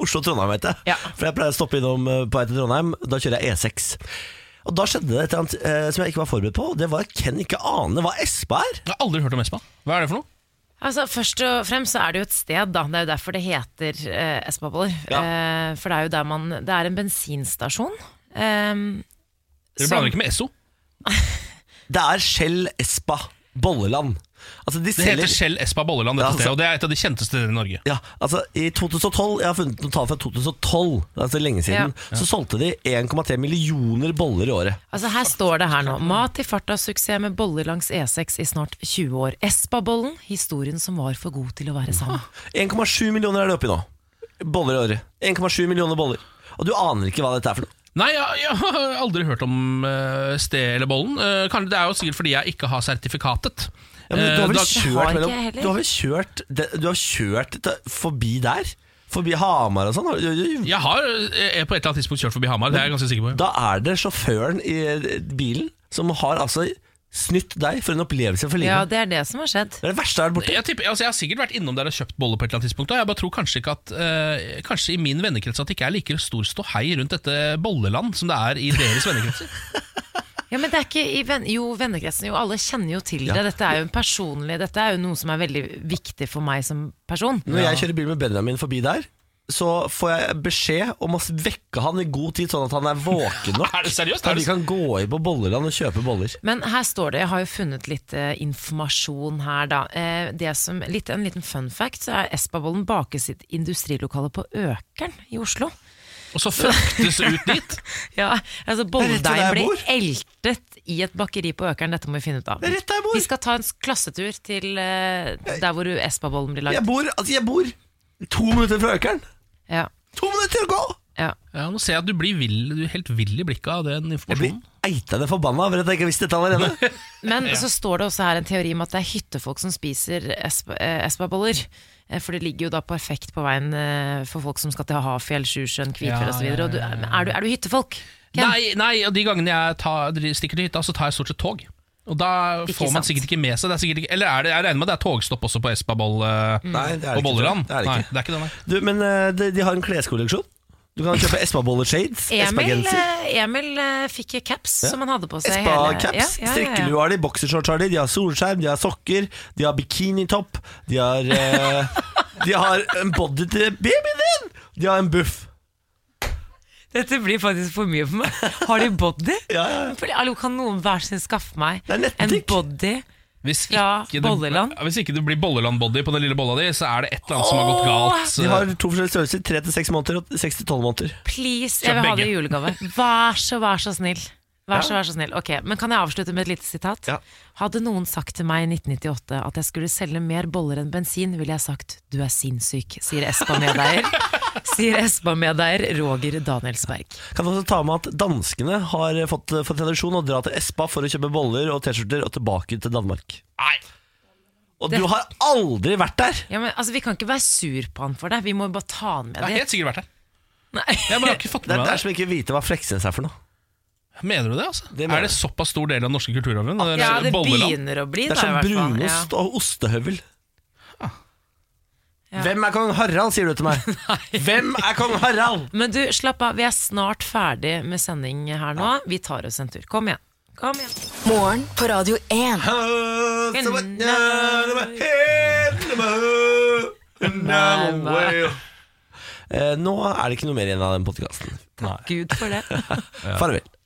S2: Oslo og Trondheim, vet jeg. For jeg pleier å stoppe innom eh, på vei til Trondheim. Da kjører jeg E6. Og da skjedde det et eller annet eh, som jeg ikke var forberedt på. og Det var at Ken ikke aner hva Espa er.
S1: Jeg har aldri hørt om Espa. Hva er det for noe?
S3: Altså, først og fremst så er det jo et sted, da. Det er jo derfor det heter eh, Espaboller. Eh, for det er jo der man Det er en bensinstasjon. Um,
S1: Dere blander ikke med Esso?
S2: Det er Shell Espa Bolleland. Altså, de
S1: Det heter
S2: selger-
S1: Shell Espa Bolleland, dette
S2: Ja,
S1: stedet,
S2: altså-
S1: og det er et av de kjenteste stedene i Norge.
S2: Ja, altså I 2012, jeg har funnet noen tall fra 2012, altså lenge siden,
S3: Ja.
S2: så solgte de 1,3 millioner boller i året.
S3: altså, her står det her nå. Mat i farta, suksess med boller langs E6 i snart 20 år. Espabollen, historien som var for god til å være sann.
S2: 1,7 millioner er det oppi nå. Boller i året. 1,7 millioner boller. Og du aner ikke hva dette er for noe.
S1: Nei, jeg, jeg har aldri hørt om uh, sted eller bollen. Eh, kan- det er jo sikkert fordi jeg ikke har sertifikatet.
S2: Ja, men du har vel
S1: Eh, da-
S2: kjørt mellom Du har vel kjørt, det- du har kjørt det- forbi der? Forbi Hamar og sånn? har du- du-
S1: Jeg har eh, på et eller annet tidspunkt kjørt forbi Hamar, det er jeg ganske sikker på.
S2: Da er det sjåføren i eh, bilen som har altså snytt deg for en opplevelse for livet.
S3: Ja, det er det som har skjedd.
S2: Det er det verste der borte.
S1: Jeg, tipper, altså jeg har sikkert vært innom der og kjøpt boller på et eller annet tidspunkt. og Jeg bare tror kanskje ikke at eh, Kanskje i min vennekrets at det ikke er like stor ståhei rundt dette bolleland som det er i deres vennekretser.
S3: Ja, men det er ikke i ven Jo, vennekretsen, jo, alle kjenner jo til
S2: Ja.
S3: det. Dette er jo en personlig Dette er jo noe som er veldig viktig for meg som person.
S2: Når jeg kjører bil med Benjamin forbi der, så får jeg beskjed om å vekke han i god tid, sånn at han er *laughs* våken nok.
S1: er det seriøst?
S2: At vi kan gå inn på Bolleland og kjøpe boller.
S3: Men her står det, jeg har jo funnet litt eh, informasjon her da. Eh, det som, litt, en liten fun fact, så er Espabollen bake sitt industrilokale på Økern i Oslo.
S1: Og så fraktes ut dit?
S2: *laughs*
S3: ja,
S1: Det
S3: altså
S1: er rett
S3: Bolledeigen
S1: ved der jeg
S3: blir eltet i et bakeri på Økern, dette må vi finne ut av. Vi skal ta en s- klassetur til eh, der hvor Espabollen blir lagd.
S2: Jeg bor, altså jeg bor to minutter fra Økeren!
S3: Ja.
S2: To minutter å gå!
S3: Ja.
S1: Nå ser jeg at du blir vill, du er helt vill i blikket av den informasjonen.
S2: Eitende forbanna over at jeg ikke visste dette allerede.
S3: Men
S1: Ja.
S3: så står det også her en teori om at det er hyttefolk som spiser esp- eh, espaboller. Eh, For det ligger jo da perfekt på veien eh, for folk som skal til Hafjell, Sjusjøen, Kvitfjell
S1: Ja,
S3: osv. Er,
S1: ja,
S3: du-
S1: ja,
S3: er du- er du hyttefolk? Ken?
S1: Nei, nei, og de gangene jeg tar, dri- stikker til hytta, så tar jeg stort sett tog. Og da
S3: Ikke
S1: får man
S3: sant.
S1: sikkert ikke med seg det er sikkert ikke, Eller er det, jeg regner med det er togstopp også på Espaboll eh,
S2: Nei, det er det
S1: og
S2: ikke,
S1: Bolleland?
S2: tror jeg. Det er det
S1: Nei,
S2: ikke.
S1: det er ikke det, nei.
S2: Du, men eh, de, de har en kleskolleksjon. Du kan kjøpe Espa-bolle-shades,
S3: Emil,
S2: Espa-genser.
S3: eh, Emil eh, fikk caps
S2: Ja.
S3: som han hadde på seg. hele-
S2: Espa-caps, strikkelua har de, boksershorts har de, de har solskjerm, de har sokker, de har bikinitopp, de har eh, *laughs* De har en body til babyen din! De har en buff.
S3: Dette blir faktisk for mye for meg. Har de body?
S2: ja,
S3: Fordi, hallo, kan noen hver sin skaffe meg en body
S1: Hvis ikke,
S3: fra
S1: det,
S3: Bolleland?
S1: Ja, hvis ikke det blir Bolleland-body på den lille bolla di, så er det et eller annet som har gått galt.
S2: De har to forskjellige størrelser, tre til seks måneder og seks til tolv måneder.
S3: Please,
S2: Kjøp
S3: jeg vil ha
S2: begge.
S3: det i julegave. Vær så, vær så snill. Vær så,
S2: Ja.
S3: vær så snill. Ok, Men kan jeg avslutte med et lite sitat? Hadde noen sagt til meg i 1998 at jeg skulle selge mer boller enn bensin, ville jeg sagt 'du er sinnssyk', sier
S2: *laughs*
S3: Espa-medeier. sier Espa-medeier Roger Danielsberg.
S2: Kan også ta med at danskene har fått, fått tradisjon å dra til Espa for å kjøpe boller og T-skjorter og tilbake til Danmark.
S1: Nei.
S2: Og du har aldri vært der!
S3: Ja, men altså, Vi kan ikke være sur på han for det. Vi må bare ta han med
S1: Jeg har
S2: *laughs*
S3: dit.
S1: helt sikkert vært der. Jeg bare har ikke fått
S2: Det
S1: med
S2: er
S1: meg
S2: der
S1: det.
S2: som ikke vite hva Fleksnes er for noe.
S1: Mener du det, altså?
S2: mener
S1: er det såpass stor del av den norske kulturarven?
S3: Ja, det
S1: Bolleland?
S3: begynner å bli
S2: Det er
S3: da, i
S2: som
S3: hvert fall.
S2: brunost og ostehøvel.
S3: Ja.
S2: Hvem er kong Harald, sier du til
S3: *laughs*
S2: meg? Hvem er kong Harald?
S3: Men du, slapp av. Vi er snart ferdig med sending her nå. Vi tar oss en tur. Kom igjen. Kom igjen.
S5: Morgen på Radio 1.
S2: Eh, Nå er det ikke noe mer igjen av den podkasten.
S3: Gud for det.
S2: Farvel.